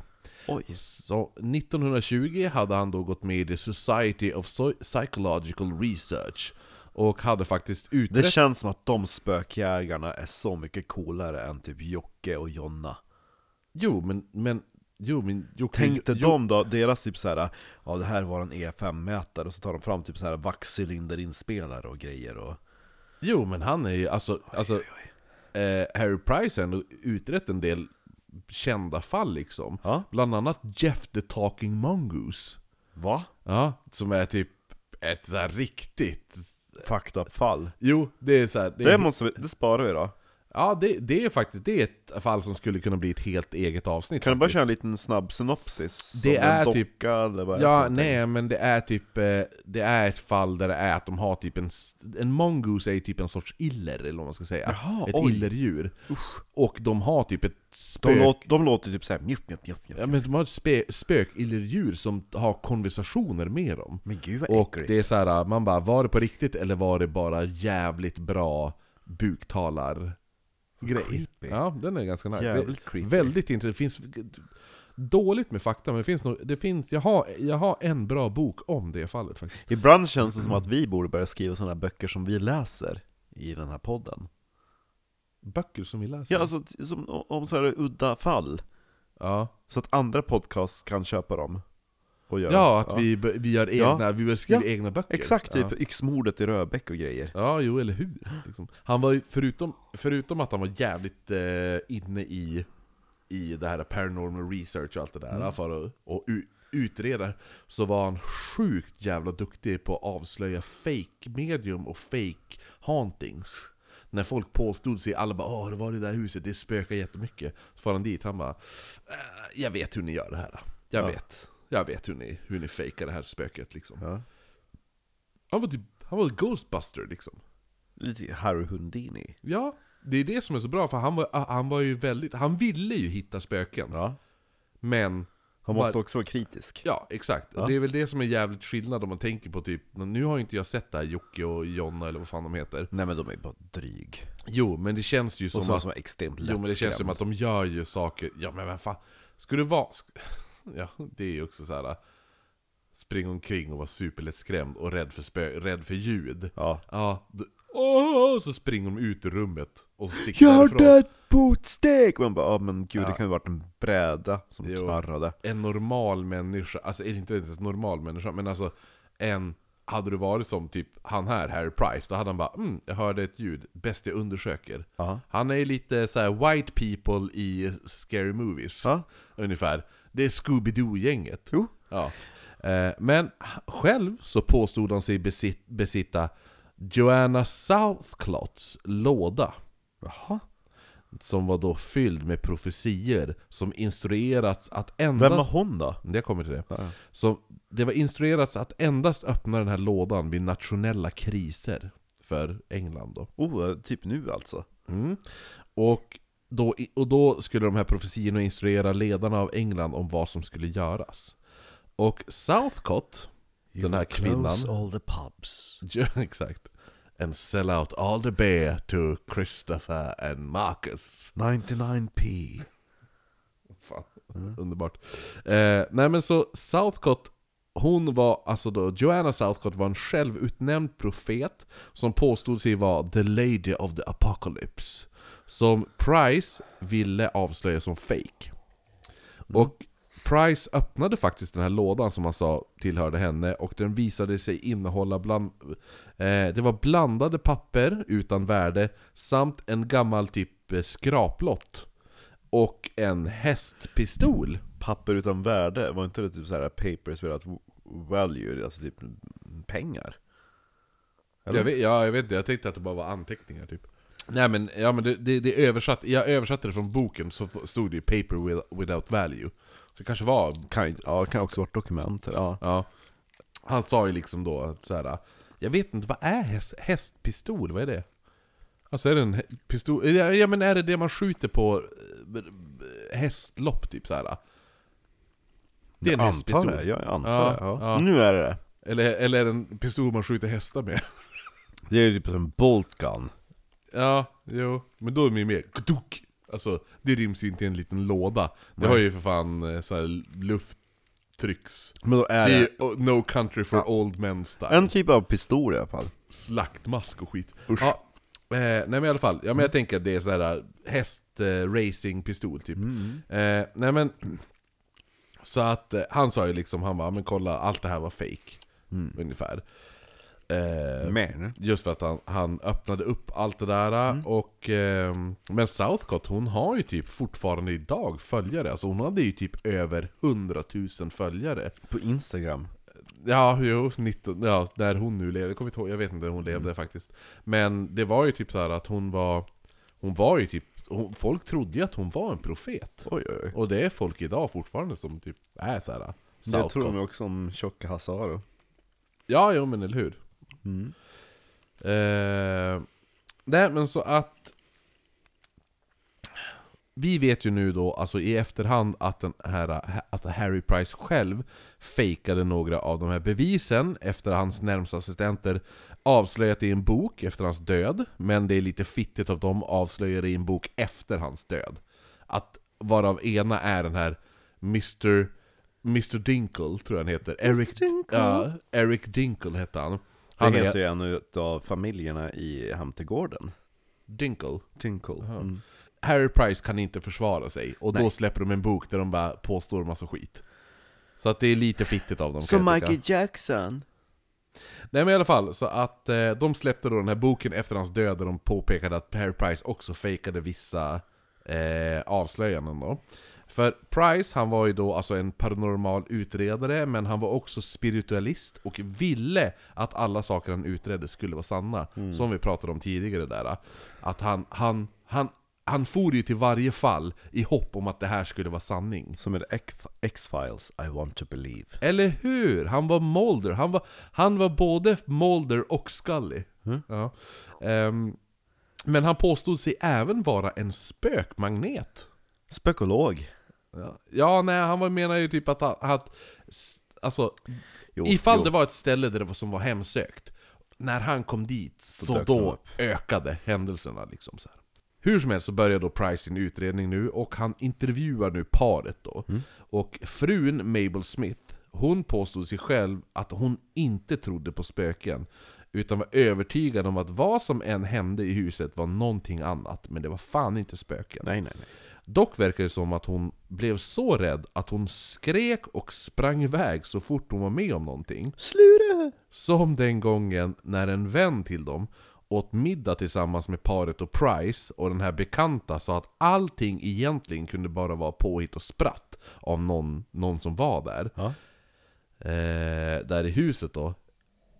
Oj.
Så 1920 hade han då gått med i The Society of Psy- Psychological Research Och hade faktiskt
Det
utrett
känns som att de spökjägarna är så mycket coolare än typ Jocke och Jonna.
Jo men, men Jo men Jocke
Tänkte
Jo-
de då, deras typ såhär, ja det här var en E5-mätare, och så tar de fram typ såhär vaxcylinderinspelare och grejer och...
Jo, men han är ju, alltså, alltså Eh, Harry Price har ändå utrett en del kända fall liksom.
Ja.
Bland annat Jeff the Talking Mongoose.
Va?
Ja, som är typ ett så här riktigt...
Faktafall.
Jo, det är så här, det,
Det
är,
måste vi, det sparar vi då.
Ja, det, det är faktiskt det är ett fall som skulle kunna bli ett helt eget avsnitt.
Kan du bara
faktiskt.
köra en liten snabb synopsis? Som
Det
en
är
docka,
typ-
Eller vad är det för
Ja,
någonting?
nej men det är typ, eh, det är ett fall där det är att de har typ en, s- en mongoose är ju typ en sorts iller eller vad man ska säga.
Jaha,
ett
oj.
illerdjur. Och de har typ ett spök...
De, låter, de låter typ såhär mjuff, mjuff, mjuff, mjuff.
Ja men de har ett spe, spökillerdjur som har konversationer med dem.
Men gud vad
Och
äckligt.
det är så här, man bara, var det på riktigt eller var det bara jävligt bra buktalar grej?
Creepy.
Ja, den är ganska nice.
Jävligt
det,
creepy.
väldigt intressant. Det finns dåligt med fakta, men det finns nog, det finns, jag har, jag har en bra bok om det fallet faktiskt.
Ibland känns det som att vi borde börja skriva sådana böcker som vi läser i den här podden.
Böcker som vi läser.
Ja, alltså t- som, o- om så här udda fall.
ja.
Så att andra podcasts kan köpa dem. Och göra.
ja att Vi, b- vi gör
Ja.
egna, vi börjar skriva
Ja.
egna böcker.
Exakt,
Ja.
typ yxmordet i Röbäck och grejer.
Ja, jo, eller hur? Liksom. Han var ju, förutom, förutom att han var jävligt eh, inne i, i det här paranormal research och allt det där,
Mm.
för att och u- utreda, så var han sjukt jävla duktig på att avslöja fake medium och fake hauntings. När folk påstod sig, alla bara Åh, det var det där huset, det spökar jättemycket. Så far han dit, han bara "Eh, Jag vet hur ni gör det här. Jag
Ja.
vet. Jag vet hur ni, hur ni fejkar det här spöket liksom.
Ja.
Han var typ, han var Ghostbuster liksom.
Lite Harry Houdini.
Ja, det är det som är så bra, för han var, ah, han var ju väldigt, han ville ju hitta spöken.
Ja.
Men,
Han måste också vara kritisk.
ja exakt. Och det är väl det som är jävligt skillnad om man tänker på typ, nu har ju inte jag sett det här Jocke och Jonna eller vad fan de heter.
Nej men de är bara dryg.
Jo, men det känns ju som
Och sådana
att...
som är extremt
jo, men det känns som
lättskrämd.
att de gör ju saker, ja men vad fan. Ska du vara... sk- Ja, det är ju också så här. Spring omkring och vara superlättskrämd och rädd för spö, rädd för ljud.
Ja.
Ja, d- åh, så springer de ut ur rummet och så sticker
Jag
därifrån.
hörde ett fotsteg! Och man bara, ja men gud
Ja.
det kan ju varit en bräda som
Jo.
knarrade.
en normal människa, alltså är det inte ens en normal människa, men alltså en hade du varit som typ han här, Harry Price, då hade han bara mm, jag hörde ett ljud, bäst jag undersöker.
Ja.
Han är ju lite så här white people i scary movies,
Ja.
ungefär. Det är Scooby-Doo-gänget.
Jo.
Ja. Eh, Men h- själv så påstod han sig besit- besitta Joanna Southclotts låda
Jaha?
Som var då fylld med profetier som instruerats att
Vem
endast...
var hon då?
Jag kommer till det. Så det var instruerats att endast öppna den här lådan vid nationella kriser för England då.
Oh, eh, typ nu alltså?
Mm. Och, då, och då skulle de här profetiorna instruera ledarna av England om vad som skulle göras. Och Southcott, den här kvinnan,
all the pubs.
Ja, exakt. And sell out all the beer to Christopher and Marcus.
99p.
Fan, underbart. Eh, nej men så Southcott, hon var alltså då, Joanna Southcott var en självutnämnd profet som påstod sig vara the lady of the apocalypse. Som Price ville avslöja som fake. Och Price öppnade faktiskt den här lådan som han sa tillhörde henne och den visade sig innehålla bland... Eh, det var blandade papper utan värde samt en gammal typ eh, skraplott. Och en hästpistol.
Papper utan värde, var inte det typ såhär papers without value, alltså typ pengar? Eller?
Jag vet, ja, jag vet inte, jag tänkte att det bara var anteckningar typ. Nej men, ja, men det, det, det översatt, jag översatte det från boken så f- stod det ju 'paper with- without value' Så det kanske var
Kan, ju- ja, kan också vara dokument. Ja.
Ja. Han sa ju liksom då att så här. Jag vet inte, vad är häst, hästpistol? Vad är det? Alltså är det en hä- pistol? Ja, ja men är det det man skjuter på eh, hästlopp typ så här? Det är en
jag
hästpistol.
antar det, jag antar
Ja,
det. Ja.
ja.
Nu är det det.
Eller, eller är det en pistol man skjuter hästar med?
Det är ju typ en bolt gun.
ja, jo. Men då är det ju mer kduk. Alltså, det ryms ju inte i en liten låda. Det
Nej.
har ju för fan eh, så här lufttrycks...
Men då
Det
är
är
det
ju oh, No Country for Old Men style.
en typ av pistol i alla fall.
slaktmask och skit.
Usch.
Ja, eh, nej men i alla fall, ja, men jag tänker att det är sån här häst-racing-pistol typ. Eh, nej men, så att eh, han sa ju liksom, han bara, men kolla allt det här var fake Ungefär. Eh,
Men.
Just för att han, han öppnade upp allt det där eh, och... ehm, men Southcott hon har ju typ fortfarande idag följare, alltså hon hade ju typ över 100 000 följare.
På Instagram.
Ja, jo, 19, ja, när hon nu levde, jag kommer inte ihåg, jag vet inte när hon levde
Mm.
faktiskt. Men det var ju typ så här att hon var, hon var ju typ, hon, folk trodde ju att hon var en profet.
Oj oj oj.
Och det är folk idag fortfarande som typ är så här.
Det tror
Southcott.
de ju också om tjocka Hasaro.
Ja, jo men eller hur.
Mm.
Eh, nej men så att... Vi vet ju nu då, alltså i efterhand, att den här, alltså Harry Price själv fejkade några av de här bevisen efter hans närmsta assistenter avslöjat i en bok efter hans död. Men det är lite fittigt av dem avslöjade i en bok efter hans död. Att varav ena är den här Mr. Mr Dinkle, tror jag han heter. Eric Dinkle. Ja, Eric Dinkle hette han.
Han
Han
det heter
är
ju en utav familjerna i Hamtergården.
Dinkle.
Tinkle. Mm.
Harry Price kan inte försvara sig, och då
Nej.
släpper de en bok där de bara påstår massa skit. Så att det är lite fittigt av dem kan
Som
jag tycka.
Michael Jackson.
Nej men i alla fall, så att eh, de släppte då den här boken efter hans död där de påpekade att Harry Price också fejkade vissa eh, avslöjanden då. För Price, han var ju då alltså en paranormal utredare, men han var också spiritualist och ville att alla saker han utredde skulle vara sanna. Som vi pratade om tidigare där. Att han, han, han, han for ju till varje fall i hopp om att det här skulle vara sanning.
Som är X- X-Files, I want to believe.
Eller hur? Han var Mulder. Han var, han var både Mulder och Scully. Ja. Ehm, men han påstod sig även vara en spökmagnet.
Spökolog.
Ja, ja nej, han var, menar ju typ att... han- att s- alltså,
Jo,
ifall
jo.
det var ett ställe där det var, som var hemsökt, när han kom dit så,
dök de
då
upp.
ökade händelserna. Liksom, så här. Hur som helst så börjar då Price sin utredning nu och han intervjuar nu paret då.
Mm.
Och frun Mabel Smith, hon påstod sig själv att hon inte trodde på spöken. Utan var övertygad om att vad som än hände i huset var någonting annat. Men det var fan inte spöken.
Nej, nej, nej.
Dock verkar det som att hon blev så rädd att hon skrek och sprang iväg så fort hon var med om någonting.
Slure!
Som den gången när en vän till dem åt middag tillsammans med paret och Price och den här bekanta sa att allting egentligen kunde bara vara påhitt och spratt av någon, någon som var där.
Ja.
Eh, där i huset då.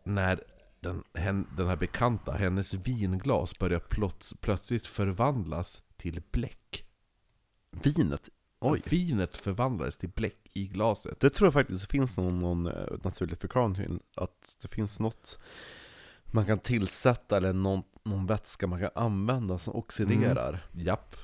När den, hen, den här bekanta, hennes vinglas börjar plöts, plötsligt förvandlas till bläck.
Vinet? Oj.
Vinet förvandlades till bläck i glaset.
Det tror jag faktiskt finns någon, någon eh, naturlig förklaring till. Att det finns något man kan tillsätta eller någon, någon vätska man kan använda som oxiderar.
Japp,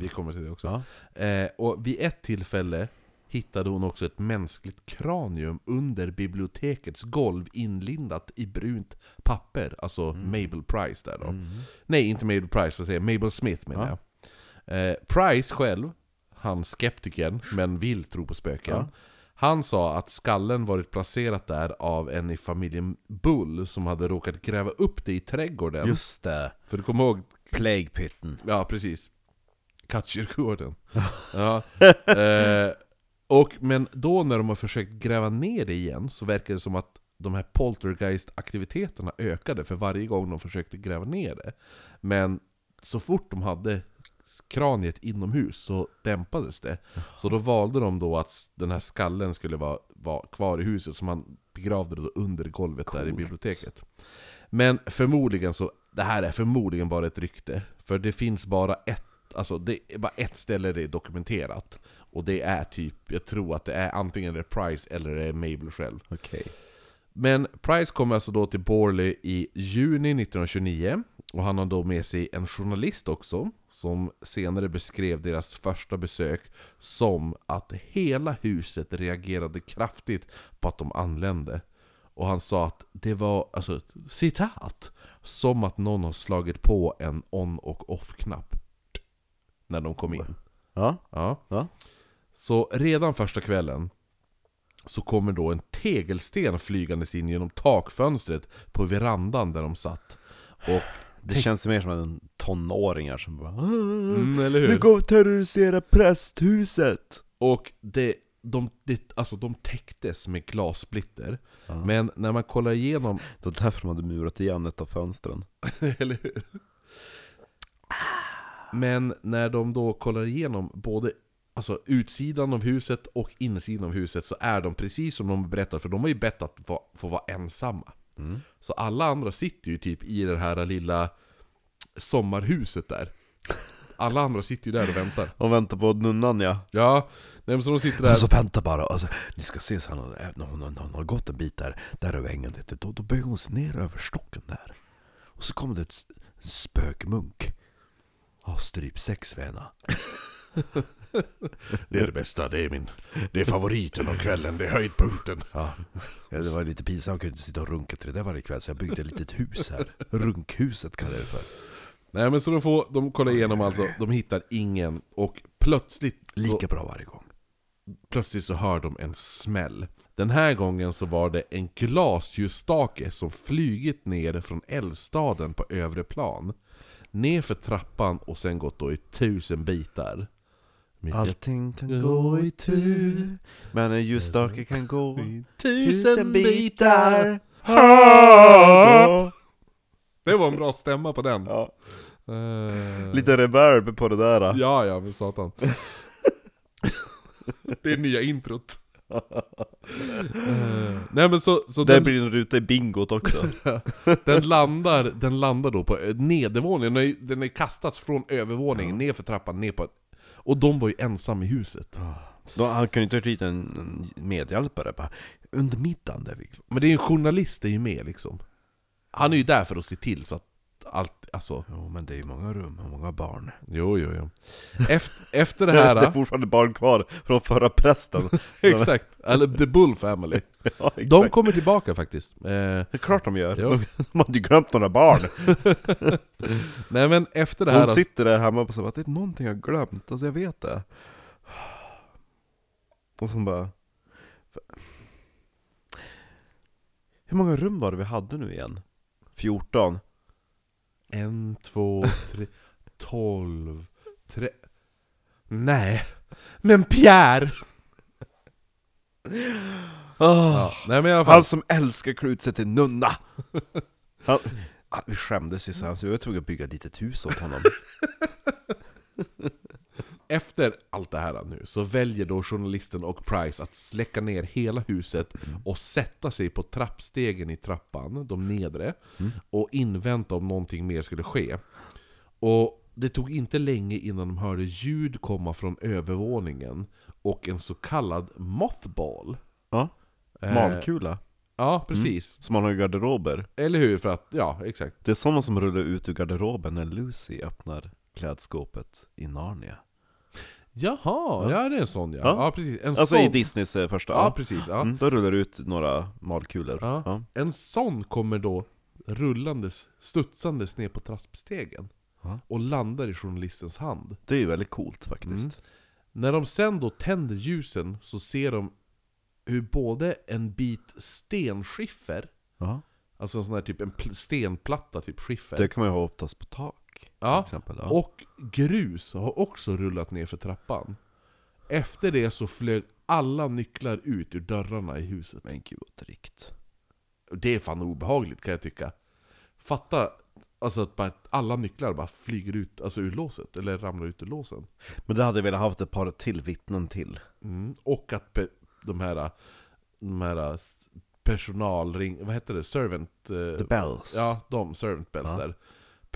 vi kommer till det också.
Mm. Ja.
Eh, och vid ett tillfälle hittade hon också ett mänskligt kranium under bibliotekets golv inlindat i brunt papper. Alltså
Mm.
Mabel Price där då. Nej, inte Mabel Price, vad säger jag? Mabel Smith menar
Ja.
jag. Eh, Price själv, han skeptikern men vill tro på spöken.
Ja.
Han sa att skallen varit placerat där av en i familjen Bull som hade råkat gräva upp det i trädgården.
Just det,
För du kommer ihåg
Plague Pitten.
Ja, precis. Kattkyrkogården. ja. eh, och, men då när de har försökt gräva ner det igen så verkar det som att de här poltergeist-aktiviteterna ökade för varje gång de försökte gräva ner det. Men så fort de hade kraniet inomhus så dämpades det. Så då valde de då att s- den här skallen skulle vara, vara kvar i huset, så man begravde det då under golvet där i
Coolt.
biblioteket. Men förmodligen så, det här är förmodligen bara ett rykte. För det finns bara ett, alltså det är bara ett ställe det är dokumenterat. Och det är typ, jag tror att det är antingen det är Price eller det är Mabel själv.
Okej.
Men Price kommer alltså då till Borley i juni 1929 och han har då med sig en journalist också som senare beskrev deras första besök som att hela huset reagerade kraftigt på att de anlände. Och han sa att det var, alltså citat, som att någon har slagit på en on och off-knapp när de kom in.
Ja,
Ja.
Ja.
Så redan första kvällen så kommer då en tegelsten flygandes in genom takfönstret på verandan där de satt. Och
det känns mer som en tonåringar som bara mm,
eller
Nu går vi terrorisera prästhuset!
Och det, de, det, alltså de täcktes med glassplitter. Men när man kollar igenom,
Det var därför de hade murat igen ett av fönstren.
eller hur? Men när de då kollar igenom både alltså, utsidan av huset och insidan av huset så är de precis som de berättar, för de har ju bett att va, få vara ensamma. Så alla andra sitter ju typ i det här lilla sommarhuset där. Alla andra sitter ju där och väntar.
Och vänta på nunnan ja.
Ja, nej, men så de sitter där.
Och så vänta bara, alltså, ni ska se sen eh, när hon, hon, hon, hon har gått en bit där, där över ängen lite, då, då böjer hon sig ner över stocken där. Och så kommer det ett s- en spökmunk. Ja, strypsex vid henne.
Det är det bästa, det är min... Det är favoriten av kvällen, det är höjdpunkten.
Ja. ja, det var lite pinsamt, jag kunde inte sitta och runka till det där varje kväll så jag byggde ett litet hus här. Runkhuset kallar jag det för.
Nej men så de får, de kollar igenom alltså, de hittar ingen och plötsligt...
Lika bra varje gång.
Plötsligt så hör de en smäll. Den här gången så var det en glasljusstake som flugit ner från eldstaden på övre plan. Ner för trappan och sen gått då i tusen bitar. Mitt hjärta-
Allting kan gå i tur, men en ljusstake kan gå i
Tusen bitar. Det var en bra stämma på den.
Ja.
Eh,
Lite reverb på det där. då.
Ja, ja, men satan. det är nya introt. Eh, Nej men så, så
Där
den,
blir en ruta i bingot också.
den, landar, den landar då på ö- nedervåningen, den har ju- den har ju kastats från övervåningen ner för trappan, ner på... Och de var ju ensam i huset.
Då, han kunde inte ha hyrt en, en medhjälpare bara, under middagen där vi...
Men det är ju en journalist är ju med liksom. Han är ju där för att se till så att allt, alltså...
Jo men det är ju många rum och många barn.
Jo, jo, jo. Efter, efter det här...
det är fortfarande barn kvar från förra prästen.
exakt. Eller The Bull Family.
ja, exakt.
De kommer tillbaka faktiskt. Eh,
Det är klart de gör.
Jo.
De, de hade ju glömt några barn.
nej men efter det här... alltså-
Hon sitter där hemma och säger att det är någonting jag glömt, alltså jag vet det. Och sen bara... Hur många rum var det vi hade nu igen? 14?
En, två, tre, tolv, tre... Nej! Men Pierre! Ja, nej men i alla fall.
Ah, Han som älskar klä ut sig till nunna! Han, ah, vi skämdes ju så här, så jag var tvungen att bygga ett litet hus åt honom.
Efter allt det här nu så väljer då journalisten och Price att släcka ner hela huset och sätta sig på trappstegen i trappan, de nedre, och invänta om någonting mer skulle ske. Och det tog inte länge innan de hörde ljud komma från övervåningen och en så kallad mothball.
Ja.
Eh,
Malkula.
Ja, precis.
Som man har i garderober.
Eller hur? För att, ja, exakt.
Det är sådana som rullar ut ur garderoben när Lucy öppnar klädskåpet i Narnia.
Jaha, ja, det är en sån ja.
Ja.
Ja, precis. En
Alltså
sån.
i Disneys eh, första.
Ja, precis. Ja.
Mm, då rullar det ut några malkulor.
Ja.
Ja.
En sån kommer då rullandes, studsandes ner på trappstegen.
Ja.
Och landar i journalistens hand.
Det är ju väldigt coolt faktiskt.
När de sen då tänder ljusen så ser de hur både en bit stenskiffer,
Ja.
alltså en sån här typ en pl- stenplatta typ skiffer.
Det kan man ju ha oftast på tak.
Ja,
Till exempel. Ja.
Och grus har också rullat ner för trappan. Efter det så flög alla nycklar ut ur dörrarna i huset.
Men gud vad drygt.
Det är fan obehagligt kan jag tycka. Fatta alltså att bara, alla nycklar bara flyger ut alltså ur låset, eller ramlar ut ur låsen.
Men det hade jag velat haft ett par till vittnen till.
Mm. Och att pe- de här, de här personalring... Vad heter det? Servant... eh,
The bells.
Ja, de, servant bells
Ja.
där.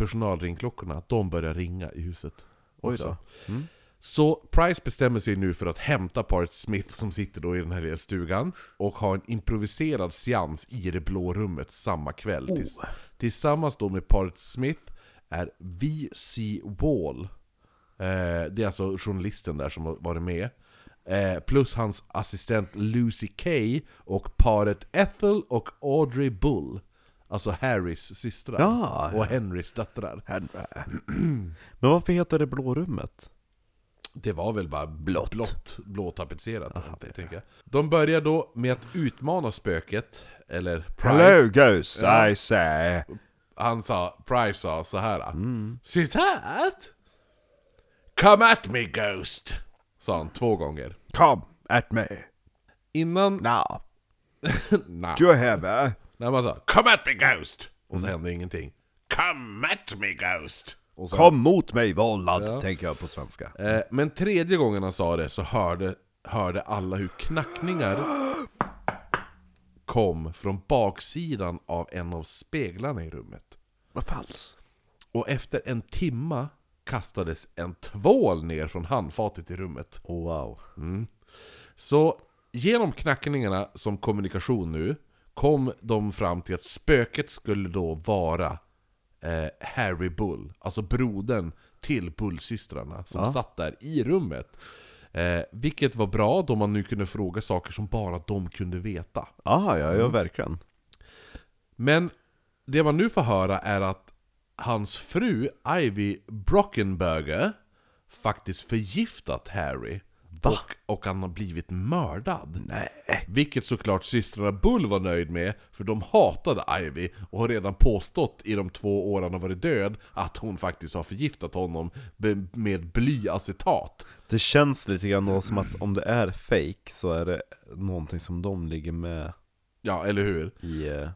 Personalringklockorna, de börjar ringa i huset.
Oj
också.
då. Mm.
Så Price bestämmer sig nu för att hämta paret Smith som sitter då i den här lilla stugan och ha en improviserad seans i det blå rummet samma kväll.
Oh.
Tills, tillsammans då med paret Smith är V.C. Wall. Eh, det är alltså journalisten där som har varit med. Eh, plus hans assistent Lucy Kay och paret Ethel och Audrey Bull. Alltså Harrys systrar
Ja,
och Henrys döttrar.
Men varför heter det blå rummet?
Det var väl bara
Blått.
blått, blått, blåtapetserat. tänker jag. De börjar då med att utmana spöket, eller Price.
ghost,
Ja.
I say.
Han sa, Price sa så här. Citat! Come at me Ghost! Sa han två gånger.
Come at me.
Innan...
Now.
Nej.
You have eh? a...
När man sa, Come at me Ghost! Och så hände ingenting. Come at me Ghost! Och så
Kom mot mig vållad, tänker jag på svenska.
Eh, Men tredje gången han sa det så hörde, hörde alla hur knackningar kom från baksidan av en av speglarna i rummet.
Vad falskt.
Och efter en timma kastades en tvål ner från handfatet i rummet.
Oh, wow.
Så genom knackningarna som kommunikation nu kom de fram till att spöket skulle då vara eh, Harry Bull, alltså brodern till Bullsystrarna som satt där i rummet. Eh, vilket var bra då man nu kunde fråga saker som bara de kunde veta.
Ah, ja, ja, verkligen.
Men det man nu får höra är att hans fru Ivy Brockenberger faktiskt förgiftat Harry. Och, och han har blivit mördad.
Nej.
Vilket såklart systrarna Bull var nöjd med, för de hatade Ivy och har redan påstått i de två åren han har varit död att hon faktiskt har förgiftat honom be- med blyacetat.
Det känns lite grann då som att om det är fake så är det någonting som de ligger med
Ja, eller hur?
i eh,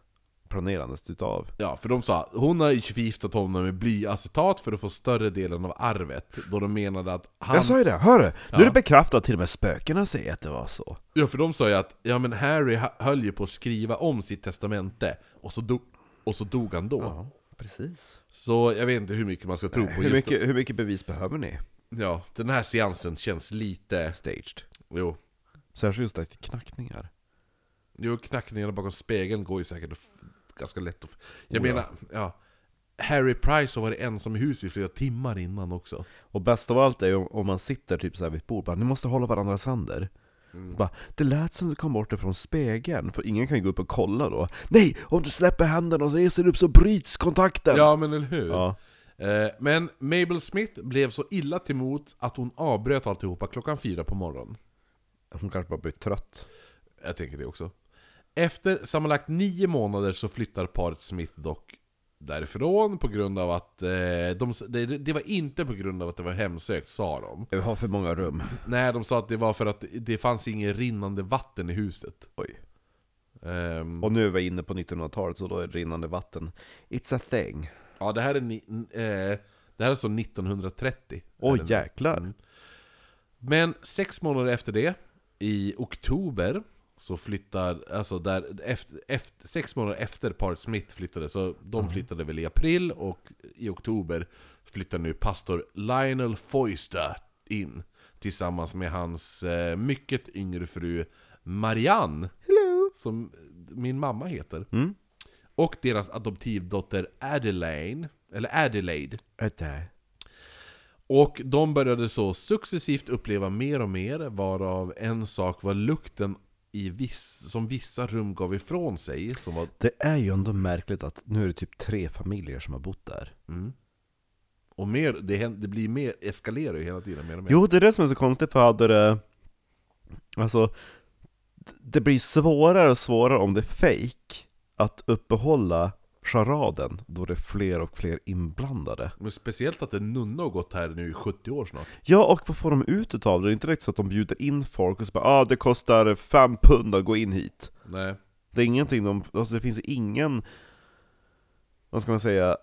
planerandet utav.
Ja, för de sa hon har ju förgiftat honom med blyacetat för att få större delen av arvet. Då de menade att han...
ju det, hör du?
Ja.
bekräftat, till och med spökena säger att det var så.
Ja, för de sa ju att ja, men Harry ha- höll ju på att skriva om sitt testamente och så, do- och så dog han då.
Ja, precis. Så
Så jag vet inte hur mycket man ska tro på
hur,
just
mycket, hur mycket bevis behöver ni?
Ja, den här seansen känns lite...
Staged.
Jo.
Särskilt just det, knackningar.
Jo, knackningarna bakom spegeln går ju säkert att f- ganska lätt att... f- Jag
Oh, ja.
menar, ja. Harry Price har varit ensam i huset i flera timmar innan också.
Och bäst av allt är ju om- om man sitter typ så här vid ett bord bara, ni måste hålla varandras händer. Bara, det lät som du kom bort ifrån spegeln, för ingen kan ju gå upp och kolla då. Nej! Om du släpper händerna och reser dig upp så bryts kontakten!
Ja, men eller hur?
Ja.
Eh, Men Mabel Smith blev så illa till mods att hon avbröt alltihopa klockan fyra på morgonen.
Hon kanske bara blir trött.
Jag tänker det också. Efter sammanlagt nio månader så flyttar paret Smith dock därifrån på grund av att eh, de, det, det var inte på grund av att det var hemsökt sa de.
Vi har för många rum.
Nej, de sa att det var för att det fanns inget rinnande vatten i huset.
Oj.
Ehm,
Och nu är vi inne på 1900-talet, så då är det rinnande vatten. It's a thing.
ja, det här är ni, n- eh, det här är så 1930.
Åh
Är det-
jäklar!
Mm. Men sex månader efter det, i oktober, så flyttar, alltså där, efter, efter, sex månader efter paret Smith flyttade, så de flyttade väl i april och i oktober flyttar nu pastor Lionel Foyster in tillsammans med hans eh, mycket yngre fru Marianne, som min mamma heter,
Mm.
och deras adoptivdotter Adelaine, eller Adelaide.
Öte.
Och de började så successivt uppleva mer och mer, varav en sak var lukten i viss, som vissa rum gav ifrån sig. Som var,
Det är ju ändå märkligt att nu är det typ tre familjer som har bott där.
och mer, det, hän- det blir mer, eskalerar ju hela tiden mer och mer.
Jo, det är det som är så konstigt för hade det... Alltså, d- det blir svårare och svårare om det är fake att uppehålla charaden då det är fler och fler inblandade.
Men speciellt att en nunna har gått här nu i 70 år snart.
Ja, och vad får de ut utav det? Det är inte riktigt så att de bjuder in folk och så bara ah, det kostar fem pund att gå in hit.
Nej.
Det är ingenting de... Alltså det finns ingen... Vad ska man säga?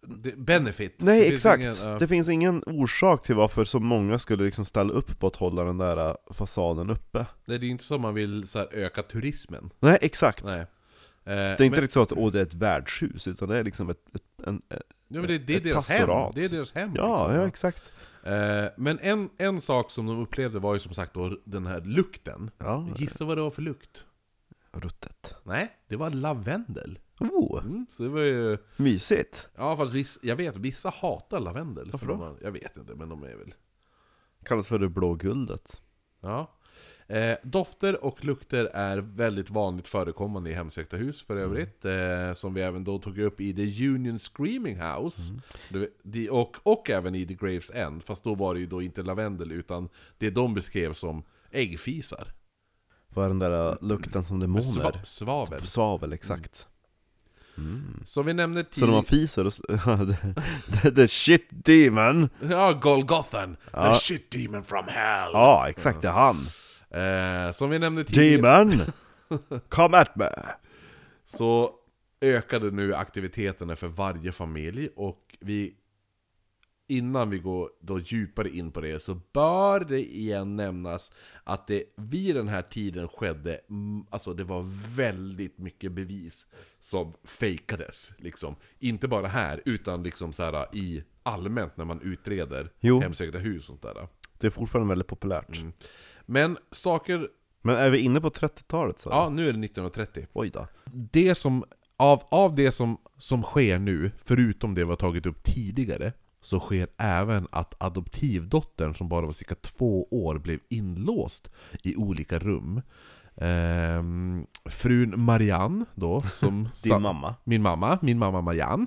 Det, benefit.
Nej,
Det finns
exakt!
ingen, ja.
Det finns ingen orsak till varför så många skulle liksom ställa upp på att hålla den där äh, fasaden uppe.
nej, det är inte som man vill så här, öka turismen.
Nej, exakt!
Nej. Eh,
Det är inte riktigt så att åh, det är ett värdshus, utan det är liksom ett... ett en, eh,
men, ja, men det, det är
ett
deras hem.
pastorat.
Det är deras hem.
ja,
liksom.
ja, exakt.
Eh, men en, en sak som de upplevde var ju som sagt då den här lukten.
Ja,
Gissa vad det var för lukt?
ruttet.
Nej, det var lavendel.
Oh,
Mm, så det var ju...
mysigt!
Ja fast viss, jag vet, vissa hatar lavendel.
Varför
för de
då?
har- jag vet inte, men de är väl...
Kallas för det blå guldet.
Ja. Eh, dofter och lukter är väldigt vanligt förekommande i hemsökta hus för övrigt. Eh, som vi även då tog upp i The Union Screaming House. Du- de- och, och även i The Graves End. Fast då var det ju då inte lavendel utan det de beskrev som äggfisar.
Vad är den där äh, lukten som demoner?
Sva, Mm. svavel.
Svavel, exakt.
Som vi nämnde
Så när man
tidigare...
fiser och... sl- the, the shit demon!
Ja, Golgothan!
Ja.
The shit demon from hell!
Ja, exakt, det är han!
Eh, som vi nämnde tidigare...
Demon! Come at me!
Så ökade nu aktiviteterna för varje familj och vi Innan vi går då djupare in på det så bör det igen nämnas att det vid den här tiden skedde, mm, alltså det var väldigt mycket bevis som fejkades. Liksom. Inte bara här, utan liksom så här i allmänt när man utreder
Jo.
hemsökta hus och sånt där.
Det är fortfarande väldigt populärt.
Mm. Men saker,
Men är vi inne på 30-talet så?
ja nu är det 1930.
Oj då.
det som, av, av det som, som sker nu, förutom det vi har tagit upp tidigare, så sker även att adoptivdottern som bara var cirka två år blev inlåst i olika rum. Ehm, frun Marianne då, som...
Din
sa-
mamma.
Min mamma, min mamma Marianne.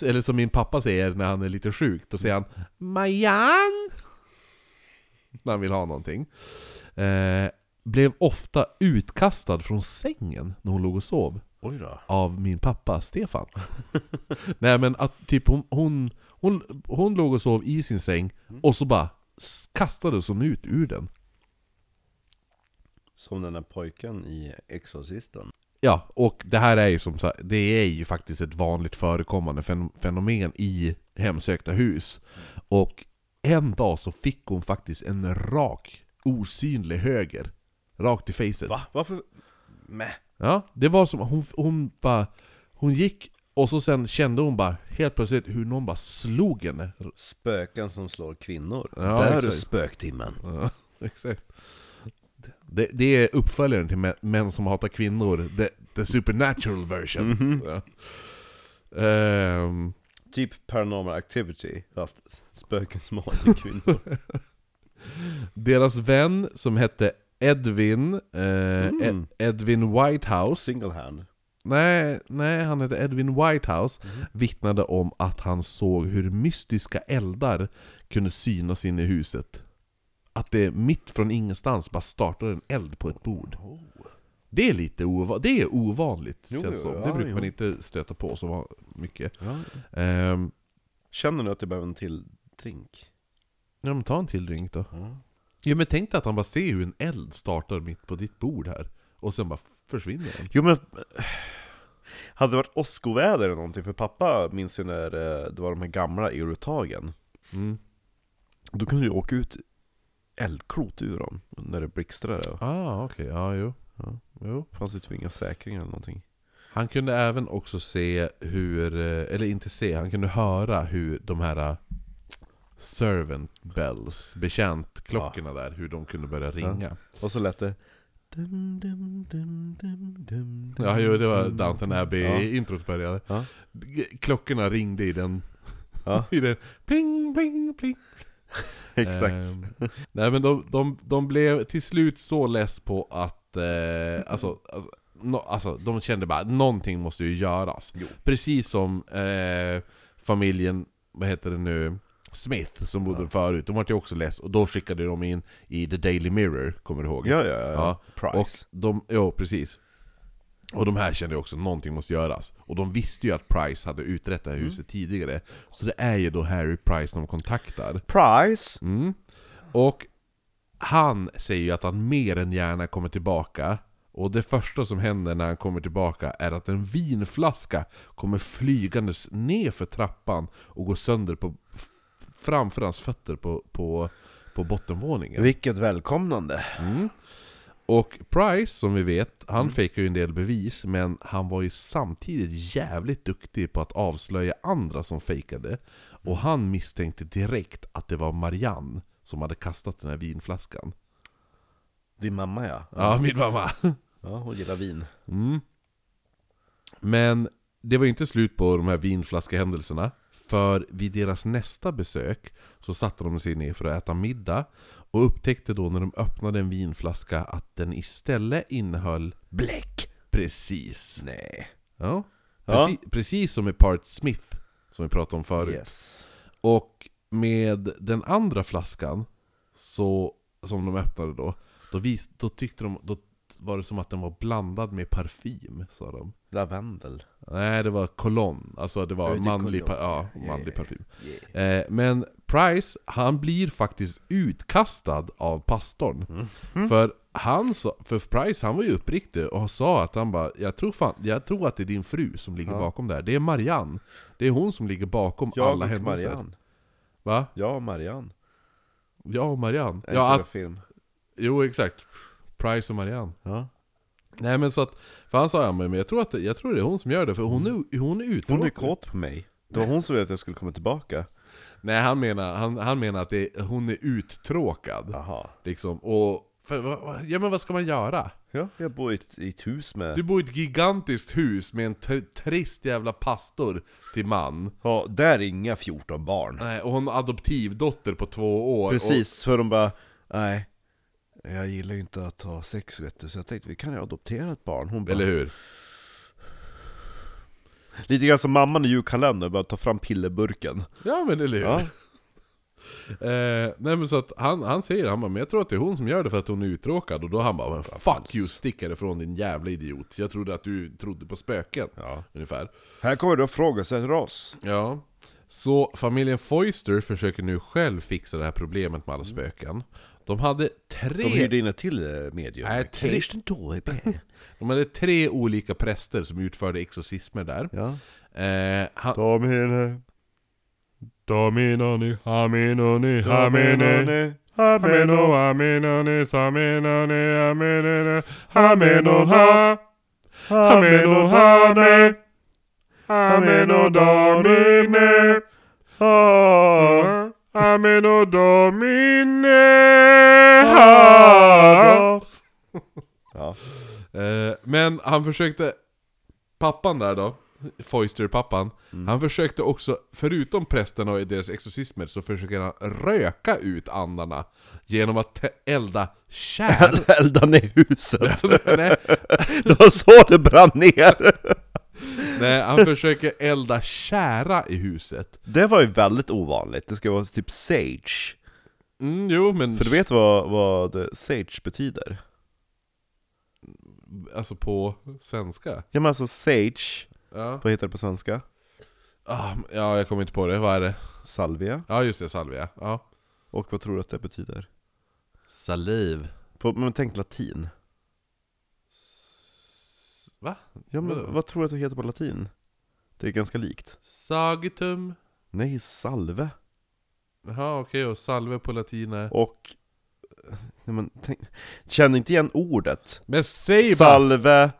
Eller som min pappa säger när han är lite sjuk, då säger han Marianne! När han vill ha någonting. Eh, blev ofta utkastad från sängen när hon låg och sov
Oj då.
av min pappa Stefan. Nej men att typ hon, hon, hon, hon låg och sov i sin säng och så bara s- kastades hon ut ur den.
Som den där pojken i Exorcisten.
Ja, och det här är ju som sagt, det är ju faktiskt ett vanligt förekommande fen- fenomen i hemsökta hus. Och en dag så fick hon faktiskt en rak, osynlig höger. Rakt i facet.
Va? Varför? Mäh.
Ja, det var som, hon, hon bara, hon gick och så sen kände hon bara helt plötsligt hur någon bara slog henne.
Spöken som slår kvinnor.
Ja,
där är
exakt.
du spöktimmen.
Ja, exakt. Det, det är uppföljaren till Män- Män som hatar kvinnor, the, the supernatural version. Ja. Ehm,
Typ Paranormal Activity, fast spöken som hatar kvinnor.
Deras vän som hette Edvin, eh,
Mm.
Ed- Edvin Whitehouse,
Single hand.
nej, nej han hette Edvin Whitehouse,
Mhm.
vittnade om att han såg hur mystiska eldar kunde synas inne i huset. Att det mitt från ingenstans bara startade en eld på ett bord. Det är lite ova- det är ovanligt,
Oh. Jo,
känns
jo,
som.
ja,
Det brukar man
jo.
inte stöta på så va- mycket. Ehm,
Känner du att du behöver en till drink?
ja men ta en till drink då.
Mm.
Ja men tänk dig att han bara ser hur en eld startar mitt på ditt bord här. Och sen bara försvinner den.
Jo men... Hade det varit åskoväder eller någonting? För pappa minns ju när eh, det var de här gamla eurotagen.
Mm.
Då kunde du åka ut eldklot ur dem när det blixtrade.
Ah, okej. Ja, jo.
Ja.
jo.
Fanns det typ inga säkringar eller någonting.
Han kunde även också se hur, eh, eller inte se, han kunde höra hur de här eh, Servant bells, betjäntklockorna där, hur de kunde börja ringa.
Och så lät det... Dum, dum, dum, dum, dum,
Ja, Mm. jo, det var
dum,
Downton
dum. Ja.
Abbey-introt började.
Ja.
G- Klockorna ringde i den...
Ja.
I den pling, pling, pling.
Exakt.
Ehm, nej men de, de, de blev till slut så less på att, eh, alltså, alltså, no, alltså, de kände bara någonting måste ju göras. Precis som eh, familjen, vad heter det nu, Smith som bodde
Ja.
förut, de var ju också less och då skickade de in i The Daily Mirror, kommer du ihåg?
Ja, ja, ja.
Ja, Och
Price.
de, ja precis. Och de här kände ju också att någonting måste göras. Och de visste ju att Price hade utrett det här
Mm.
huset tidigare. Så det är ju då Harry Price de kontaktar.
Price!
Mm. Och han säger ju att han mer än gärna kommer tillbaka. Och det första som händer när han kommer tillbaka är att en vinflaska kommer flygandes ner för trappan och går sönder på, f- framför hans fötter på, på, på bottenvåningen.
Vilket välkomnande.
Mm. Och Price, som vi vet, han fejkar ju en del bevis, men han var ju samtidigt jävligt duktig på att avslöja andra som fejkade. Och han misstänkte direkt att det var Marianne som hade kastat den här vinflaskan.
Din mamma ja.
Ja, min mamma!
Ja, hon gillar vin.
Mm. Men det var ju inte slut på de här vinflaskehändelserna. För vid deras nästa besök så satte de sig ner för att äta middag. Och upptäckte då när de öppnade en vinflaska att den istället innehöll bläck. Precis.
Nej.
Ja.
Ja.
Precis, precis som i Part Smith, som vi pratade om förut.
Yes.
Och med den andra flaskan, så, som de öppnade då, då, vis, då tyckte de, då var det som att den var blandad med parfym, sa de.
Lavendel.
Nej, det var kolonn. Alltså det var
Ja, det är typ
manlig,
kolonn.
pa- ja,
Ja,
manlig
ja,
parfym.
Yeah.
Eh, men Price, han blir faktiskt utkastad av pastorn.
Mm-hmm.
För, han sa, för Price, han var ju uppriktig och sa att han bara jag tror, fan, jag tror att det är din fru som ligger
Ja.
bakom det här. Det är Marianne. Det är hon som ligger bakom
Jag
alla
och
händelser.
Marianne.
Va?
Jag och Marianne.
Ja, och Marianne.
Är
Ja,
inte
att,
det film.
jo, exakt. Price och Marianne.
Ja.
Nej men så att, för han sa ja men jag tror att det, jag tror det är hon som gör det, för hon är, hon är uttråkad.
Hon är kåt på mig. Det var hon som ville att jag skulle komma tillbaka.
Nej han menar, han, han menar att det, är- hon är uttråkad.
Jaha.
Liksom, och... För, vad- vad- ja men vad ska man göra?
Ja, jag bor i ett, i ett hus med...
Du bor i ett gigantiskt hus med en tr- trist jävla pastor till man.
Ja, där är inga 14 barn.
Nej, och hon har adoptivdotter på två år.
Precis, för de bara... Nej. Jag gillar ju inte att ha sex vet du, så jag tänkte vi kan ju adoptera ett barn. Hon
Och,
bara,
eller hur?
Lite grann som mamman i julkalendern, bara ta fram pillerburken.
Ja men eller hur?
Ja.
Eh, nej men så att han, han säger han bara, men jag tror att det är hon som gör det för att hon är uttråkad. Och då han bara, men fuck you, stick härifrån din jävla idiot. Jag trodde att du trodde på spöken.
Ja.
Ungefär.
Här kommer du att fråga sig oss.
Ja. Så familjen Foister försöker nu själv fixa det här problemet med alla spöken. De hade tre...
De hyrde in ett till eh, medium.
Nej, tre-
Kirsten Torpe.
De hade tre olika präster som utförde exorcismer där.
Ja.
Eh, han,
Domine,
Dominoni, aminoni, amene,
domine,
ameno, amenonis, amenone, amenene, amenoha, amenohane, amenodomine, ah, amenodomine, ha.
Ja.
eh, men han försökte... Pappan där då, Foister-pappan, han försökte också, förutom prästerna och deras exorcismer, så försöker han röka ut andarna genom att te- elda kärl.
Elda ner huset.
nej,
Det var så det brann ner.
nej, han försöker elda kära i huset.
Det var ju väldigt ovanligt. Det ska vara typ sage.
Mm, jo, men...
För du vet vad, vad sage betyder?
Alltså på svenska?
Ja men alltså sage,
Ja.
vad heter det på svenska?
Ah, ja, jag kommer inte på det. Vad är det?
Salvia.
Ja, just det. Salvia. Ja.
Och vad tror du att det betyder?
Saliv.
På, men tänk latin.
S- Va?
Ja
Vadå?
men vad tror du att det heter på latin? Det är ganska likt.
Sagitum.
Nej, salve.
Jaha, okej. Och salve på latin är...
Och eh, Nej, men, tänk, känner inte igen ordet.
Men säg bara!
Salve,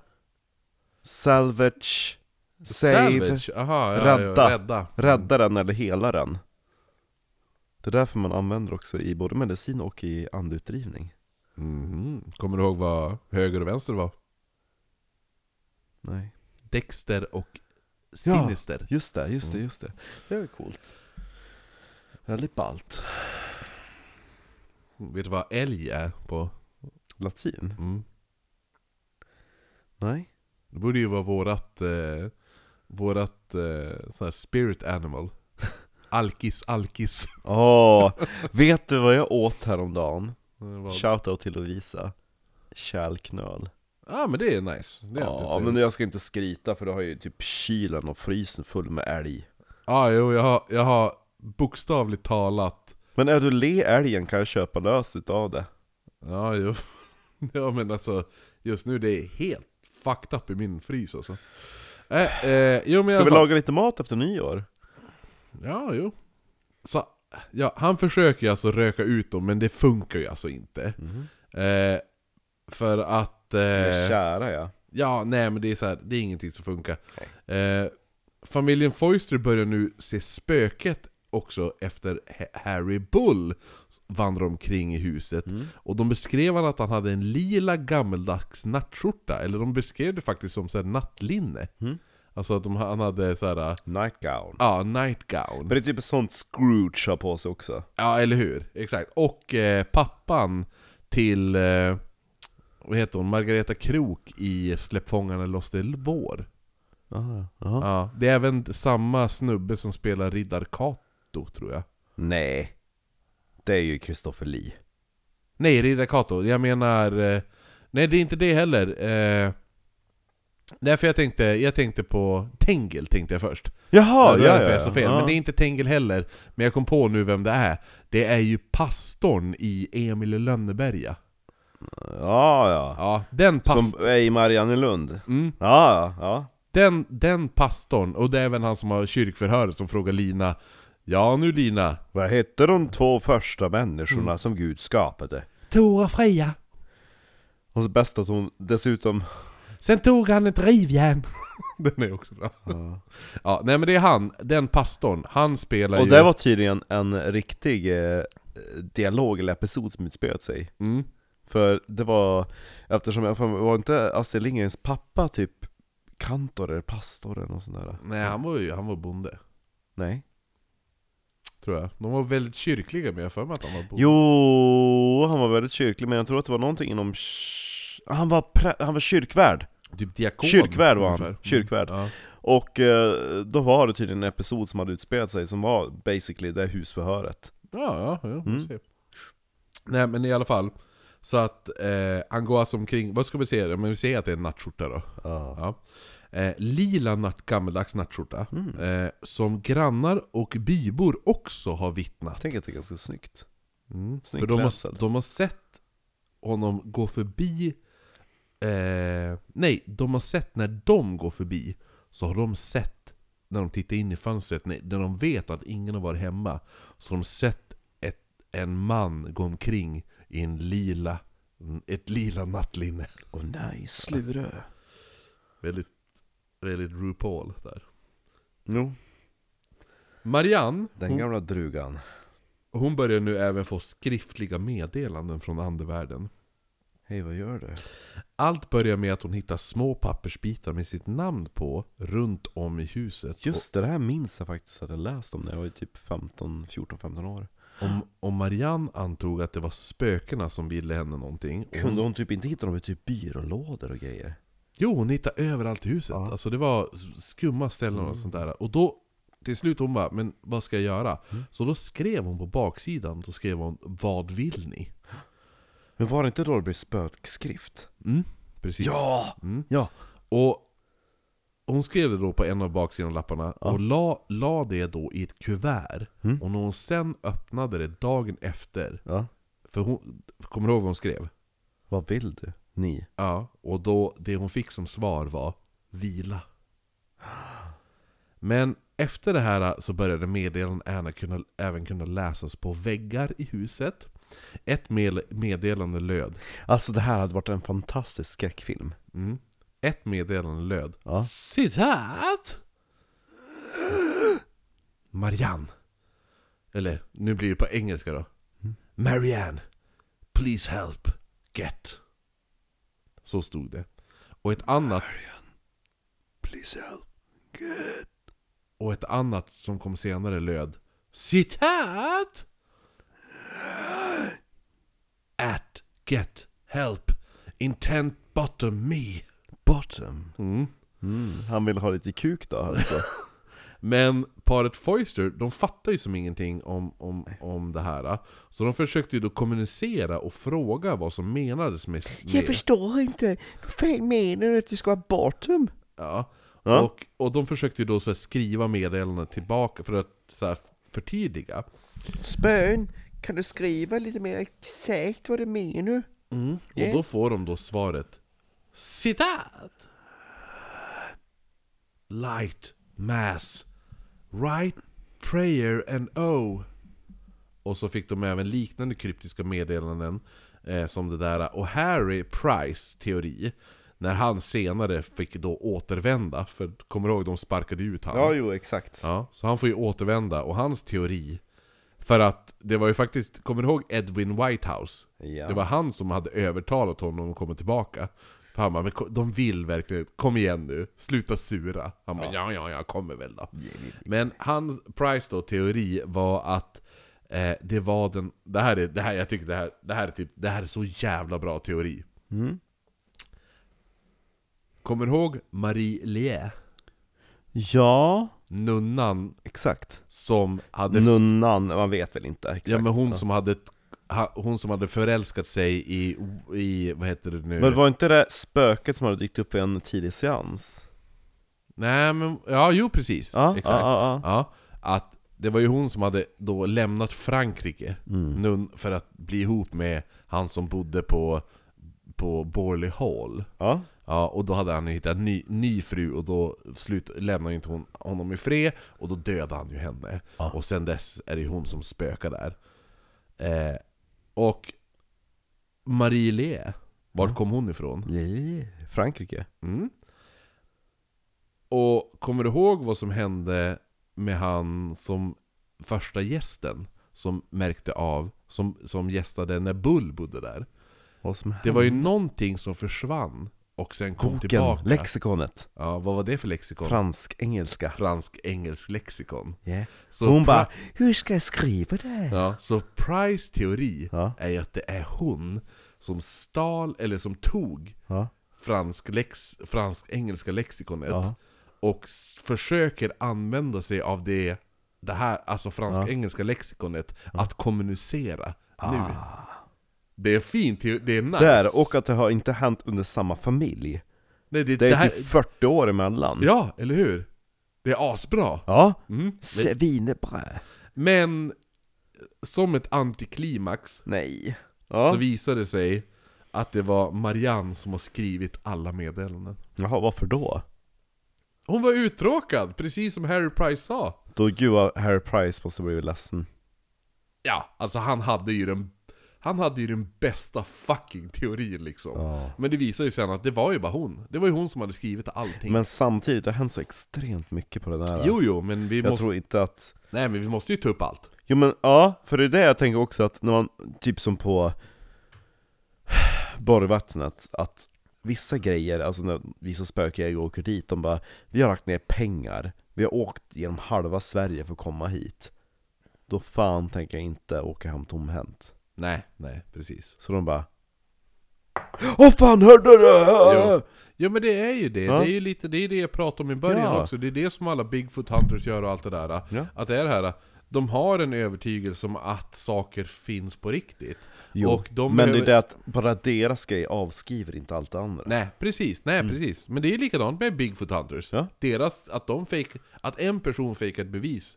salvage, save,
Savage. Aha, ja,
Rädda.
Ja, rädda.
rädda den eller hela den. Det är därför man använder också i både medicin och i andutdrivning.
Mhm. Kommer du ihåg vad höger och vänster var?
Nej.
Dexter och
Ja.
Sinister.
Just det, just det,
Mm.
just det. Det är coolt. Väldigt ballt.
Vet du vad älg är på?
Latin?
Mm.
Nej.
Det borde ju vara vårat, eh, vårat eh, sån här spirit animal. Alkis, alkis.
Åh, vet du vad jag åt häromdagen?
Vad-
Shoutout till Lovisa. Kärlknöl.
Ja men det är nice. Det är
Ja,
alltid
men
trevligt.
jag ska inte skryta för det har ju typ kylen och frysen full med älg.
Ja, jo, jag har, jag har bokstavligt talat.
Men är du le älgen kan jag köpa lös utav det.
Ja, jo. Ja men alltså, just nu det är helt fucked up i min frys alltså. Äh, eh, jo, men i
Ska
alla
vi
fall-
laga lite mat efter nyår?
Ja, jo. Så, ja, han försöker ju alltså röka ut dem, men det funkar ju alltså inte.
Mhm.
Eh, för att...
Med
Eh,
kära ja.
ja, nej men det är så här, det är ingenting som funkar. Eh, familjen Foister börjar nu se spöket också efter Ha- Harry Bull vandrar omkring i huset. Och de beskrev han att han hade en lila gammeldags nattskjorta, eller de beskrev det faktiskt som så här nattlinne. Alltså att de, han hade så här,
Nightgown.
ja, nightgown.
Men det är typ ett sånt Scrooge har på sig också.
Ja, eller hur? Exakt. Och eh, pappan till, eh, vad heter hon, Margareta Krok i Släpp fångarna loss till vår.
Ah,
Ja, det är även samma snubbe som spelar Riddar Kato, tror jag.
Nej. Det är ju Christopher Lee.
Nej, Riddar Kato, jag menar... Eh, nej, det är inte det heller. Eh, nej, för jag tänkte, jag tänkte på Tengel, tänkte jag först.
Jaha, Ah.
det var därför jag sa fel. Men det är inte Tengel heller. Men jag kom på nu vem det är. Det är ju pastorn i Emil i Lönneberga.
ja, ja.
Ja, den pastorn.
Som är i Mariannelund.
Mm.
Ja, ja, ja.
Den, den pastorn, och det är även han som har kyrkförhöret som frågar Lina Ja nu Lina,
Vad hette de två första människorna
Mm.
som Gud skapade?
Tora Freja.
Och så bäst att hon dessutom...
sen tog han ett rivjärn Den är också bra Ja, nej men det är han, den pastorn, han spelar
Och
ju
det var tydligen en riktig eh, dialog eller episod som utspelade sig.
mm.
För det var, eftersom jag var inte Astrid Lindgrens pappa typ kantor eller pastor eller något sånt där?
Nej han var ju, han var bonde
Nej.
Tror jag, de var väldigt kyrkliga men jag har för mig att han var bonde
Jo, han var väldigt kyrklig men jag tror att det var någonting inom... kyr- Han var, prä... han var kyrkvärd!
Typ diakon
Kyrkvärd var han.
ungefär. Mm.
Kyrkvärd.
ja.
Och eh, då var det tydligen en episod som hade utspelat sig som var basically det husförhöret.
Ja, ja, ja
Mm.
mm. Nej men i alla fall Så att eh, han går alltså omkring, vad ska vi säga? Men vi säger att det är en nattskjorta då Ja. Eh, lila natt, gammeldags nattskjorta
Mm.
eh, Som grannar och bybor också har
Jag
vittnat
tänker att det är ganska snyggt.
mm.
snygg
För de
klädsel.
har, de har sett honom gå förbi eh, Nej, de har sett när de går förbi Så har de sett när de tittar in i fönstret, när när de vet att ingen har varit hemma Så har de sett ett, en man gå omkring i en lila, ett lila nattlinne
Åh nej, Slurö.
Väldigt, väldigt RuPaul där.
Jo, Mm.
Marianne,
den
hon,
gamla drugan.
hon börjar nu även få skriftliga meddelanden från andevärlden.
Hej, vad gör du?
Allt börjar med att hon hittar små pappersbitar med sitt namn på runt om i huset.
Just det, det här minns jag faktiskt att jag läst om när jag var ju typ 15, 14, 15 år.
Och, om, och Marianne antog att det var spökena som ville henne någonting. Och hon,
Kunde hon typ inte hitta dem i typ byrålådor och grejer?
jo, hon hittade överallt i huset.
Ja. Mm.
Alltså det var skumma ställen och sånt där. Och då, till slut hon bara, men vad ska jag göra?
Mm.
Så då skrev hon på baksidan, då skrev hon 'Vad vill ni?'
Men var det inte då det blev spökskrift?
Mm, precis.
Ja!
Mm.
Ja!
Och hon skrev det då på en av baksidan av lapparna och la, la det då i ett kuvert. Och när hon sen öppnade det dagen efter,
Ja.
för hon, kommer du ihåg vad hon skrev?
Vad vill du? Ni?
Ja. Och då, det hon fick som svar var vila. Men efter det här så började meddelanden även kunna, även kunna läsas på väggar i huset. Ett mel- meddelande löd.
Alltså det här hade varit en fantastisk skräckfilm.
Mm. Ett meddelande löd.
Ja.
Citat! Marianne. Eller, nu blir det på engelska då. Marianne, please help, get. Så stod det. Och ett annat... please help, get. Och ett annat som kom senare löd. Citat! At, get, help, intent bottom me.
Bottom.
Mm.
Mm. Han vill ha lite kuk då alltså.
Men paret Foister, de fattar ju som ingenting om, om, om det här. Så de försökte ju då kommunicera och fråga vad som menades med... med
förstår inte. Vad fan menar du att det ska vara bottom?
ja.
Ja.
Och, och de försökte ju då så här skriva meddelanden tillbaka för att så här förtydliga.
Spön, kan du skriva lite mer exakt vad du menar?
Mm. Och då får de då svaret Citat! Light mass Right prayer and oh Och så fick de även liknande kryptiska meddelanden eh, Som det där Och Harry Price teori När han senare fick då återvända För kommer du ihåg de sparkade ut han?
Ja, jo exakt.
Ja, så han får ju återvända och hans teori För att det var ju faktiskt, kommer du ihåg Edwin Whitehouse?
Ja.
Det var han som hade övertalat honom att komma tillbaka För han bara, men ko- de vill verkligen, kom igen nu, sluta sura Han bara, ja ja, jag kommer väl då Men hans Price då teori var att eh, det var den, det här är, det här, jag tycker det här, det här är typ, det här är så jävla bra teori Kommer du ihåg Marie Lie?
Ja,
Nunnan
exakt.
som hade
Nunnan, man vet väl inte exakt.
Ja men hon som hade, ha- hon som hade förälskat sig i, i vad heter det nu?
Men var inte det spöket som hade dykt upp i en tidig seans?
Nej men, ja jo precis,
Ja,
exakt.
ja, ja,
Ja, att det var ju hon som hade då lämnat Frankrike
Mm.
nun, för att bli ihop med han som bodde på, på Borley Hall.
Ja,
Ja, och då hade han ju hittat en ny, ny fru och då slut, lämnade inte hon honom i fred och då dödade han ju henne. Och sen dess är det ju hon som spökar där. Eh, och Marie Le, var kom hon ifrån?
Frankrike.
Mm. Och kommer du ihåg vad som hände med han som första gästen som märkte av, som, som gästade när Bull bodde där?
Vad som
Det var ju någonting som försvann och sen kom tillbaka.
lexikonet.
Ja, vad var det för lexikon?
Fransk-engelska.
Fransk-engelsk lexikon.
Yeah.
Så
hon
pra-
bara, hur ska jag skriva det?
Ja, så Price teori
Ja.
är ju att det är hon som stal, eller som tog,
Ja.
fransk lex, fransk-engelska lexikonet
Ja.
och s- försöker använda sig av det, det här, alltså fransk-engelska lexikonet, att kommunicera nu. Det är fint, det är nice.
Ah. Där, och att det har inte hänt under samma familj.
Nej, det,
Det är
det här,
typ 40 år emellan.
Ja, eller hur? Det är asbra.
ja.
Mm.
Svinebra.
Men som ett antiklimax
Nej. Ja.
så visade det sig att det var Marianne som har skrivit alla meddelanden.
Jaha, varför då?
Hon var uttråkad, precis som Harry Price sa.
Då gud vad Harry Price måste blivit ledsen.
Ja, alltså han hade ju den, han hade ju den bästa fucking teorin liksom.
Ja.
Men det visade ju sen att det var ju bara hon. Det var ju hon som hade skrivit allting.
Men samtidigt, det har hänt så extremt mycket på det där.
jo, jo, men vi,
jag
måste,
tror inte att...
nej, men vi måste ju ta upp allt.
Jo men ja, för det är det jag tänker också att när man, typ som på Borgvattnet, att vissa grejer, alltså när vissa spökjägare åker dit, de bara Vi har lagt ner pengar, vi har åkt genom halva Sverige för att komma hit Då fan tänker jag inte åka hem tomhänt
Nej, nej, precis.
Så de bara Åh fan hörde du?
Jo. Ja men det är ju det,
Ja.
det är ju lite, det är det jag pratade om i början
Ja.
också Det är det som alla Bigfoot Hunters gör och allt det där
Ja.
Att det är det här, de har en övertygelse om att saker finns på riktigt
Jo,
och
men
de
det
behöver-
är det att bara deras grej avskriver inte allt det andra
Nej precis, nej precis Men det är likadant med Bigfoot Hunters
Mm. Ja.
Deras, att de fake, att en person fejkar ett bevis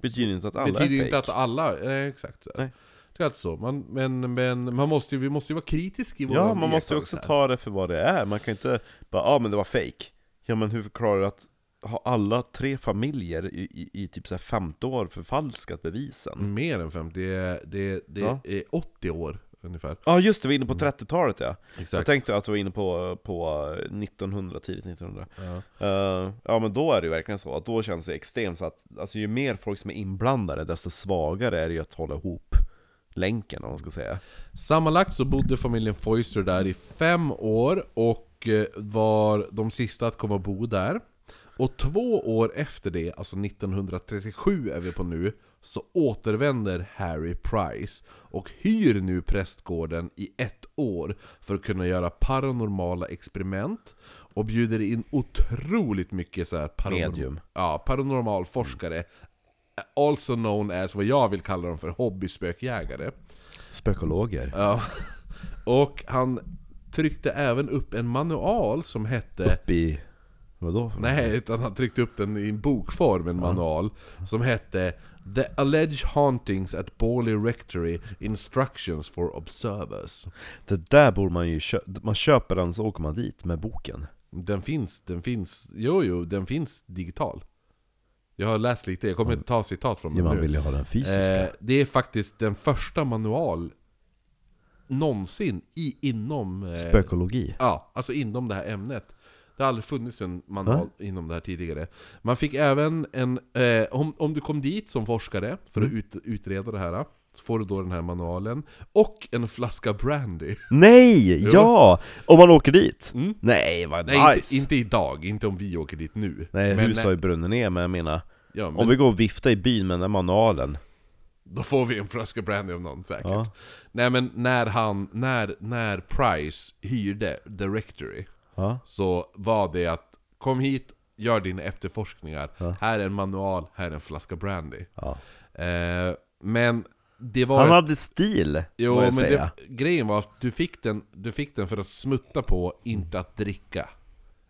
Betyder inte att alla
Betyder
är
ju
fake.
inte att alla, nej exakt
Nej.
Det är alltså så, man, men, men man måste ju, vi måste ju vara kritisk i våra
Ja, man måste ju
iakttagelser
också
här.
ta det för vad det är. Man kan ju inte bara, ja ah, men det var fake. Ja men hur förklarar du att har alla tre familjer i, i, i typ så här 50 år förfalskat bevisen.
Mer än 50, det är, det är, det
Ja.
är 80 år ungefär.
Ja just det, vi är inne på 30-talet ja. Jag
Mm. Exakt.
tänkte att vi var inne på, på 1900, tidigt 1900.
Ja.
Eh, ja men då är det ju verkligen så att då känns det extremt så att alltså, ju mer folk som är inblandade desto svagare är det ju att hålla ihop länken om man ska säga.
Sammanlagt så bodde familjen Foister där i fem år och eh, var de sista att komma och bo där. Och två år efter det, alltså 1937 är vi på nu, så återvänder Harry Price och hyr nu prästgården i ett år för att kunna göra paranormala experiment och bjuder in otroligt mycket så här paranorm-
Medium.
ja, paranormal forskare, eh, also known as vad jag vill kalla dem för hobbyspökjägare.
Spökologer.
Ja. Och han tryckte även upp en manual som hette...
Upp i... Vadå? för
Nej, utan han tryckte upp den i en bokform, en manual. Som hette The Alleged Hauntings at Borley Rectory Instructions for Observers.
Det där borde man ju köpa, man köper den så åker man dit med boken.
Den finns, den finns, jo jo, den finns digital. Jag har läst lite, jag kommer inte ta citat från
Ja,
den
man
nu.
vill ju ha den fysiska.
Eh, det är faktiskt den första manual någonsin i, inom... eh,
Spökologi.
Ja, alltså inom det här ämnet. Det har aldrig funnits en manual inom det här tidigare. Man fick även en... Eh, om, om du kom dit som forskare för
Mm.
att ut, utreda det här, så får du då den här manualen. Och en flaska brandy.
Nej!
Jo.
Ja! Om man åker dit.
Mm.
Nej vad
Nej,
nice!
inte, inte idag. Inte om vi åker dit nu.
Nej,
Men-
hus har ju brunnen ner men jag menar,
Ja, men
om vi går och viftar i byn med den där manualen.
Då får vi en flaska brandy av någon säkert.
Ja.
Nej men när han... När, när Price hyrde The Rectory.
Ja.
Så var det att kom hit, gör dina efterforskningar. Här är en manual, här är en flaska brandy.
Ja.
Eh, men det var...
Han hade stil,
jo,
må jag
men
säga.
det, grejen var att du fick, den, du fick den för att smutta på, inte att dricka.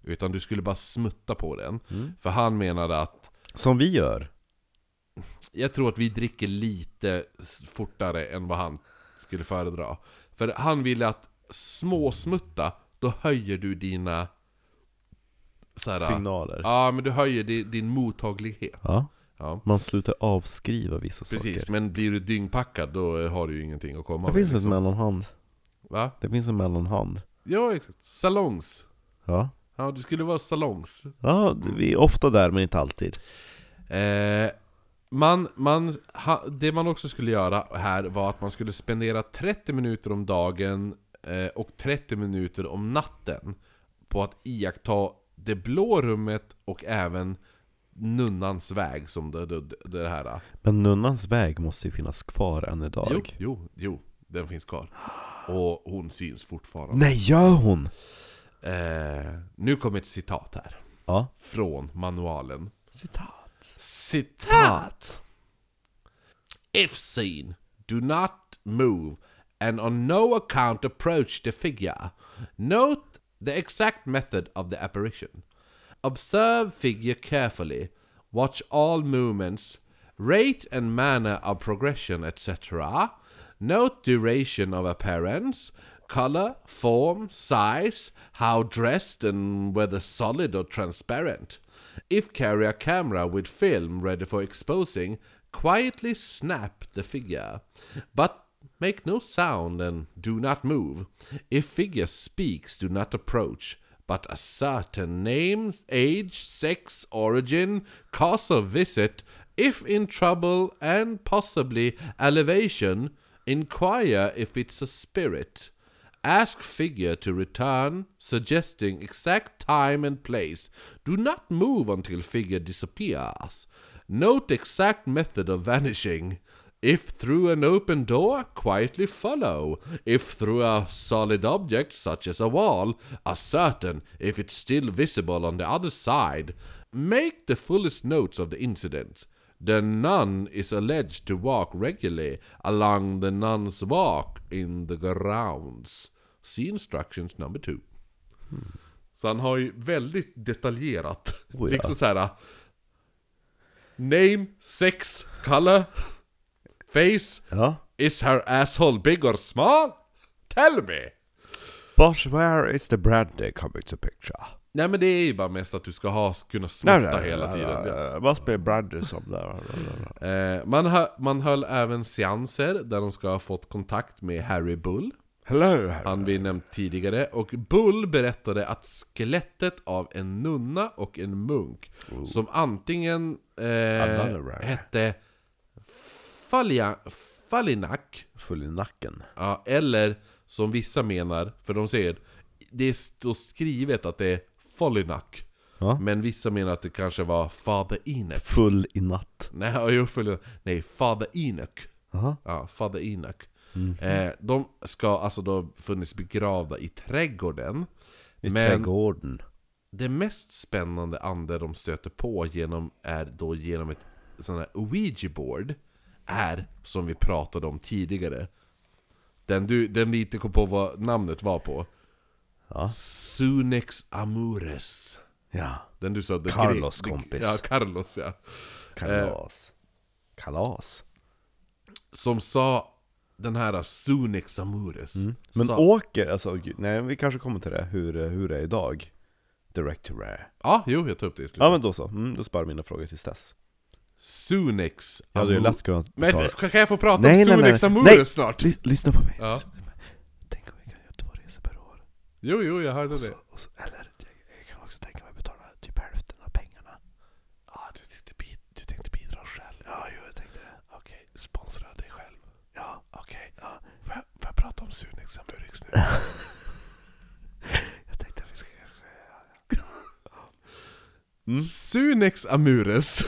Utan du skulle bara smutta på den.
Mm.
För han menade att
Som vi gör.
jag tror att vi dricker lite s- fortare än vad han skulle föredra. För han ville att småsmutta, då höjer du dina... Så här,
Signaler. Ja.
Ja, men du höjer di- din mottaglighet. Ja.
Man slutar avskriva vissa
Precis,
saker.
men blir du dyngpackad då eh, har du ju ingenting att komma
Det
med.
finns
liksom.
en mellanhand.
Va?
Det finns en mellanhand.
Ja, exakt. Salongs.
Ja.
Ja, det skulle vara salongs.
Ja, vi är ofta där men inte alltid.
Eh, man, man, ha, det man också skulle göra här var att man skulle spendera 30 minuter om dagen eh, och 30 minuter om natten på att iaktta det blå rummet och även nunnans väg som det, det, det här. eh,
Men nunnans väg måste ju finnas kvar än idag.
Jo, jo, jo, den finns kvar. Och hon syns fortfarande.
Nej, gör hon?
Eh, nu kommer ett citat här.
Ja.
Från manualen.
Citat.
Citat! If seen, do not move and on no account approach the figure. Note the exact method of the apparition. Observe figure carefully. Watch all movements. Rate and manner of progression, etc. Note duration of appearance, color, form, size, how dressed, and whether solid or transparent. If carry a camera with film ready for exposing, quietly snap the figure. But make no sound and do not move. If figure speaks, do not approach. But a certain name, age, sex, origin, cause of visit, if in trouble, and possibly elevation, inquire if it's a spirit. Ask figure to return, suggesting exact time and place. Do not move until figure disappears. Note exact method of vanishing. If through an open door, quietly follow. If through a solid object, such as a wall, ascertain if it's still visible on the other side. Make the fullest notes of the incident. The nun is alleged to walk regularly along the nun's walk in the grounds. See instructions number two. Så han har ju väldigt detaljerat.
Oh ja.
Liksom så här. Name, sex, color, face.
Ja.
Is her asshole big or small? Tell me!
But where is the brandy coming to picture?
Nej men det är ju bara mest att du ska ha, kunna smutta hela tiden. Ja.
Must be brandy som där.
Eh, man, hö- man höll även seanser där de ska ha fått kontakt med Harry Bull,
Hello Harry.
han vi nämnt tidigare, och Bull berättade att skelettet av en nunna och en munk, som antingen eh,
Another.
hette Falia, Falinak,
Full i nacken.
ja, eller som vissa menar, för de säger, det står skrivet att det är Falinak,
Ja.
men vissa menar att det kanske var Father Enoch.
Full i natt.
Nej, ja, jo, förlåt. Nej, Father Enoch.
Jaha. Mhm.
Ja, Fader Enoch. Eh, de ska alltså då funnits begravda i trädgården.
I
men
trädgården.
det mest spännande ande de stöter på genom är då genom ett sån här Ouija-board är, som vi pratade om tidigare, den, du, den vi inte kom på vad namnet var på.
Ja.
Sunex Amores.
Ja.
Den du sa... den
Carlos
grek-
kompis.
Ja, Carlos ja. Eh.
Kalas. Kalas.
Som sa den här Sunex Amores.
Mm. Men
sa,
åker, alltså gud, nej vi kanske kommer till det, hur, hur det är idag. Direct to rare.
Ja, jo, jag tar upp det i slutet.
Ja men då så, mm, då sparar mina frågor tills dess.
Sunex
Jag hade ju
Amor-
lätt kunnat
Men
betala.
kan jag få prata om Sunex
liksom
Amores snart?
Lys- lyssna på mig.
Ja.
Tänk om vi kan göra två resor per år.
Jo, jo, jag hörde det.
Och så, eller, jag, jag kan också tänka mig betala typ hälften av pengarna. Ja, du tänkte, bi- du tänkte bidra själv? Ja, jo jag tänkte det. Okej, sponsra dig själv. Ja, okej. Ja. Får, jag, får jag prata om Sunex Amorix nu? jag tänkte att vi ska... Mm.
Sunex Amures.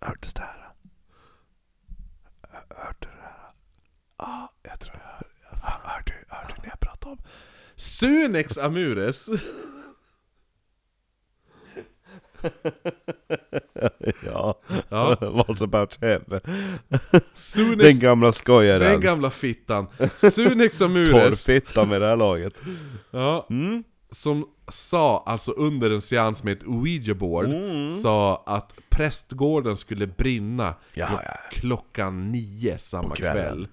Hördes det här? Hör- Hörde du det här? Ja, jag tror jag hör. Fan, hör du, hör du när jag pratar om...
Sunex Amures.
Ja,
Ja.
what about him? Den
Sunex...
gamla
Den
skojaren.
gamla fittan. Sunex Amures.
Torrfitta med det här laget.
Ja. Som sa, alltså under en seans med ett ouija-board, sa att prästgården skulle brinna klo- klockan nio samma
kvällen.
kväll.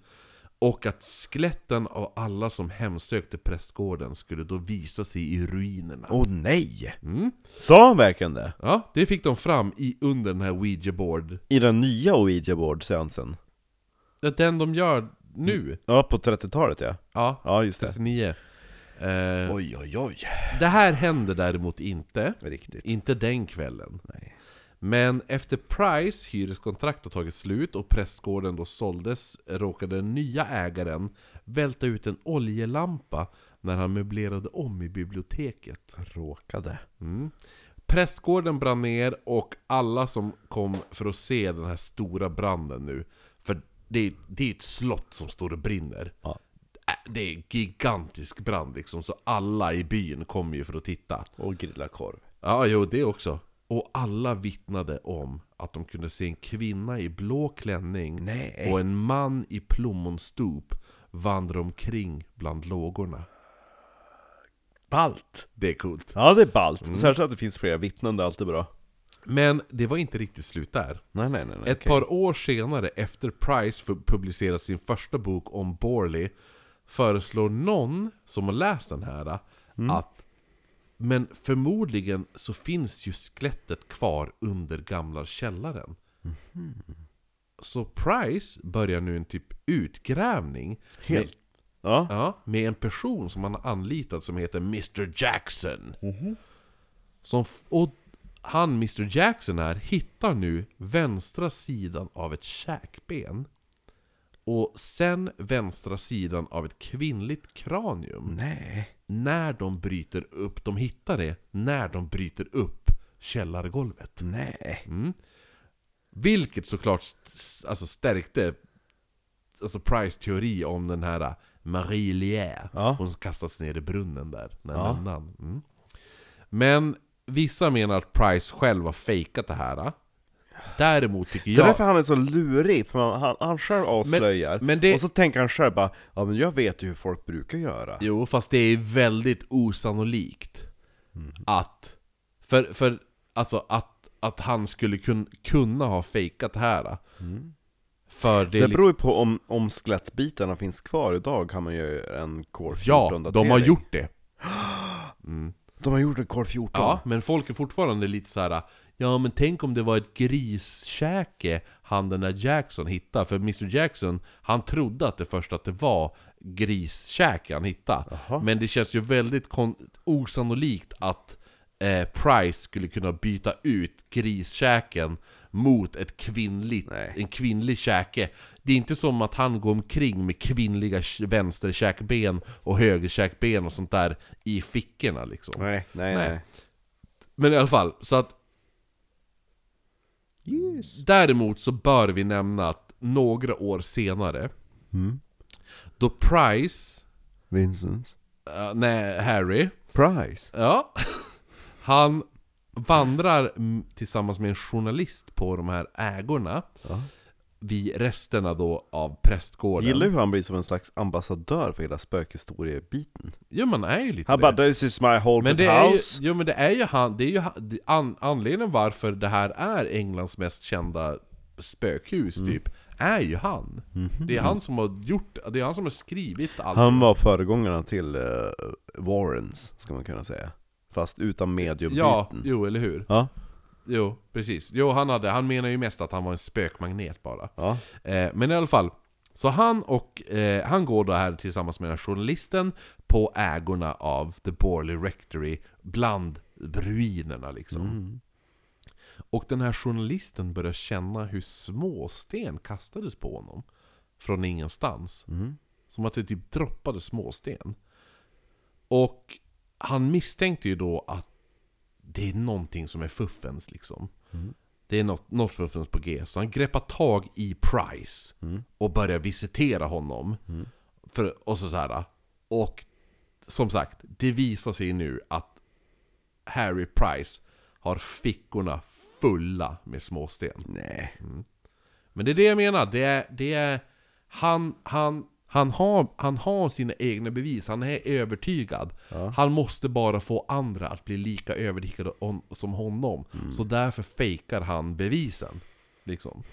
Och att skeletten av alla som hemsökte prästgården skulle då visa sig i ruinerna.
Åh nej! Mm. Sa han verkligen det?
Ja, det fick de fram i, under den här ouija-board.
I den nya ouija board seansen
Ja, Den de gör nu.
Ja, på 30-talet ja.
Ja,
Ja, just det.
39. Eh,
Oj, oj, oj.
det här händer däremot inte.
Riktigt.
Inte den kvällen. Men efter Price hyreskontrakt har tagit slut och prästgården då såldes råkade den nya ägaren välta ut en oljelampa när han möblerade om i biblioteket.
Råkade.
Mm. Prästgården brann ner och alla som kom för att se den här stora branden nu, för det är, det är ett slott som står och brinner.
Ja.
Äh, Det är en gigantisk brand liksom, så alla i byn kommer ju för att titta.
Och grilla korv.
Ja, jo, det också. Och alla vittnade om att de kunde se en kvinna i blå klänning
Nej.
och en man i plommonstop vandra omkring bland lågorna.
Balt.
Det är coolt.
Ja, det är balt.
Mm.
Särskilt att det finns flera vittnen, det är alltid bra.
Men det var inte riktigt slut där.
Nej, nej, nej. nej.
Ett par år senare, efter Price fu- publicerat sin första bok om Borley, föreslår någon som har läst den här äh,
Mm.
att men förmodligen så finns ju skelettet kvar under gamla källaren.
Mhm.
Så Price börjar nu en typ utgrävning med,
Helt. Ja.
ja, med en person som han har anlitat som heter Mr Jackson. Som, f- och han, Mr Jackson här, hittar nu vänstra sidan av ett käkben. Och sen vänstra sidan av ett kvinnligt kranium.
Nej.
När de bryter upp, de hittar det, när de bryter upp källargolvet. Mm.
Nej.
Vilket såklart st- s- alltså stärkte alltså Price teori om den här äh, Marie Lier.
Ja.
Hon som kastats ner i brunnen där, den
Ja.
ja. Mm. Men vissa menar att Price själv har fejkat det här. äh. Däremot tycker
Det är
jag...
därför han är så lurig, för han, han, han själv avslöjar.
men det-
Och så tänker han själv bara, ja men jag vet ju hur folk brukar göra.
Jo, fast det är väldigt osannolikt
Mm.
att... För, för alltså att, att han skulle kun, kunna ha fejkat det här. För det,
Mm. Det
är
beror ju på om, om skelettbitarna finns kvar idag kan man ju en core
Ja, de har gjort det. Mm.
De har gjort rekord 14.
Ja, men folk är fortfarande lite så här. Ja men tänk om det var ett griskäke han den där Jackson hittade. För Mr Jackson, han trodde att det först att det var griskäke han hittade. Men det känns ju väldigt kon- osannolikt att eh, Price skulle kunna byta ut griskäken mot ett kvinnligt,
Nej.
en kvinnlig käke. Det är inte som att han går omkring med kvinnliga sh- vänsterkäkben och högerkäkben och sånt där i fickorna liksom.
Nej, nej,
Nej.
nej.
Men i alla fall, så att... Däremot så bör vi nämna att några år senare,
Mm.
då Price,
Vincent.
eh, nej Harry,
Price.
ja, han vandrar mm, tillsammans med en journalist på de här ägorna. Vid resterna då av prästgården.
Gillar hur han blir som en slags ambassadör för hela spökhistoriebiten.
Ja man är ju lite
Han
det.
bara 'This is my haunted
Men det är ju,
house'
jo, men det är ju han, det är ju han, det- an, anledningen varför det här är Englands mest kända spökhus
Mm.
typ, är ju han. Det är han som har gjort, det är han som har skrivit allt.
Mhm. Han var föregångaren till eh, Warrens, ska man kunna säga. Fast utan mediumbiten.
Ja, jo eller hur?
Ja.
Jo, precis. Jo, han, hade, han menar ju mest att han var en spökmagnet bara.
Ja.
Eh, men i alla fall, så han och eh, han går då här tillsammans med den här journalisten på ägorna av The Borley Rectory bland ruinerna liksom. Och den här journalisten börjar känna hur småsten kastades på honom från ingenstans. Som att det typ droppade småsten. Och han misstänkte ju då att det är någonting som är fuffens liksom. Det är något, något fuffens på G. Så han greppar tag i Price och börjar visitera honom. För, och så, så här. Och som sagt, det visar sig nu att Harry Price har fickorna fulla med småsten.
Nej.
Men det är det jag menar. Det är, det är, han, han, han, har, han har sina egna bevis, han är övertygad. Han måste bara få andra att bli lika övertygade om, som honom. Så därför fejkar han bevisen. Liksom.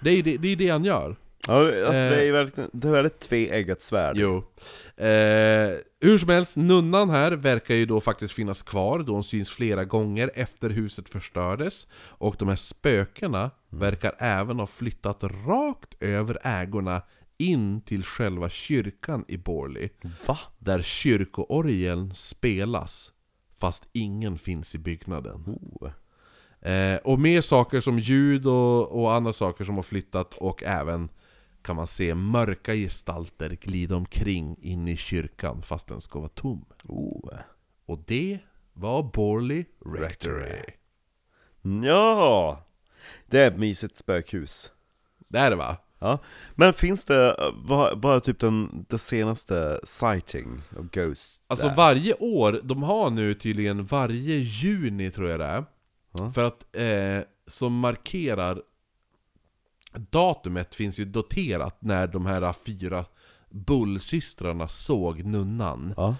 Det är det, det, är det han gör.
Ja, alltså det
Eh.
är verkligen, det är ett tveeggat svärd.
Jo. Eh, hur som helst, nunnan här verkar ju då faktiskt finnas kvar då hon syns flera gånger efter huset förstördes. Och de här
Mm.
spökena verkar även ha flyttat rakt över ägorna in till själva kyrkan i Borley.
Va?
Där kyrkoorgeln spelas, fast ingen finns i byggnaden.
Oh.
Eh, och mer saker som ljud och, och andra saker som har flyttat och även kan man se mörka gestalter glida omkring in i kyrkan fast den ska vara tom.
Oh.
Och det var Borley Rectory.
Ja. Det är ett mysigt spökhus.
Det är det va?
Ja. Men finns det, vad vad är typ den, det senaste sighting av Ghost?
Alltså
där?
varje år, de har nu tydligen varje juni tror jag det är.
Ja.
För att, eh, som markerar Datumet finns ju doterat när de här fyra bullsystrarna såg nunnan.
Ja.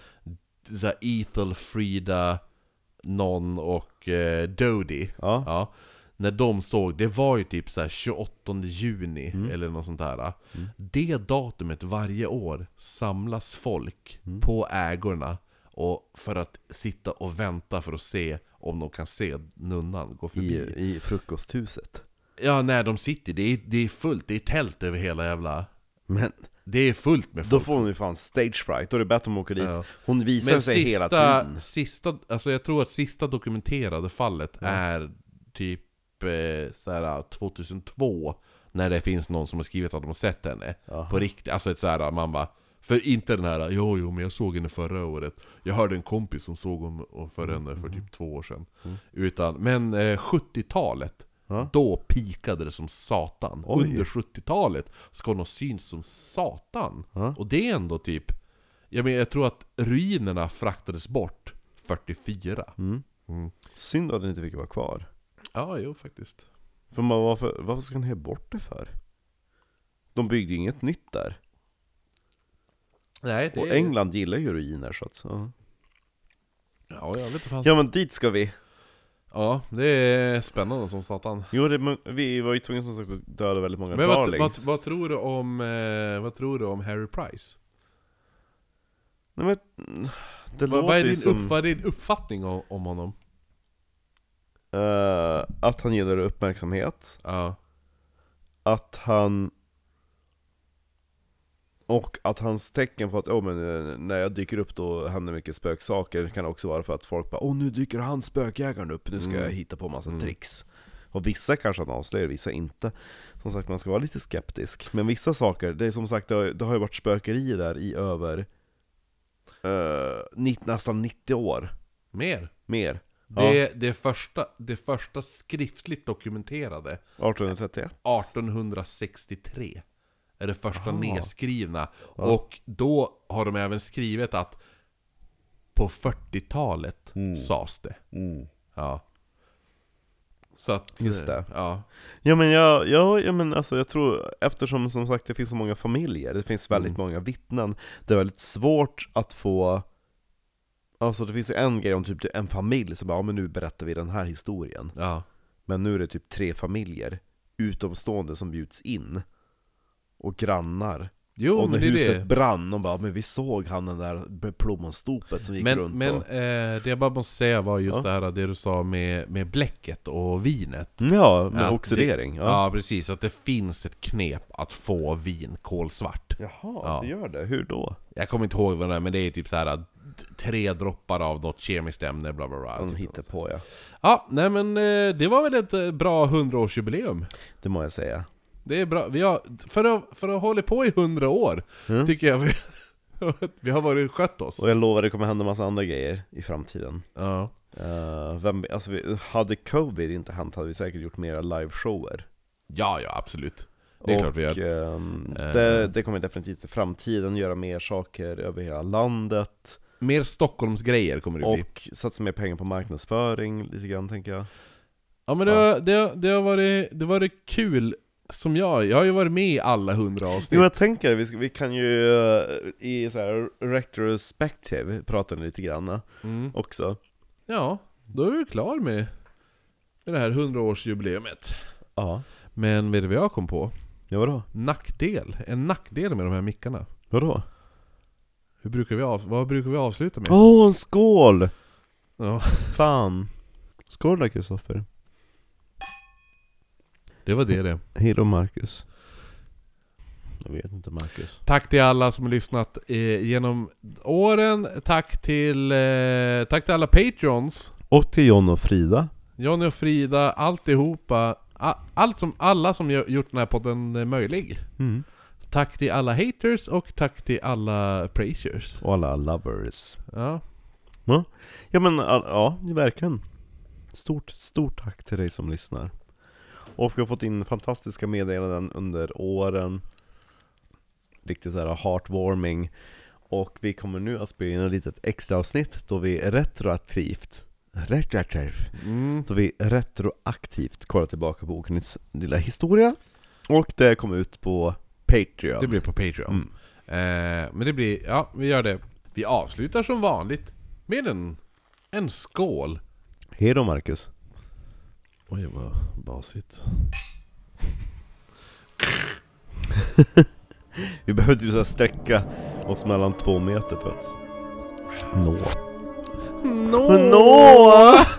så här Ethel, Frida, Non och eh, Dodie.
Ja.
Ja. När de såg, det var ju typ så här 28 juni
Mm.
eller något sånt där. Det datumet varje år samlas folk
Mm.
på ägorna och för att sitta och vänta för att se om de kan se nunnan gå förbi.
I, I frukosthuset.
Ja, när de sitter, det är, det är fullt, det är tält över hela jävla...
Men
Det är fullt med folk.
då får hon ju fan stage fright, då är det bättre om hon åker dit.
Ja.
Hon visar
Men
sig hela
sista,
tiden.
sista, alltså jag tror att sista dokumenterade fallet är typ eh, såhär 2002 När det finns någon som har skrivit att de har sett henne På riktigt, alltså ett såhär, man bara För inte den här 'Jo jo men jag såg henne förra året' Jag hörde en kompis som såg om, om för
Mm,
henne för typ två år sedan Utan, men eh, 70-talet Då pikade det som satan.
Oj.
Under 70-talet ska hon ha synts som satan. Och det är ändå typ jag, men, jag tror att ruinerna fraktades bort 44.
Mm. Synd att den inte fick vara kvar.
Ja, jo faktiskt.
För man, varför, varför ska den här bort det för? De byggde ju inget nytt där.
Nej, det
Och England gillar ju ruiner så att, ja.
Ja, jag vet inte fan. Ja.
ja men dit ska vi!
det är spännande som satan.
Jo det, men vi var ju tvungna som sagt att döda väldigt många
Men vad,
darlings.
vad, vad, tror du om, eh, vad tror du om Harry Price?
Nej, men, Det
Vad, vad,
låter
är
ju
din
som
upp, vad är din uppfattning om, om honom?
eh, att han gillar uppmärksamhet,
Ja.
att han... Och att hans tecken på att oh, men, eh, när jag dyker upp då händer mycket spöksaker kan också vara för att folk bara Åh nu dyker han spökjägaren upp, nu ska
Mm.
jag hitta på massa
Mm.
tricks. Och vissa kanske han avslöjar, vissa inte. Som sagt, man ska vara lite skeptisk. Men vissa saker, det är som sagt, det har, det har ju varit spökerier där i över eh, nitt- nästan 90 år.
Mer?
Mer. Ja.
Det, det, första, det första skriftligt dokumenterade
1831.
1863 är det första
Aha.
nedskrivna. Och då har de även skrivit att på 40-talet
Mm.
sades det. Ja. Så att, eh,
Just det.
Ja.
Ja men jag, ja, ja, men alltså, jag tror, eftersom som sagt det finns så många familjer, det finns
Mm.
väldigt många vittnen, det är väldigt svårt att få Alltså det finns ju en grej om typ en familj som bara ja, men nu berättar vi den här historien
ja.
Men nu är det typ tre familjer utomstående som bjuds in Och grannar
Jo,
Och när
men det är
huset
det.
brann, de bara men vi såg han den där plommonstopet som gick
Men,
runt
men
och...
eh, det jag bara måste säga var just
Ja.
det här det du sa med, med bläcket och vinet.
Ja, med
Ja, det-
oxidering ja.
Ja. precis, att det finns ett knep att få vin kolsvart.
Jaha,
Ja.
det gör det, hur då?
Jag kommer inte ihåg vad det är, men det är typ så här att tre droppar av något kemiskt ämne, bla bla bla.
De
Typ
hittar
något.
på ja,
Ja, nej men eh, det var väl ett eh, bra 100-årsjubileum.
det må jag säga
Det är bra, vi har, för att, för att hålla på i 100 år,
Mm.
tycker jag vi, vi har varit skött oss.
Och jag lovar det kommer hända massa andra grejer i framtiden.
Ja.
Eh, vem, alltså vi, hade covid inte hänt hade vi säkert gjort mera liveshower.
ja, ja absolut. Det är
och,
klart vi gör.
ehm,
Eh.
det, det kommer definitivt i framtiden göra mer saker över hela landet.
Mer Stockholmsgrejer kommer det bli.
Och satsa mer pengar på marknadsföring lite grann tänker jag.
Ja men det, har- det, har- det har varit, det har varit kul, som jag, jag har ju varit med i alla 100 avsnitt.
Jo jag tänker, vi, ska, vi kan ju eh, i så här retrospective prata lite grann eh,
Mm.
också.
Ja, då är vi klar med, med det här 100-årsjubileumet.
Ja.
Men vet du vad jag kom på?
Ja vadå?
Nackdel. En nackdel med de här mickarna.
Vadå?
Hur brukar vi av, vad brukar vi avsluta med?
Åh, oh, skål!
Ja,
Fan. Skål då Kristoffer.
det var det det.
Hej då Marcus. Jag vet inte Marcus.
Tack till alla som har lyssnat eh, genom åren. Tack till, eh, tack till alla Patreons.
Och till John och Frida.
Johnny och Frida, alltihopa. A, allt som, alla som gör- gjort den här podden eh, möjlig. Tack till alla haters och tack till alla praisers.
Och alla lovers.
Ja.
Ja men all- ja, verkligen. Stort, stort tack till dig som lyssnar. Och vi har fått in fantastiska meddelanden under åren. Riktigt så här heartwarming. Och vi kommer nu att spela in ett litet extra avsnitt då vi retroaktivt retroaktivt
Mm.
Då vi retroaktivt kollar tillbaka på Okunnighets lilla historia Och det kom ut på Patreon
Det blir på Patreon.
Mm.
Eh, men det blir, ja vi gör det. Vi avslutar som vanligt med en, en skål.
Hej då Marcus
Oj vad basigt.
Vi behöver typ så här sträcka oss mellan två meter för att nå
Nå!
Nå!